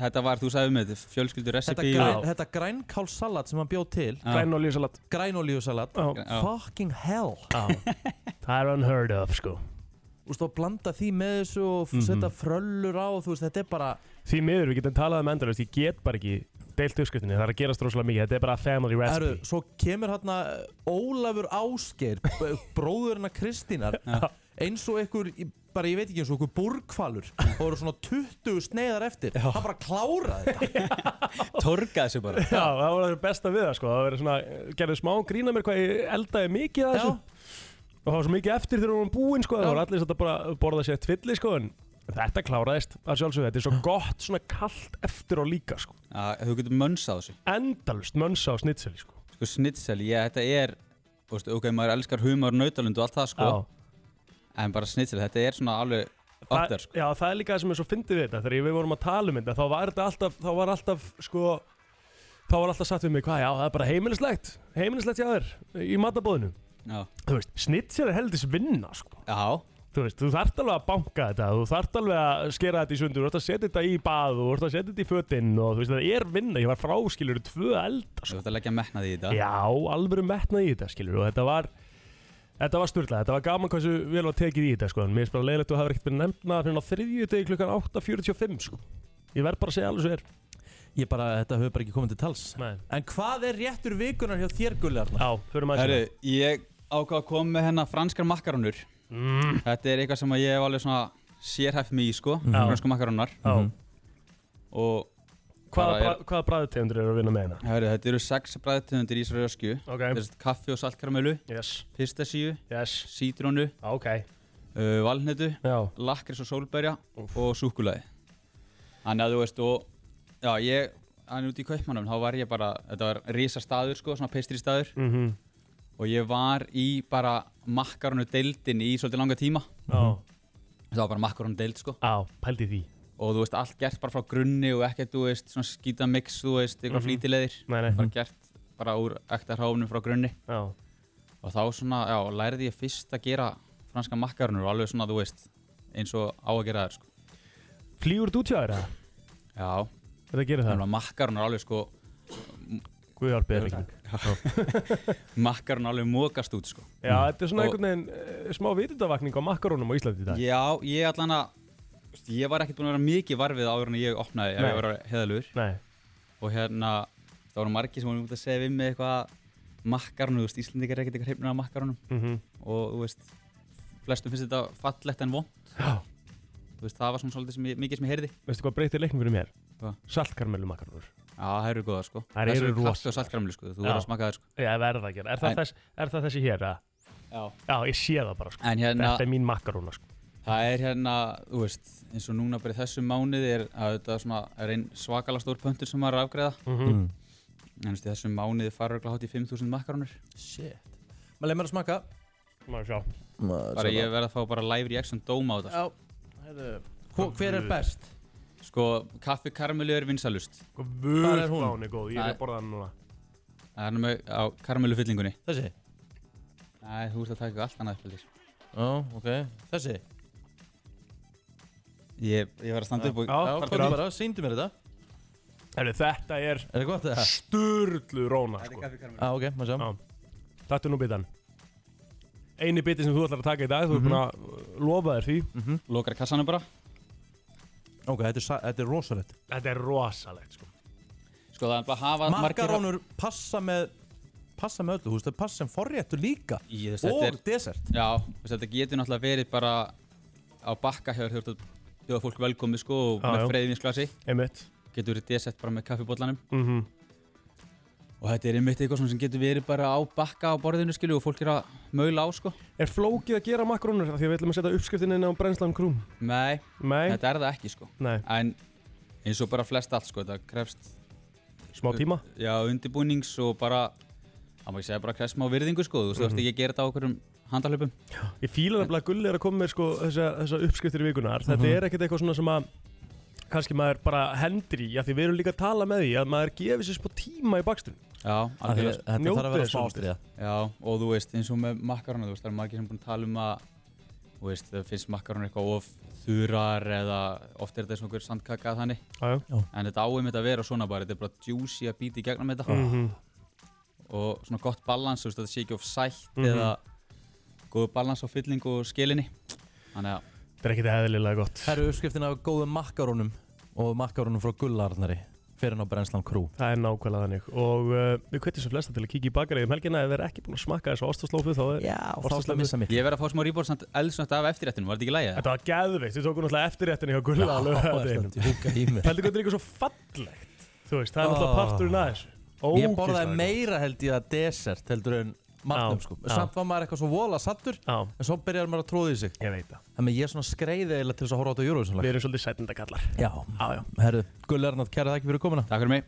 Speaker 15: Þetta var, þú sagði um þetta, fjölskyldur
Speaker 1: Þetta,
Speaker 15: recipe
Speaker 1: græn,
Speaker 15: og-
Speaker 1: þetta grænkálssalat sem hann bjóð til
Speaker 15: Já. Grænolíusalat.
Speaker 1: Grænolíusalat
Speaker 15: Já.
Speaker 1: Fucking hell
Speaker 2: [LAUGHS] Það er unheard of, sko
Speaker 1: Þú veist, og blanda því með þessu og mm
Speaker 2: Mhm.
Speaker 1: setja fröllur á Þú veist, þetta er bara
Speaker 2: Því miður, við getum talað um endalust Ég get bara ekki deilt uppskriftinni Það er að gerast rosalega mikið Þetta er bara family
Speaker 1: Heru,
Speaker 2: recipe
Speaker 1: Svo kemur hérna Ólafur Ásgeir b- Bróðurina Kristínar Eins og einhver, í- bara ég veit ekki eins og einhver burgkvalur Og eru svona 20 sneiðar eftir Já. Það bara klára þetta
Speaker 15: Torga þessu bara
Speaker 2: Já, það var það besta við það, sko Það verið svona, gerðu smá grína mér hvað ég eldaði mikið að þessu Og það var svo mikið eftir þegar við vorum búin, sko Það var allir þetta bara að borða sér tvilli, sko En þetta kláraðist að sjálfsögðu Þetta er svo gott, svona kalt eftir á líka, sko
Speaker 15: að þú getur mönsað þessu
Speaker 2: endalust mönsa á snitseli sko.
Speaker 15: sko snitsel, ég, þetta er þú veist, ok, maður elskar humar, nautalund og allt það sko en bara snitsel, þetta er svona alveg
Speaker 2: Þa-
Speaker 15: up there sko
Speaker 2: Já, það er líka það sem er svo fyndið við þetta Þegar við vorum að tala um þetta Þá var þetta alltaf, þá var alltaf sko, Þá var alltaf sagt við mig Hvað, já, það er bara heimilislegt Heimilislegt hjá þér Í matabóðinu
Speaker 15: já.
Speaker 2: Þú veist, snitsel er heldis vinna sko.
Speaker 15: Já
Speaker 2: Þú veist, þú þarft alveg að banka þetta Þú þarft alveg að skera þetta í sundur Þú þarft að setja þetta í bað Þú þarft að setja þetta í fötinn Og þú veist, það er vinna Ég var fráskilur tvö eld
Speaker 15: þú ert að leggja metnaði í þetta
Speaker 2: Já, alveg metnað í þetta skilur og þetta var Þetta var sturglað, þetta var gaman hversu vel var tekið í þetta sko, en mér finnst bara leiðilegt að þú hafir ekkert verið nefna fyrir á þriðju degi klukkan 8.45 sko. Ég verð bara að segja alveg svo er.
Speaker 1: Ég bara, þetta höfðu bara ekki komið til tals
Speaker 2: Nei.
Speaker 1: En hvað er réttur vikunar hjá þér gullarna?
Speaker 2: Já, förum hérna.
Speaker 15: Herru, ég ákvað að koma með hennar franskar makkarónur
Speaker 2: Mm.
Speaker 15: Þetta er eitthvað sem að ég hef alveg svona sérhæft mig í sko, franskar makkarónar
Speaker 2: Já.
Speaker 15: Og
Speaker 2: Hvaða,
Speaker 15: bara
Speaker 2: bra, hvaða bræðutegundur eru að vinna með hérna?
Speaker 15: Herru, þetta eru sex bræðtegundir í þessari öskju
Speaker 2: Ok.
Speaker 15: Þessi kaffi og saltkaramölu
Speaker 2: yes.
Speaker 15: Pistasíu
Speaker 2: yes.
Speaker 15: Sítrónu
Speaker 2: okay.
Speaker 15: uh, Valnetu
Speaker 2: Já.
Speaker 15: Lakris og sólberja Og súkulaði Þannig að þú veist og Já, ég Þannig út í kaupmannum Þá var ég bara Þetta var risa staður sko Svona pestri staður
Speaker 2: Mhm.
Speaker 15: Og ég var í bara Makkarunu deildin í svolítið langa tíma
Speaker 2: Já.
Speaker 15: Það var bara makkarunu deild sko
Speaker 2: Já, pældi því
Speaker 15: Og þú veist, allt gert bara frá grunni og ekkert, þú veist, svona skýta mix, þú veist, eitthvað
Speaker 2: Mhm.
Speaker 15: flýtilegir
Speaker 2: Nei, nei.
Speaker 15: Bara gert bara úr ekta hráfnum frá grunni
Speaker 2: Já.
Speaker 15: Og þá svona, já, lærði ég fyrst að gera franska makkarunur og alveg svona, þú veist, eins og á að gera þær, sko
Speaker 2: Flýgur þú tjáður það?
Speaker 15: Já
Speaker 2: Þetta gerir það?
Speaker 15: Makkarunur alveg, sko
Speaker 2: Guðjálpið er ekki
Speaker 15: [LAUGHS] Makkarunur alveg mókast út, sko
Speaker 2: Já, þetta er
Speaker 15: Og-
Speaker 2: svona einhvern veginn eh, smá vitundavakning á makkarónum á Íslandi í dag.
Speaker 15: Já, ég allan að þú veist, Ég var ekkert búinn að vera mikið varfið áður en ég opnaði ef
Speaker 2: Nei.
Speaker 15: ég var heðalur
Speaker 2: Nei.
Speaker 15: Og hérna það voru margir sem voru út að segja við mig eitthvað makkarnu, þú veist, Íslendingar er ekkert eitthvað hreifnir af makkarunum
Speaker 2: Mhm.
Speaker 15: og þú veist, flestum finnst þetta fallegt en vond
Speaker 2: Já.
Speaker 15: þú veist, það var svona svolítið sem ég, mikið sem ég heyrði
Speaker 2: Veistu hvað breytir leiknum fyrir mér?
Speaker 15: Hva?
Speaker 2: Saltkarmelu makkarnur
Speaker 15: Já, það eru góða sko
Speaker 2: Það eru
Speaker 15: rosa
Speaker 2: rosa
Speaker 15: og saltkarmlu sko, þú verður að smaka það sko
Speaker 2: Já, ég verð að gera Er það,
Speaker 15: En-
Speaker 2: þess, er það þessi hér, eða?
Speaker 15: Já
Speaker 2: Já, ég sé það bara sko
Speaker 15: En hérna-
Speaker 2: Þetta er mín makkaruna sko
Speaker 15: Það er hérna, þú veist, eins og núna bara í þessum mánuði er að þetta er svona er einn svakalega stór pöntur sem maður er að afgreða
Speaker 2: Mhm. Mm.
Speaker 15: En þú veist, í þessum mánuði fara örugglega hátt í 5.000 makkarónur
Speaker 1: Shit Maður leið mér að smaka
Speaker 2: Maður sjá
Speaker 15: Bara ég verð að fá bara live reaction dóma á þetta
Speaker 1: Já, heyrðu, hvo- hver er best?
Speaker 15: Sko, kaffi karamelu er vinsalust
Speaker 2: Hvað er hún? Hún er góð, ég er að borða hann núna
Speaker 15: Það er með á karamelu fyllingunni
Speaker 1: Þessi?
Speaker 15: Nei, þú ert að taka eitthvað allt annað uppeldir
Speaker 1: Já, ok Þessi?
Speaker 15: Ég, ég var að standa upp og
Speaker 1: Já, komdu bara, sýndu mér þetta
Speaker 2: Herru, þetta er
Speaker 1: Er það gott eða?
Speaker 2: Sturlu róna sko
Speaker 1: Já,
Speaker 15: Ah,
Speaker 1: ok, maður sjá
Speaker 2: Taktu nú bitan Einu biti sem þú ætlar að taka í dag Þú ert
Speaker 15: Mhm.
Speaker 2: búin að uh, lofa þér því
Speaker 15: Lokar kassanum bara
Speaker 1: Mhm. Ok, þetta er, sa- þetta er rosalegt
Speaker 2: Þetta er rosalegt sko
Speaker 15: Sko, það er bara að hafa
Speaker 1: Makarónur passa með Passa með öllu, þú veist, það passa sem forréttur líka
Speaker 15: Ég, þú veist,
Speaker 1: Og
Speaker 15: þetta er-
Speaker 1: dessert
Speaker 15: Já, þú veist, þetta getur náttúrulega verið bara á bakka hjá þér þegar þú ert að bjóða fólk velkomið sko og
Speaker 2: Já,
Speaker 15: með
Speaker 2: já.
Speaker 15: freyðinsglasi
Speaker 2: Einmitt
Speaker 15: Getur verið desett bara með kaffibóllanum
Speaker 2: Mhm.
Speaker 15: Og þetta er einmitt eitthvað svona sem getur verið bara á bakka á borðinu skilju og fólk er að maula á sko
Speaker 2: Er flókið að gera makrónur Því að við ætlum að setja uppskriftin inn á brennslan krúm
Speaker 15: Nei,
Speaker 2: Nei.
Speaker 15: þetta er það ekki sko
Speaker 2: Nei.
Speaker 15: En eins og bara flest allt sko, þetta krefst
Speaker 2: Smá tíma?
Speaker 15: Já, undirbúnings og bara, það má ég segja bara krefst smá virðingu sko Þú veist, þú
Speaker 2: Mhm.
Speaker 15: veist ekki að gera þetta á okkurum handalöpum
Speaker 2: Ég fíla nefnilega að Gulli er að koma með sko, þessa, þessa uppskriftir í vikunar. Þetta
Speaker 15: Mhm.
Speaker 2: er ekkert eitthvað svona sem að kannski maður bara hendur í, af því við erum líka að tala með því að maður gefur sér spá tíma í bakstunum.
Speaker 15: Já,
Speaker 1: Af því að
Speaker 15: algjörlega.
Speaker 1: þetta þarf að vera
Speaker 15: Njótið
Speaker 1: smá
Speaker 15: svolítið. Já, og þú veist, eins og með makkarana, þú veist, það er margir sem búin að tala um að, þú veist, það finnst makkarana eitthvað of þurar eða oft er þetta svona einhver sandkaka að þannig.
Speaker 2: Já, já.
Speaker 15: En þetta áum þetta að vera svona bara, þetta er bara juicy að býta í gegnum þetta.
Speaker 2: Mhm.
Speaker 15: Og svona gott balans, þú veist, þetta sé ekki of sætt
Speaker 2: Mhm.
Speaker 15: eða góð balans á fyllingu og skilinni. Þannig að,
Speaker 2: Þetta er ekkert eðlilega gott.
Speaker 1: Það eru uppskriftin af góðum makarónum Og makarónum frá gullarnari Fyrir ná brennslan krú
Speaker 2: Það er nákvæmlega þannig og uh, við hvetjum sem flesta til að kíkja í bakarið um helgina ef þeir eru ekki búin að smakka þessu ástaslófu þá er
Speaker 1: Já,
Speaker 2: þá ætla að missa
Speaker 1: mig
Speaker 15: ég verð að fá smá rýbór samt eldsnögt af eftirréttinum, var þetta ekki lægið?
Speaker 2: Þetta var geðveikt, við tókum náttúrulega eftirréttin hjá Gulla alveg
Speaker 1: Já, þetta er húka í mér.
Speaker 2: Heldur hvað þetta er eitthvað svo fallegt Þú veist, það er náttúrulega parturinn að þessu
Speaker 1: Ah. Ég
Speaker 2: Ógeðslega
Speaker 1: borðaði
Speaker 2: gott.
Speaker 1: meira held ég að dessert heldur en matnum
Speaker 2: Já,
Speaker 1: sko
Speaker 2: já.
Speaker 1: Samt var maður eitthvað svo vola sattur
Speaker 2: já.
Speaker 1: En svo byrjar maður að tróða í sig
Speaker 2: Ég veit það
Speaker 1: Þannig að ég er svona skreiði eiginlega til þess að horfa á þetta Eurovision
Speaker 2: Við erum svolítið sætindakallar
Speaker 1: Já,
Speaker 2: já, já
Speaker 1: Herðu, Gull Ernátt, kæra þakki fyrir komuna
Speaker 15: Takk fyrir mig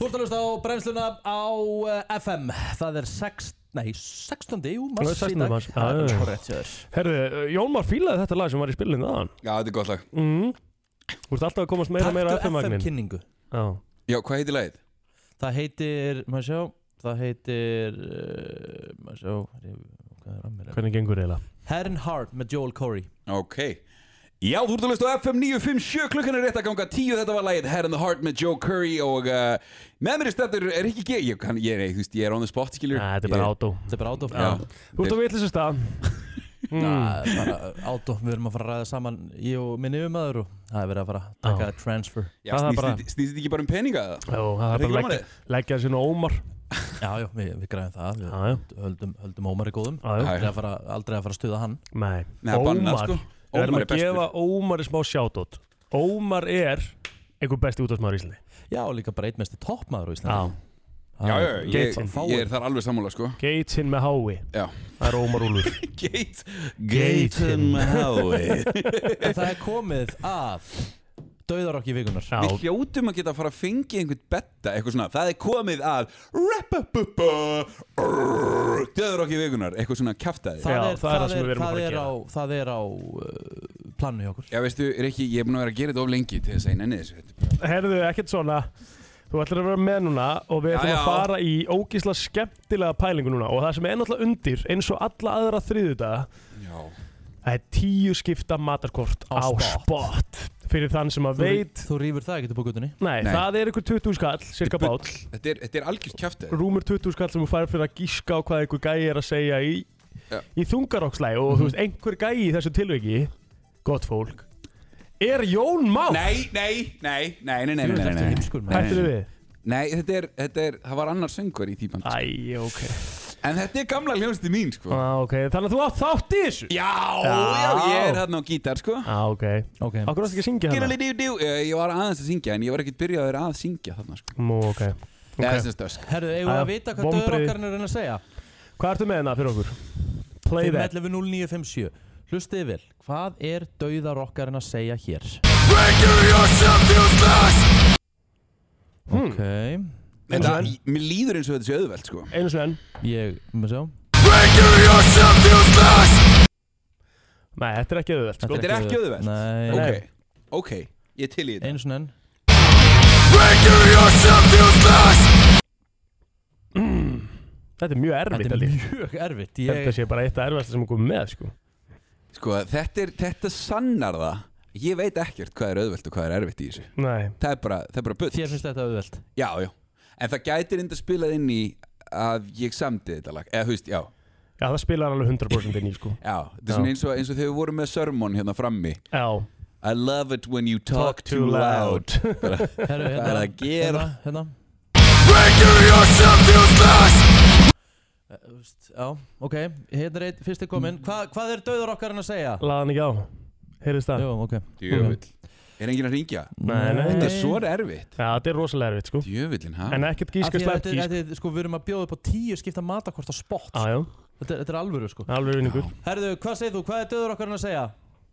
Speaker 1: Þú ert að hlusta á brennsluna á eh, FM Það er 6, nei, 16. Jú,
Speaker 2: Það
Speaker 1: mars
Speaker 2: er 16.
Speaker 1: í dag.
Speaker 2: mars, já,
Speaker 1: Það
Speaker 2: já,
Speaker 1: er
Speaker 2: já.
Speaker 1: korrekt hjá þér.
Speaker 2: Herðu, uh, Jónmar fílaði þetta lag sem var í spilinu aðan
Speaker 16: Já, þetta er gott lag
Speaker 2: mm. Þú ert alltaf að komast meira og meira
Speaker 1: Taktu
Speaker 2: FM-vagnin
Speaker 1: FM-kynningu.
Speaker 2: Já
Speaker 16: Já, hvað heitir lagið?
Speaker 1: Það heitir, maður sjá Það heitir, uh, maður sjá Hvað er að mér?
Speaker 2: Hvernig gengur eiginlega?
Speaker 1: Heron Heart með Joel Corey
Speaker 16: Ok Já, þú ert að hlusta á FM 957 klukkan er rétt að ganga 10 Þetta var lagið Head in the Heart með Joe Curry og uh, með mér er stættur Rikki G ég, hann, ég, ég, þú veist, ég er on the spot, skilur
Speaker 2: Nei, þetta er bara átó
Speaker 1: Þetta er bara átó
Speaker 16: Já.
Speaker 2: Þú ert að vitlis að
Speaker 1: [LAUGHS]
Speaker 2: stað
Speaker 1: Mm. Na, bara átó, við erum að fara að ræða saman ég og minni um aður og það er verið að fara að taka transfer
Speaker 16: Já, snýst þetta- snýst þetta ekki bara um peninga eða?
Speaker 2: Jó, það er
Speaker 16: ekki
Speaker 2: bara að
Speaker 16: málið?
Speaker 2: leggja- leggja þessu inn á Ómar
Speaker 1: Já, já, við, við græðum það við höldum, höldum Ómari góðum
Speaker 2: Já, já.
Speaker 1: aldrei að, fara, aldrei að fara að stuða hann
Speaker 2: Nei,
Speaker 1: Nei, það er bannað, sko.
Speaker 2: Við erum að
Speaker 1: Ómar er bestur.
Speaker 2: gefa Ómari smá sjátót Ómar er einhver besti útvarsmaður í Íslandi
Speaker 1: Já, og líka bara eitt mesti toppmaður á Íslandi
Speaker 16: Já, já, já, ég,
Speaker 2: Gatesin.
Speaker 16: ég er þar alveg sammála, sko
Speaker 2: Gatesin með hái
Speaker 16: Já
Speaker 2: Það er Ómar Úlfur
Speaker 16: [LAUGHS] Gate Gatein með hái
Speaker 1: [LAUGHS] En það er komið af Dauðarokki vikunar
Speaker 16: Við hljótum að geta að fara að fengi einhvern betta eitthvað svona, það er komið að Rappapuppa Döður okki vikunar, eitthvað svona kjaftaði
Speaker 1: Það er- það er- það er á- Það er á uh, planu hjá okkur
Speaker 16: Já veistu, Rikki, ég er búin að vera að gera þetta of lengi til þess að ég nenni þessu hérna. Þetta er
Speaker 2: Herðu, ekkert svona Þú ætlar að vera með núna og við
Speaker 16: Já,
Speaker 2: ætlum
Speaker 16: já.
Speaker 2: að fara í ógísla skemmtilega pælingu núna og það sem er náttúrulega undir eins og alla aðra þriðudaga
Speaker 16: Já
Speaker 2: Það er tíu skipta matarkort á, spot. fyrir þann sem að
Speaker 1: Þú rí-
Speaker 2: veit
Speaker 1: Þú rýfur það ekkert upp á guttunni
Speaker 2: Nei,
Speaker 1: Nei.
Speaker 2: það er einhver 20 skall, cirka báll
Speaker 16: Þetta er, þetta er algjörst kjæftið
Speaker 2: Rúmur 20 skall sem þú fær fyrir að gíska á hvað einhver gæi er að segja í, í þungarokkslæg og
Speaker 16: Mhm.
Speaker 2: þú veist, einhver gæi í þessu tilveiki gott fólk Er Jón Már?
Speaker 16: Nei, nei, nei, nei, nei, nei, nei, nei, nei. nei
Speaker 2: Hættu við?
Speaker 16: Nei, þetta er, þetta er, það var annar söngur í típan
Speaker 2: Æ, ok
Speaker 16: En þetta er gamla hljónsti mín, sko
Speaker 2: Á, Ah, ok, þannig að þú átt þátt í þessu
Speaker 16: Já, já, ég er þarna á gítar, sko
Speaker 2: Á, ok
Speaker 1: Ok
Speaker 2: Akkur ástu ekki að syngja hérna?
Speaker 16: Gera
Speaker 2: hana?
Speaker 16: lítið, djú, djú. Ég var aðeins að syngja, en ég var ekkert byrjaður að syngja þarna, sko
Speaker 2: Mú, ok
Speaker 16: okay. Eða sem stösk
Speaker 1: Herðu, eigum við að vita hvað döður okkar er að reyna að segja?
Speaker 2: Hvað ertu með hérna fyrir okkur? Play that
Speaker 1: 0957 Hlustið vel, hvað er döðar okkar að segja hér?
Speaker 2: Hmm.
Speaker 1: Ok
Speaker 16: En það, mér líður eins og þetta sé auðvelt, sko
Speaker 2: Einu svo enn
Speaker 1: Ég, maður sjá
Speaker 2: Nei, þetta er ekki auðvelt, sko
Speaker 16: Þetta er ekki auðvelt
Speaker 1: Nei
Speaker 16: Ok, ok, ég er til í þetta
Speaker 1: Einu svona enn
Speaker 2: Þetta er mjög erfitt
Speaker 1: Þetta er
Speaker 2: held ég.
Speaker 1: mjög erfitt
Speaker 2: Ég held að sé bara eitt af erfasta sem hún kom með sko.
Speaker 16: Sko, þetta, er, þetta sannar það Ég veit ekkert hvað er auðvelt og hvað er erfitt í þessu
Speaker 2: Nei.
Speaker 16: Það er bara, það er bara bull
Speaker 1: Þér finnst þetta auðvelt
Speaker 16: Já, já En það gætir enda spilað inn í að ég samdi þetta lag Eða, þú veist, já
Speaker 2: Já, það spilar alveg 100% inn í sko.
Speaker 16: Já, þetta er svona eins og, eins og þegar við vorum með Sermon hérna frammi
Speaker 2: Já
Speaker 16: I love it when you talk, too loud,
Speaker 2: [LAUGHS]
Speaker 16: Bara-
Speaker 1: Herru,
Speaker 16: Það
Speaker 1: hérna,
Speaker 16: er að gera
Speaker 1: hérna, hérna. Eh, þú veist, Já, ok, hérna er einn fyrst er kominn Hva, Hvað er döður okkar að segja?
Speaker 2: Laða hann ekki á Heyrðist það?
Speaker 1: Jú, ok
Speaker 16: Djöfull Er enginn að ringja?
Speaker 2: Nei, nei.
Speaker 16: Þetta er svo erfitt
Speaker 2: Já, þetta er rosalega erfitt sko.
Speaker 16: Djöfullin, ha?
Speaker 2: En ekkert
Speaker 1: Af
Speaker 2: gíska
Speaker 1: því að
Speaker 2: slæmt
Speaker 1: þetta er-
Speaker 2: gísk Ah,
Speaker 1: þetta er- Sko, við erum að bjóða upp á tíu skipta matakort á spott
Speaker 2: Já, já
Speaker 1: Þetta er- þetta er alvöru sko
Speaker 2: Alveg vinningur
Speaker 1: Herðu, hvað segir þú? Hvað er döður okkar að segja?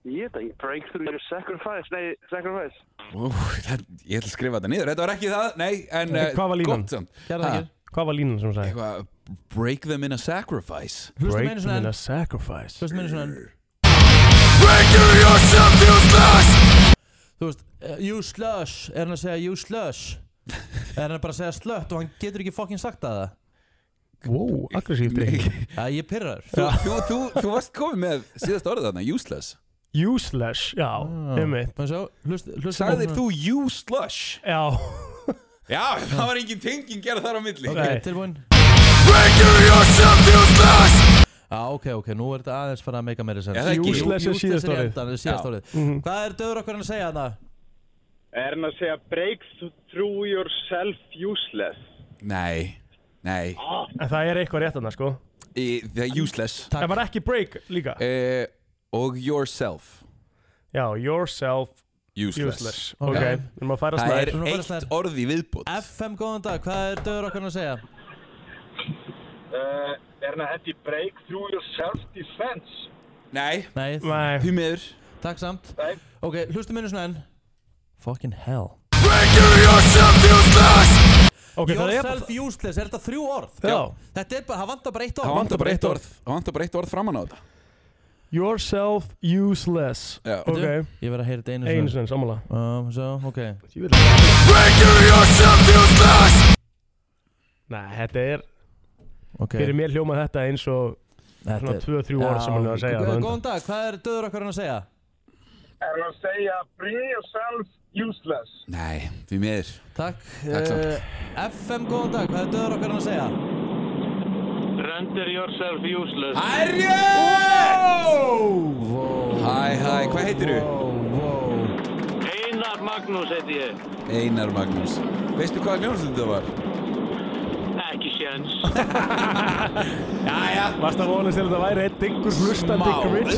Speaker 17: Ég veit ekki, break through your sacrifice, nei, sacrifice.
Speaker 16: Ú, það, Ég ætla að skrifa þetta niður Þetta var ekki það, nei en, eh,
Speaker 2: Hvað var línan?
Speaker 16: gott samt. Ha?
Speaker 2: Hvað var línan sem hún sagði?
Speaker 16: Eitthvað Break them in a sacrifice
Speaker 2: Hlustum Break einu sinni them enn. in a sacrifice
Speaker 1: Hlustum einu svona enn Þú veist, eh, you slush Er hann að segja you slush? Er hann bara að segja slött og hann getur ekki fokkin sagt að
Speaker 2: [LAUGHS]
Speaker 1: það?
Speaker 2: Wow, aggressíft ekki
Speaker 1: Já, ég er pirraður
Speaker 16: Þú, þú, þú, þú varst komið með síðast orðið þarna, useless
Speaker 2: Useless, já,
Speaker 1: Ah.
Speaker 2: einmitt
Speaker 1: Menn svo, hlust, hlust
Speaker 16: Sagðir þú you slush?
Speaker 2: Já
Speaker 16: Já, það var engin tenging gerð þar á milli
Speaker 1: Ok, tilbúin Já, ok, ok, nú er þetta aðeins fara að meika meira sem
Speaker 16: Er það ekki?
Speaker 1: Useless
Speaker 2: Useless er síðasta
Speaker 1: er
Speaker 2: orðið. Mhm.
Speaker 1: síðast
Speaker 16: Já.
Speaker 1: orðið Hvað er döður okkar að segja það?
Speaker 17: Er hann að segja break through yourself useless?
Speaker 16: Nei, nei
Speaker 2: En það er eitthvað rétt þarna sko
Speaker 16: Í- Það er useless
Speaker 2: Það var ekki break líka
Speaker 16: uh, Og yourself
Speaker 2: Já, yourself
Speaker 16: Useless.
Speaker 2: Ok,
Speaker 16: Já.
Speaker 2: við erum að færa
Speaker 16: Það
Speaker 2: snær
Speaker 16: er eitt orð í viðbútt
Speaker 1: FM, góðan dag, hvað er döður okkar að segja?
Speaker 17: Uh, er hann að hendi break through your self-defense?
Speaker 16: Nei
Speaker 1: Nei,
Speaker 2: Nei.
Speaker 16: því miður
Speaker 1: Takk samt Ok, hlustum einu svona enn Fucking hell
Speaker 2: Ok, það er
Speaker 1: Yourself useless, er þetta þrjú orð?
Speaker 16: Já.
Speaker 1: Þetta er bara, það vantar bara eitt orð
Speaker 16: Það vantar bara eitt orð Það vantar bara eitt orð framan á þetta
Speaker 2: Yourself useless
Speaker 16: Já.
Speaker 2: Ok
Speaker 1: Ég verð að heyra þetta einu
Speaker 2: Einu sinni, sammála
Speaker 1: Um, so, ok
Speaker 2: Nei, þetta er
Speaker 1: Ok.
Speaker 2: Fyrir mér hljóma þetta eins og Svona
Speaker 1: er-
Speaker 2: 2-3 orð sem hann er að segja
Speaker 1: Gó-
Speaker 2: þarna undan.
Speaker 1: Góðan dag, hvað er döður okkar að segja?
Speaker 17: Er hann að segja bring yourself useless?
Speaker 16: Nei, því miður
Speaker 1: Takk,
Speaker 16: Takk samt.
Speaker 1: eh, FM, góðan dag, hvað er döður okkar að segja?
Speaker 17: Render yourself useless.
Speaker 16: Herjum Hæ, hæ,
Speaker 1: oh.
Speaker 16: hvað heitir
Speaker 1: þú?
Speaker 17: Einar Magnús heiti ég.
Speaker 16: Einar Magnús Veistu hvað hljómsveit þetta var?
Speaker 17: Ekki séns.
Speaker 16: Jæja
Speaker 2: Varst að vonast til að þetta væri eitt ykkur hlustandi grit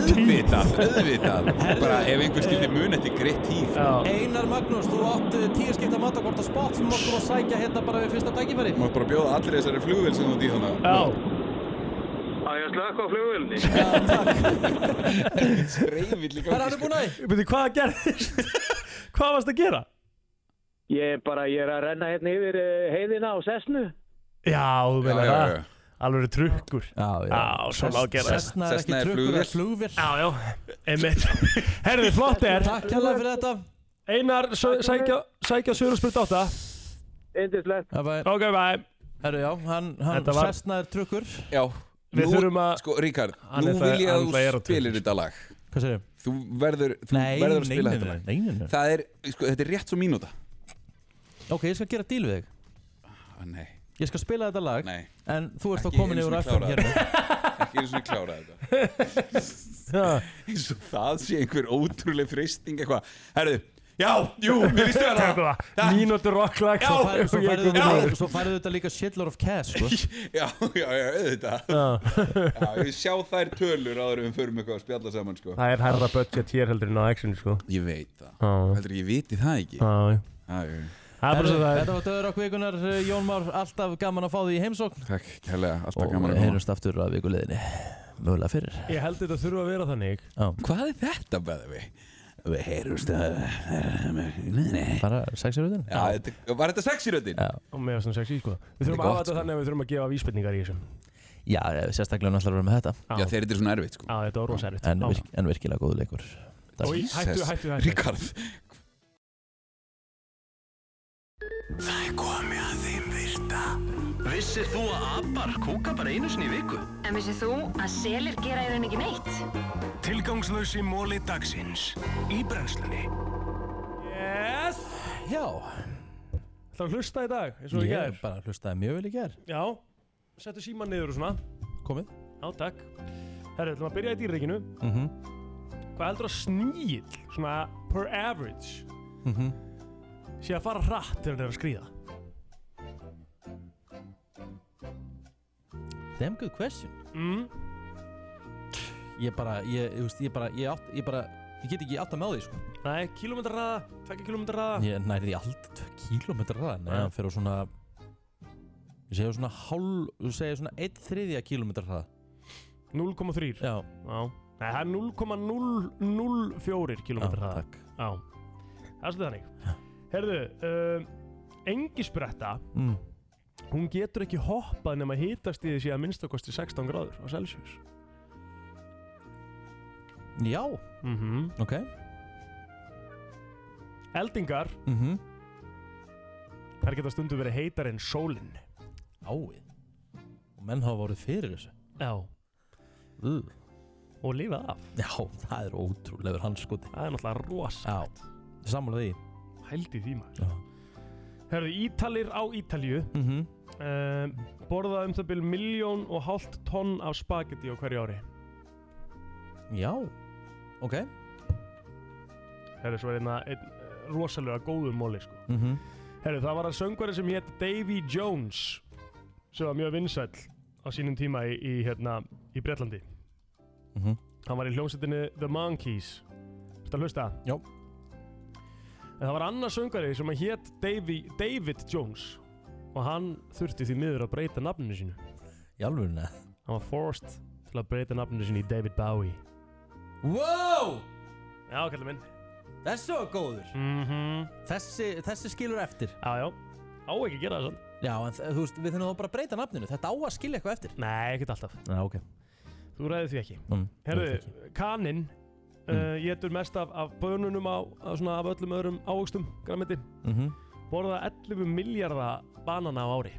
Speaker 16: auðvitað, auðvitað
Speaker 1: [LAUGHS]
Speaker 16: Bara ef einhver skildi mun eftir greitt tíð
Speaker 1: Einar Magnús, þú átt eh, tíu skipta matakort á spot sem máttum að sækja hérna bara við fyrsta tækifæri
Speaker 16: Má bara bjóða allir þessari flugvél sem þú ert í þannig
Speaker 2: Já
Speaker 17: Á ég að slökka á flugvölni?
Speaker 16: Reyfill í sko.
Speaker 1: Hvað er hann búin að því?
Speaker 2: Veitu, hvað gerðist? [LAUGHS] hvað varst að gera?
Speaker 17: Ég er bara, ég er að renna hérna yfir eh, heiðina á sessnu.
Speaker 2: Já, þú meina
Speaker 16: já,
Speaker 2: það
Speaker 16: já.
Speaker 2: Alveg eru trukkur
Speaker 1: Já, já.
Speaker 2: Já, svona á að gera
Speaker 1: Sessna er ekki
Speaker 16: Cessna er
Speaker 1: trukkur, það er
Speaker 16: flugvél.
Speaker 1: flugvél
Speaker 2: Já, já Einmitt Herðu, flott er
Speaker 1: Takk hérlega fyrir þetta
Speaker 2: Einar, sö- sækja, sækja Sjölusbyrð 8
Speaker 17: Indislegt.
Speaker 1: Það var,
Speaker 2: Ok, bye
Speaker 1: herru, já, hann, hann
Speaker 2: Þetta var-
Speaker 1: Cessna er trukkur
Speaker 16: Já
Speaker 2: Við
Speaker 16: nú-
Speaker 2: þurfum að
Speaker 16: Sko, Ríkard,
Speaker 2: Hann
Speaker 16: nú
Speaker 2: ætlaði-
Speaker 16: vil ég
Speaker 2: hann
Speaker 16: að
Speaker 2: ætlaði að
Speaker 16: þú
Speaker 2: gera
Speaker 16: spilir þetta lag
Speaker 1: Hvað segir ég?
Speaker 16: Þú verður, þú
Speaker 1: Nei,
Speaker 16: verður að
Speaker 1: nei,
Speaker 16: spila
Speaker 1: nei,
Speaker 16: þetta
Speaker 1: nei, nei, nei, nei.
Speaker 16: Það er, sko, þetta er rétt svo mínúta
Speaker 1: Ok, ég skal gera díl við þig
Speaker 16: ah, Nei,
Speaker 1: Ég skal spila þetta lag
Speaker 16: Nei.
Speaker 1: En þú ert þá
Speaker 16: Ekki
Speaker 1: komin
Speaker 16: einu
Speaker 1: yfir
Speaker 16: sinni
Speaker 1: FM
Speaker 16: klára
Speaker 2: [LAUGHS]
Speaker 1: hérna
Speaker 16: þetta. [LAUGHS] Ekki einu svona klára
Speaker 1: [LAUGHS]
Speaker 16: þetta Eins og það sé einhver ótrúleg freysting eitthvað Herðu, já, jú, mér lístu hana
Speaker 2: Mínútur rocklag sko.
Speaker 1: Svo færðu- svo færðu þetta-
Speaker 16: já,
Speaker 1: Svo færðu þetta líka shitload of cash
Speaker 2: [LAUGHS]
Speaker 1: sko.
Speaker 16: [LAUGHS] já, já, já, auðvitað Já, ég sjá þær tölur áður en við förum eitthvað að spjalla saman, sko
Speaker 2: Það er herra budget hér heldur en á action sko
Speaker 16: Ég veit það
Speaker 2: ah.
Speaker 16: Heldur ég viti það ekki
Speaker 2: Já, já.
Speaker 16: Já, já
Speaker 2: Það er bara svo það
Speaker 1: Þetta
Speaker 2: er
Speaker 1: var döður okkur vikunar Jón Már, alltaf gaman að fá því í heimsókn
Speaker 16: Takk, kærlega, alltaf
Speaker 1: Og
Speaker 16: gaman að koma
Speaker 1: heyrumst aftur að vikuleginni Mögulega fyrir
Speaker 2: Ég held þetta þurfa að vera þannig
Speaker 16: Hvað er þetta, beða við? Við heyrumst að
Speaker 1: Bara sexir utan
Speaker 16: Já, þetta- var þetta sex í röddinn?
Speaker 2: Og með þessum sexi sko
Speaker 16: Þetta
Speaker 2: Við
Speaker 16: er
Speaker 2: þurfum að hafa
Speaker 16: gott,
Speaker 2: þetta þannig að við þurfum að gefa vísbyrningar í þessum
Speaker 1: Já, sérstaklega náttúrulega með þetta
Speaker 16: Já, þeir eru svona erfitt, sko
Speaker 2: Já, þetta var rosa erfitt
Speaker 1: en,
Speaker 2: Áfram.
Speaker 1: virk, en virkilega góðu leikur
Speaker 2: Oj, Hættu,
Speaker 16: Jesus.
Speaker 2: hættu, hættu
Speaker 16: Ríkard
Speaker 3: Það er komið að þeim virta. Vissir þú að abar kúka bara einu sinni í viku?
Speaker 9: En vissið þú að selir gera í raun ekki neitt?
Speaker 3: Tilgangslösi móli dagsins í brennslunni.
Speaker 2: Yes
Speaker 1: Já
Speaker 2: Það var hlusta í dag, eins og ég
Speaker 1: Ég
Speaker 2: ger
Speaker 1: bara hlustaði mjög vel í ger
Speaker 2: Já, settu síman niður og svona
Speaker 1: Komið
Speaker 2: Já, takk Herru, ætlum að byrja í dýrreikinu
Speaker 1: mm -hmm.
Speaker 2: Hvað heldur að sníl, svona per average
Speaker 1: Mhm,
Speaker 2: sé að fara hratt þegar hann er að skrýða
Speaker 1: Damn good question
Speaker 2: mm.
Speaker 1: Ég bara, ég, ég, veist, ég bara, ég, átt, ég bara Ég get ekki átt að með því, sko
Speaker 2: Nei, kilómetrarraða, tvekja kilómetrarraða
Speaker 1: Ég næri því alltaf 2 km ræðan Nei, hann fyrir svona Ég segja svona hálf, þú segja svona 1 þriðja km ræða
Speaker 2: 0,3
Speaker 1: Já
Speaker 2: Nei, það er 0,004 kilómetrar hraða.
Speaker 1: takk.
Speaker 2: Já, það er svolítið þannig Herðu, um, engisbretta
Speaker 1: mm.
Speaker 2: hún getur ekki hoppað nema hítast í þessi að minnstakosti 16 gráður á Celsius
Speaker 1: Já,
Speaker 2: Mhm.
Speaker 1: ok
Speaker 2: Eldingar,
Speaker 1: Mhm.
Speaker 2: þær geta stundu verið heitar en sólinn
Speaker 1: Áið Og menn hafa voruð fyrir þessu
Speaker 2: Já
Speaker 1: uh.
Speaker 2: Og lífað af
Speaker 1: Já, það er ótrúlegur hanskoti
Speaker 2: Það er náttúrulega rosalegt
Speaker 1: Sammála því
Speaker 2: Hældi því maður Herðu, Ítalir á Ítalju
Speaker 1: Mhm.
Speaker 2: um, borða um það byrjum miljón og hálft tonn af spagetti á hverju ári
Speaker 1: Já, ok
Speaker 2: Herðu, svo er einna ein, rosalega góður móli sko.
Speaker 1: Mhm.
Speaker 2: Herru, það var að söngvari sem hétt Davy Jones sem var mjög vinsæll á sínum tíma í, í, hérna, í Bretlandi
Speaker 1: Mhm.
Speaker 2: Hann var í hljómsveitinni The Monkees Þetta hlusta?
Speaker 1: Jó
Speaker 2: En það var annar söngvari sem að hétt Davy, David Jones og hann þurfti því miður að breyta nafninu sínu
Speaker 1: Í alvöruna
Speaker 2: Hann var forced til að breyta nafninu sínu í David Bowie
Speaker 1: Wow,
Speaker 2: Já, kallar minn
Speaker 1: þessi var góður
Speaker 2: mm -hmm.
Speaker 1: þessi, þessi skilur eftir
Speaker 2: Já, já, á ekki að gera það svona
Speaker 1: Já, en þ- þú veist, við þurfum þá bara að breyta nafninu Þetta á að skilja eitthvað eftir
Speaker 2: Nei, ekkert alltaf
Speaker 1: Já, ok
Speaker 2: Þú ræðir því ekki
Speaker 1: Mm,
Speaker 2: Herðu, kaninn uh, getur mest af, af bönunum á, af, svona, af öllum öðrum ávokstum græmiti
Speaker 1: Mhm.
Speaker 2: borða 11 miljardar banana á ári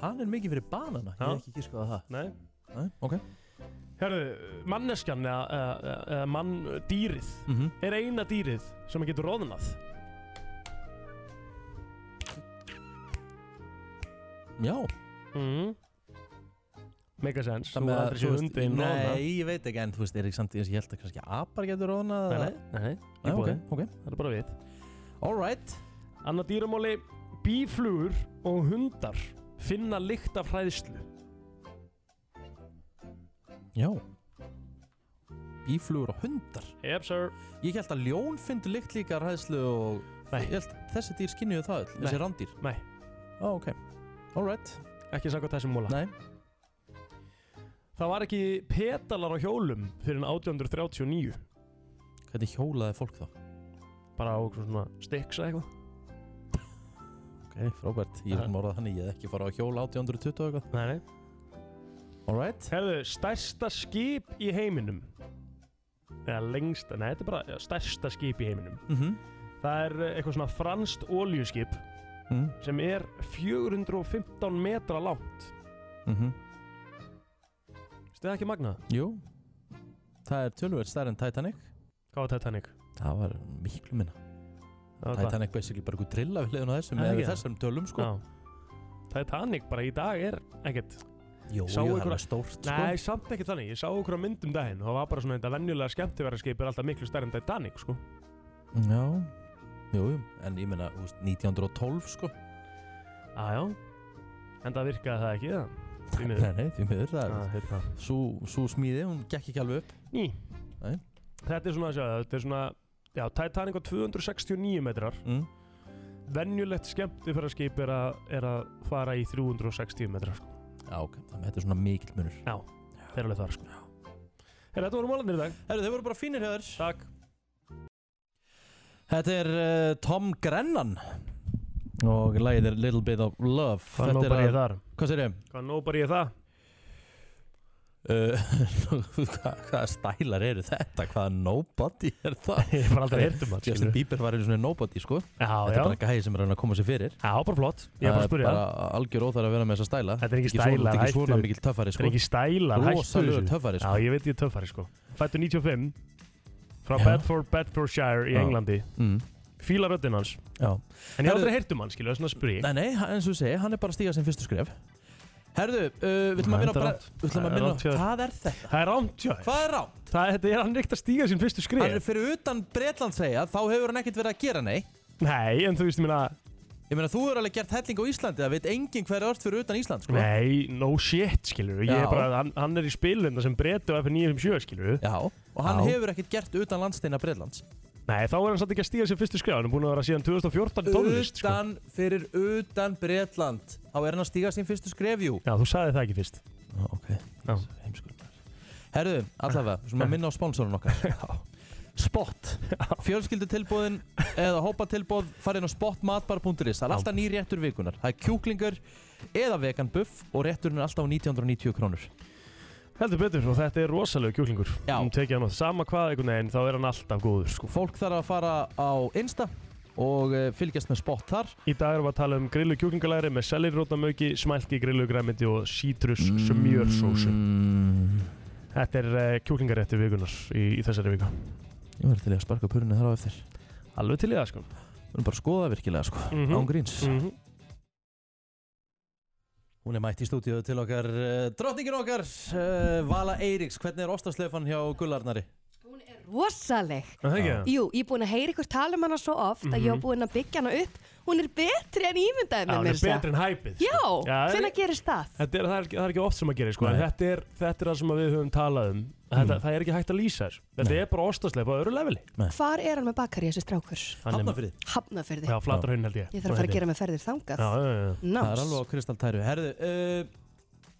Speaker 1: Kanin mikið fyrir banana Ég hef ekki gískað það
Speaker 2: Nei
Speaker 1: Nei, ok
Speaker 2: Herðu, manneskjan eða, eða, eða mann dýrið
Speaker 1: Mhm.
Speaker 2: er eina dýrið sem getur roðnað
Speaker 1: Já
Speaker 2: mm. Mega sens, þú
Speaker 1: Það með
Speaker 2: hefur
Speaker 1: að,
Speaker 2: aldrei séð hundi
Speaker 1: Nei,
Speaker 2: roðnað
Speaker 1: ég veit ekki En þú veist, er ekki samt í þess Ég held að kannski apar getur róðnað
Speaker 2: Nei,
Speaker 1: eða-
Speaker 2: nei, nei,
Speaker 1: Nei,
Speaker 2: í
Speaker 1: ok,
Speaker 2: búðin
Speaker 1: ok
Speaker 2: Það er bara við
Speaker 1: Alright
Speaker 2: Annað dýramóli Bíflugur og hundar finna lykt af hræðslu
Speaker 1: Já Bíflugur og hundar
Speaker 2: Yep, sir
Speaker 1: Ég held að ljón fyndi lykt líka ræðslu og
Speaker 2: Nei.
Speaker 1: Ég held þessi dýr skinniðu það öll Þessi rándýr
Speaker 2: Nei,
Speaker 1: Ó, ok Alright
Speaker 2: ekki samkvæmt þessum móla
Speaker 1: Nei
Speaker 2: Það var ekki pedalar á hjólum fyrir en 1839
Speaker 1: Hvernig hjólaði fólk þá?
Speaker 2: bara á eitthvað svona stiksa eitthvað
Speaker 1: Ok, frábært Ég
Speaker 2: Aha.
Speaker 1: er morðað þannig Ég hef ekki farað á hjóla 1820 og eitthvað
Speaker 2: Nei, nei
Speaker 1: Alright
Speaker 2: Herðu, stærsta skip í heiminum eða lengsta, nei, þetta er bara já, stærsta skip í heiminum
Speaker 1: Mhm.
Speaker 2: Það er eh, eitthvað svona franskt oljuskip
Speaker 1: Mhm.
Speaker 2: sem er 415 metra langt
Speaker 1: mm
Speaker 2: Veistu það ekki magnað?
Speaker 1: Jú Það er tölvöld stærri en Titanic
Speaker 2: Hvað var Titanic?
Speaker 1: Það var miklu minna
Speaker 2: var
Speaker 1: Titanic basically bara einhver trilla við hliðin á
Speaker 2: Það
Speaker 1: þessum
Speaker 2: er
Speaker 1: eða
Speaker 2: ekki það.
Speaker 1: þessum tölum sko
Speaker 2: Já. Titanic bara í dag er ekkert
Speaker 1: Jú,
Speaker 2: Sá
Speaker 1: jú, það
Speaker 2: einhverja-
Speaker 1: var stórt, sko.
Speaker 2: Nei, samt ekki þannig, ég sá okkur á myndum daginn og það var bara svona þetta venjulega skemmtiverðarskip er alltaf miklu stærri en Titanic sko
Speaker 1: Já, jú, jú, en ég meina, þú veist, 1912 sko
Speaker 2: Aðjá, en það virkaði það ekki það Því miður.
Speaker 1: Nei, nei, því miður,
Speaker 2: Ah,
Speaker 1: það
Speaker 2: er
Speaker 1: Sú sú smíði, hún gekk ekki alveg upp
Speaker 2: Ný
Speaker 1: Nei.
Speaker 2: Þetta er svona, sjá, þetta er svona Já, Titanic á 269 metrar
Speaker 1: mm.
Speaker 2: Venjulegt skemmtifæraskip er, að- er að fara í 360 metrar sko.
Speaker 1: Já, ok, þannig að þetta er svona mikil munur
Speaker 2: Já, þeir eru alveg þar sko Herra, þetta voru málandir í dag
Speaker 1: Herra, þeir voru bara fínir hefur
Speaker 2: Takk
Speaker 1: Þetta er uh, Tom Grennan og lagið er Little Bit of Love
Speaker 2: Hvað
Speaker 1: Þetta
Speaker 2: nóg
Speaker 1: er
Speaker 2: bara
Speaker 1: að-
Speaker 2: ég þar?
Speaker 1: Hvað sér ég?
Speaker 2: Hvað nóg bara ég það?
Speaker 1: Uh, [LAUGHS] hvað, hvaða stælar eru þetta? Hvaða nobody er það?
Speaker 2: [LAUGHS] Ég hef bara aldrei heyrt um það,
Speaker 1: Justin
Speaker 2: skilur.
Speaker 1: Bieber var einu svona nobody sko já, Þetta
Speaker 2: já.
Speaker 1: er bara gæði sem er að reyna að koma sér fyrir
Speaker 2: Já, bara flott Ég er bara að spyrja.
Speaker 1: Það er bara algjör óþar að vera með þessa stæla
Speaker 2: Þetta er ekki
Speaker 1: svona-
Speaker 2: stælar,
Speaker 1: Þetta er ekki svona
Speaker 2: hættu.
Speaker 1: mikil töffari sko
Speaker 2: Þetta er ekki stælar, hættu
Speaker 1: Rósalega
Speaker 2: þessu.
Speaker 1: töffari sko
Speaker 2: Já, ég veit ég er töffari sko Fættu 95 Frá
Speaker 1: Já.
Speaker 2: Bedford, Bedfordshire í
Speaker 1: Já.
Speaker 2: Englandi
Speaker 1: Mm.
Speaker 2: Fíla röddinn hans
Speaker 1: Já
Speaker 2: En ég hef
Speaker 1: Herðu-
Speaker 2: aldrei heyrt um hann, skilur, það er svona að spyrja
Speaker 1: Nei, nei, hann- eins og ég segi, hann er bara að stíga sem fyrstu skref Herðu, uh, við ætlum að
Speaker 2: Nei,
Speaker 1: minna
Speaker 2: þetta
Speaker 1: á
Speaker 2: er
Speaker 1: Bre-
Speaker 2: rangt.
Speaker 1: við ætlum að
Speaker 2: Það er
Speaker 1: minna á-
Speaker 2: rangt hjá þér.
Speaker 1: Hvað er þetta?
Speaker 2: Það er rámt, já
Speaker 1: Hvað er rámt?
Speaker 2: Það þetta er hann ekkert að stíga sín fyrstu skref
Speaker 1: Hann er fyrir utan Bretland segja, þá hefur hann ekkert verið að gera nei
Speaker 2: Nei, en þú veist, ég meina
Speaker 1: Ég meina, þú hefur alveg gert helling á Íslandi, það veit enginn hver er ört fyrir utan Ísland, sko
Speaker 2: Nei, no shit, skilur Ég er
Speaker 1: Já.
Speaker 2: bara, hann, hann er í spilum sem breytu á F957, skilur
Speaker 1: Já, Og hann hefur ekkert gert utan landsteina Bretlands
Speaker 2: Nei, þá er hann satt ekki að stíga sér fyrstu skref Hann er búin að vera síðan 2014 í tónlist sko.
Speaker 1: Utan, fyrir utan Bretland, þá er hann að stíga sín fyrstu skref, jú
Speaker 2: Já, þú sagði það ekki fyrst
Speaker 1: Já, ok
Speaker 2: Heimskulum
Speaker 1: Herðu, allavega, við
Speaker 2: [LAUGHS]
Speaker 1: skulum að minna á sponsorun okkar Spot Fjölskyldutilbóðin eða hópatilbóð farið inn á spotmatbar.is Það er alltaf nýr réttur vikunar Það er kjúklingur eða vegan buff og rétturinn er alltaf á 1990 krónur
Speaker 2: Heldur betur og þetta er rosalega kjúklingur Já Hún tekið hann á sama hvað einhvern veginn þá er hann alltaf góður sko
Speaker 1: Fólk þarf að fara á Insta og eh, fylgjast með spot þar
Speaker 2: Í dag erum við að tala um grillu kjúklingalæri með selirrótamauki, smælti grillu græmiti og sítrus
Speaker 1: Mm.
Speaker 2: smjörsósu Þetta er uh, kjúklingarétti vikunar í, í þessari viku
Speaker 1: Ég verður til í að sparka purinu þar á eftir
Speaker 2: Alveg til í það sko
Speaker 1: Við erum bara að skoða það virkilega sko
Speaker 2: Mhm.
Speaker 1: Án gríns
Speaker 2: Mhm.
Speaker 1: Hún er mætt í stúdíu til okkar uh, Drottningin okkar uh, Vala Eiríks Hvernig er ostaslefan hjá Gullarnari?
Speaker 18: rosaleg
Speaker 1: Er það ekki það?
Speaker 18: Jú, ég er búin að heyra ykkur tala um hana svo oft að ég
Speaker 1: Mhm.
Speaker 18: hef búin að byggja hana upp Hún er betri en ég ímyndaði
Speaker 2: Já,
Speaker 18: með
Speaker 2: hún
Speaker 18: mér
Speaker 2: er betri en hæpið
Speaker 18: Já,
Speaker 2: Já, það er-
Speaker 18: hvenær gerist það?
Speaker 2: Þetta er, það, er, ekki- það er ekki oft sem að gera sko, en þetta er, þetta er það sem við höfum talað um þetta,
Speaker 1: Mm.
Speaker 2: Það er ekki hægt að lýsa þessu Þetta er bara ostasleif á öðru leveli
Speaker 18: Hvar er hann með bakari þessi strákur?
Speaker 2: Hann er- Hafnarfirði.
Speaker 18: Hafnarfyrði
Speaker 2: Já, Flatarhraun held ég.
Speaker 18: Ég þarf að fara að gera með ferðir þangað
Speaker 1: Það er
Speaker 18: Nás.
Speaker 1: alveg á kristaltæru Herðu, uh,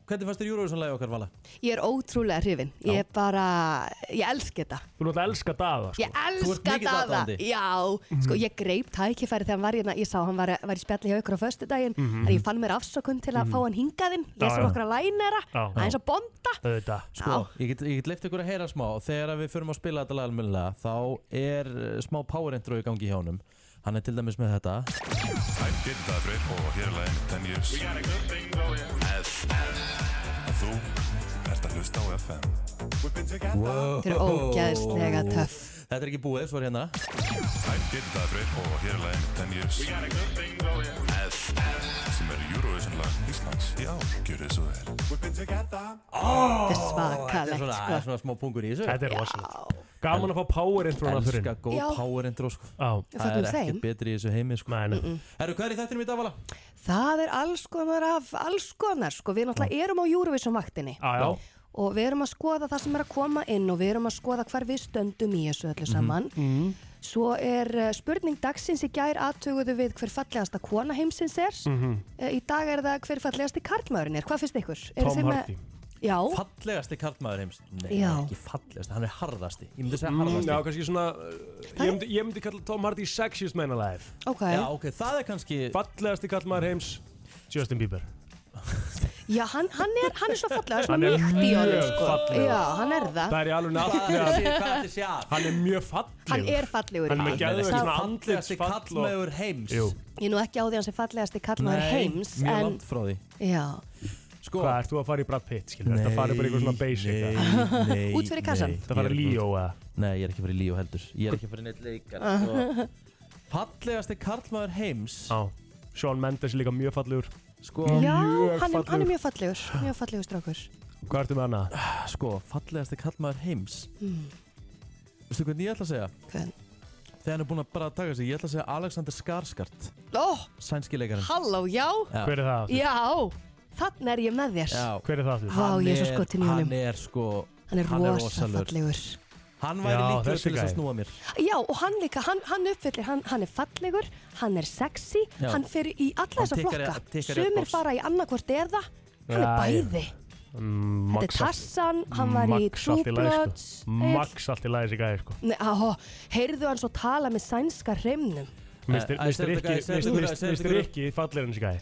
Speaker 1: hvernig fannst þér Eurovision-lægi okkar Vala?
Speaker 18: Ég er ótrúlega hrifin Ég er bara, ég elsk þetta
Speaker 2: Þú náttúrulega elska daða sko.
Speaker 18: Ég elska Dada Já,
Speaker 1: Mhm.
Speaker 18: sko ég greip tækifæri þegar hann var hérna Ég sá hann var, var í spjalli hjá ykkur á föstudaginn mm
Speaker 2: Mhm.
Speaker 18: En ég fann mér afsökun til að
Speaker 1: Mhm.
Speaker 18: fá hann hingaðinn
Speaker 1: Já,
Speaker 18: Lesa
Speaker 1: já.
Speaker 18: nokkra lænera
Speaker 1: Já.
Speaker 18: Aðeins að bonda
Speaker 2: Þetta
Speaker 1: Sko, ég get, ég get leift ykkur að heyra smá Þegar að við förum að spila þetta lag almennilega Þá er eh, smá power intro í gangi hjá honum Hann er til dæmis með þetta
Speaker 13: I did that for it over here like 10 years We got a good thing going En þú ert að hlusta á FM
Speaker 1: wow.
Speaker 18: Þetta er ógeðslega töff.
Speaker 1: Þetta er ekki búið, svo er hérna
Speaker 13: I did that for it over here like 10 years We got a good thing going Sem er Eurovision lag Íslands Já, gjör þið svo vel
Speaker 18: Þetta
Speaker 1: oh,
Speaker 18: er svakalegt,
Speaker 1: Þetta er svona,
Speaker 18: sko.
Speaker 1: það er svona smá pungur í þessu
Speaker 2: Þetta er rosalegt Gaman að fá power intro aftur inn
Speaker 1: Elskar góð
Speaker 18: Já.
Speaker 1: power intro sko
Speaker 2: Já.
Speaker 1: Það er
Speaker 18: Fögnum þeim.
Speaker 1: ekkert betri í þessu heimi sko
Speaker 2: Nei,
Speaker 18: Mm-mm.
Speaker 1: Herru, hvað er í þættinum í dag, Vala?
Speaker 18: Það er alls konar af alls konar sko, við náttúrulega erum á Eurovision vaktinni
Speaker 1: Já, já.
Speaker 18: og við erum að skoða það sem er að koma inn og við erum að skoða hvar við stöndum í þessu
Speaker 1: Mhm,
Speaker 18: öllu saman
Speaker 2: mm.
Speaker 18: Svo er eh, spurning dagsins í gær aðtöguðu við hver fallegasta kona heimsins er
Speaker 1: Mhm.
Speaker 18: Eh, Í dag er það hver fallegasti karlmaðurinn er, hvað finnst ykkur? Eru
Speaker 1: Tom
Speaker 18: þið með-
Speaker 1: Hardy.
Speaker 18: Já,
Speaker 1: Fallegasti karlmaður heims Nei,
Speaker 18: Já.
Speaker 1: ekki fallegasti, hann er harðasti Ég myndi segja
Speaker 2: Mm,
Speaker 1: harðasti
Speaker 2: já, kannski svona uh, Ég myndi, ég myndi kalla Tom Hardy sexiest man alive
Speaker 18: Ok.
Speaker 1: Já, ok, það er kannski
Speaker 2: Fallegasti kallmaður heims Justin Bieber
Speaker 18: já hann, hann, er, hann er svo fallegur,
Speaker 2: Hann
Speaker 18: svona
Speaker 2: er
Speaker 18: mýkt í honum
Speaker 2: mjög
Speaker 18: sko.
Speaker 2: fallegur.
Speaker 18: Já, hann er það
Speaker 2: Það er í alveg
Speaker 1: náttúrulega
Speaker 2: Hann er mjög fallegur
Speaker 18: Hann er fallegur
Speaker 2: Hann er með
Speaker 18: Það-
Speaker 2: geðveikt svona
Speaker 1: Fallegasti
Speaker 2: andlitsfall og-
Speaker 1: karlmaður heims
Speaker 2: Jú.
Speaker 18: Ég er nú ekki á því að hann sé fallegasti karlmaður heims
Speaker 1: Mjög
Speaker 18: en,
Speaker 1: langt frá því
Speaker 18: Já,
Speaker 1: Sko.
Speaker 2: Hvað, ert þú að fara í Brad Pitt, skilur? Nei,
Speaker 1: Nei,
Speaker 2: þetta farið bara í eitthvað svona basic
Speaker 1: nei,
Speaker 2: eða?
Speaker 1: nei,
Speaker 18: [LAUGHS] Út fyrir kassann.
Speaker 1: nei.
Speaker 2: Þetta farið
Speaker 1: Ég er
Speaker 2: Líó,
Speaker 1: ekki-
Speaker 2: eða?
Speaker 1: Nei, ég er ekki að fara í Líó heldur Ég er ekki að fara í neitt leikar
Speaker 18: [LAUGHS]
Speaker 1: sko. Fallegasti karlmaður heims
Speaker 2: Já, Sean Mendes er líka mjög fallegur
Speaker 1: Sko,
Speaker 18: Já, hann er, hann er mjög fallegur, mjög fallegur strákur.
Speaker 2: Hvað ertu með hana?
Speaker 1: Sko, fallegasti karlmaður heims
Speaker 18: Mm.
Speaker 1: Veistu hvernig ég ætla að segja?
Speaker 18: Hvern?
Speaker 1: Þegar hann er búinn að bara taka sig Ég ætla að segja Alexander Skarsgård
Speaker 18: Ó,
Speaker 1: Sænski leikarinn
Speaker 18: halló, já.
Speaker 1: Já. Hver er það aftur?
Speaker 18: Já, þannig er ég með þér.
Speaker 1: Já.
Speaker 2: Hver er það
Speaker 18: Vá, ég er svo skotin í honum.
Speaker 1: Hann er sko
Speaker 18: Hann er rosa
Speaker 1: rosalegur.
Speaker 18: fallegur
Speaker 1: Hann væri
Speaker 2: Já,
Speaker 1: líklega
Speaker 2: þessi
Speaker 1: til þess að
Speaker 2: gæi.
Speaker 1: snúa mér
Speaker 18: Já, og hann líka, hann, hann uppfyllir, hann, hann er fallegur, hann er sexy,
Speaker 1: Já.
Speaker 18: hann fer í alla
Speaker 1: Hann e-
Speaker 18: þessa
Speaker 1: tikkar-
Speaker 18: flokka.
Speaker 1: tikkar rétt
Speaker 18: Sumir
Speaker 1: box.
Speaker 18: fara í annarkvort eða, hann er bæði.
Speaker 2: Mm,
Speaker 18: Þetta er Tassan, hann var í True Bloods. Egill.
Speaker 2: sko. Max allt í lagi þessi gæði sko
Speaker 18: Nei, áhó, heyrðu hann svo tala með sænska hreimnum.
Speaker 2: Mér
Speaker 1: Eh, Æ, segðu þetta gæi, segðu þetta gæi, segðu þetta
Speaker 2: styrir
Speaker 1: gæi.
Speaker 2: ekki fallegur en þessi gæði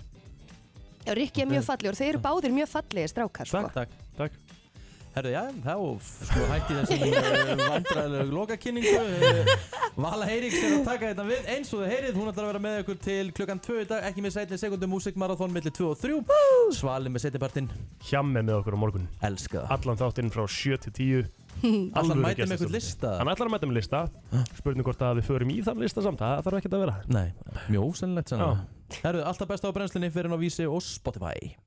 Speaker 18: Já, Rikki er mjög fallegur, þeir eru báðir mjög fallegir strákar, sko.
Speaker 1: Takk, takk, takk. Herðu, já, þá sko hætti þessi vandræðilegu lokakynningu. Eh, Vala Eiríks er að taka þetta við eins og þið heyrið. Hún ætlar að vera með ykkur til klukkan 2 í dag, ekki með sætni sekundum músikmarathon millir 2 og 3. Svali með setjapartinn.
Speaker 2: Hjammi með okkur á morgun
Speaker 1: Elska
Speaker 2: það Allan þáttinn frá 7 til
Speaker 1: [LAUGHS]
Speaker 2: 10
Speaker 1: Ætlar hann
Speaker 2: Alvöru
Speaker 1: mæta með
Speaker 2: gestastóri.
Speaker 1: eitthvað lista?
Speaker 2: Hann ætlar að mæta með lista Spurning hvort að við förum í þann lista samt Það þarf ekki að vera
Speaker 1: Nei, mjög ósennilegt sannlega. Herðu, alltaf besta á brennslinni fyrir hann á Vísi og Spotify.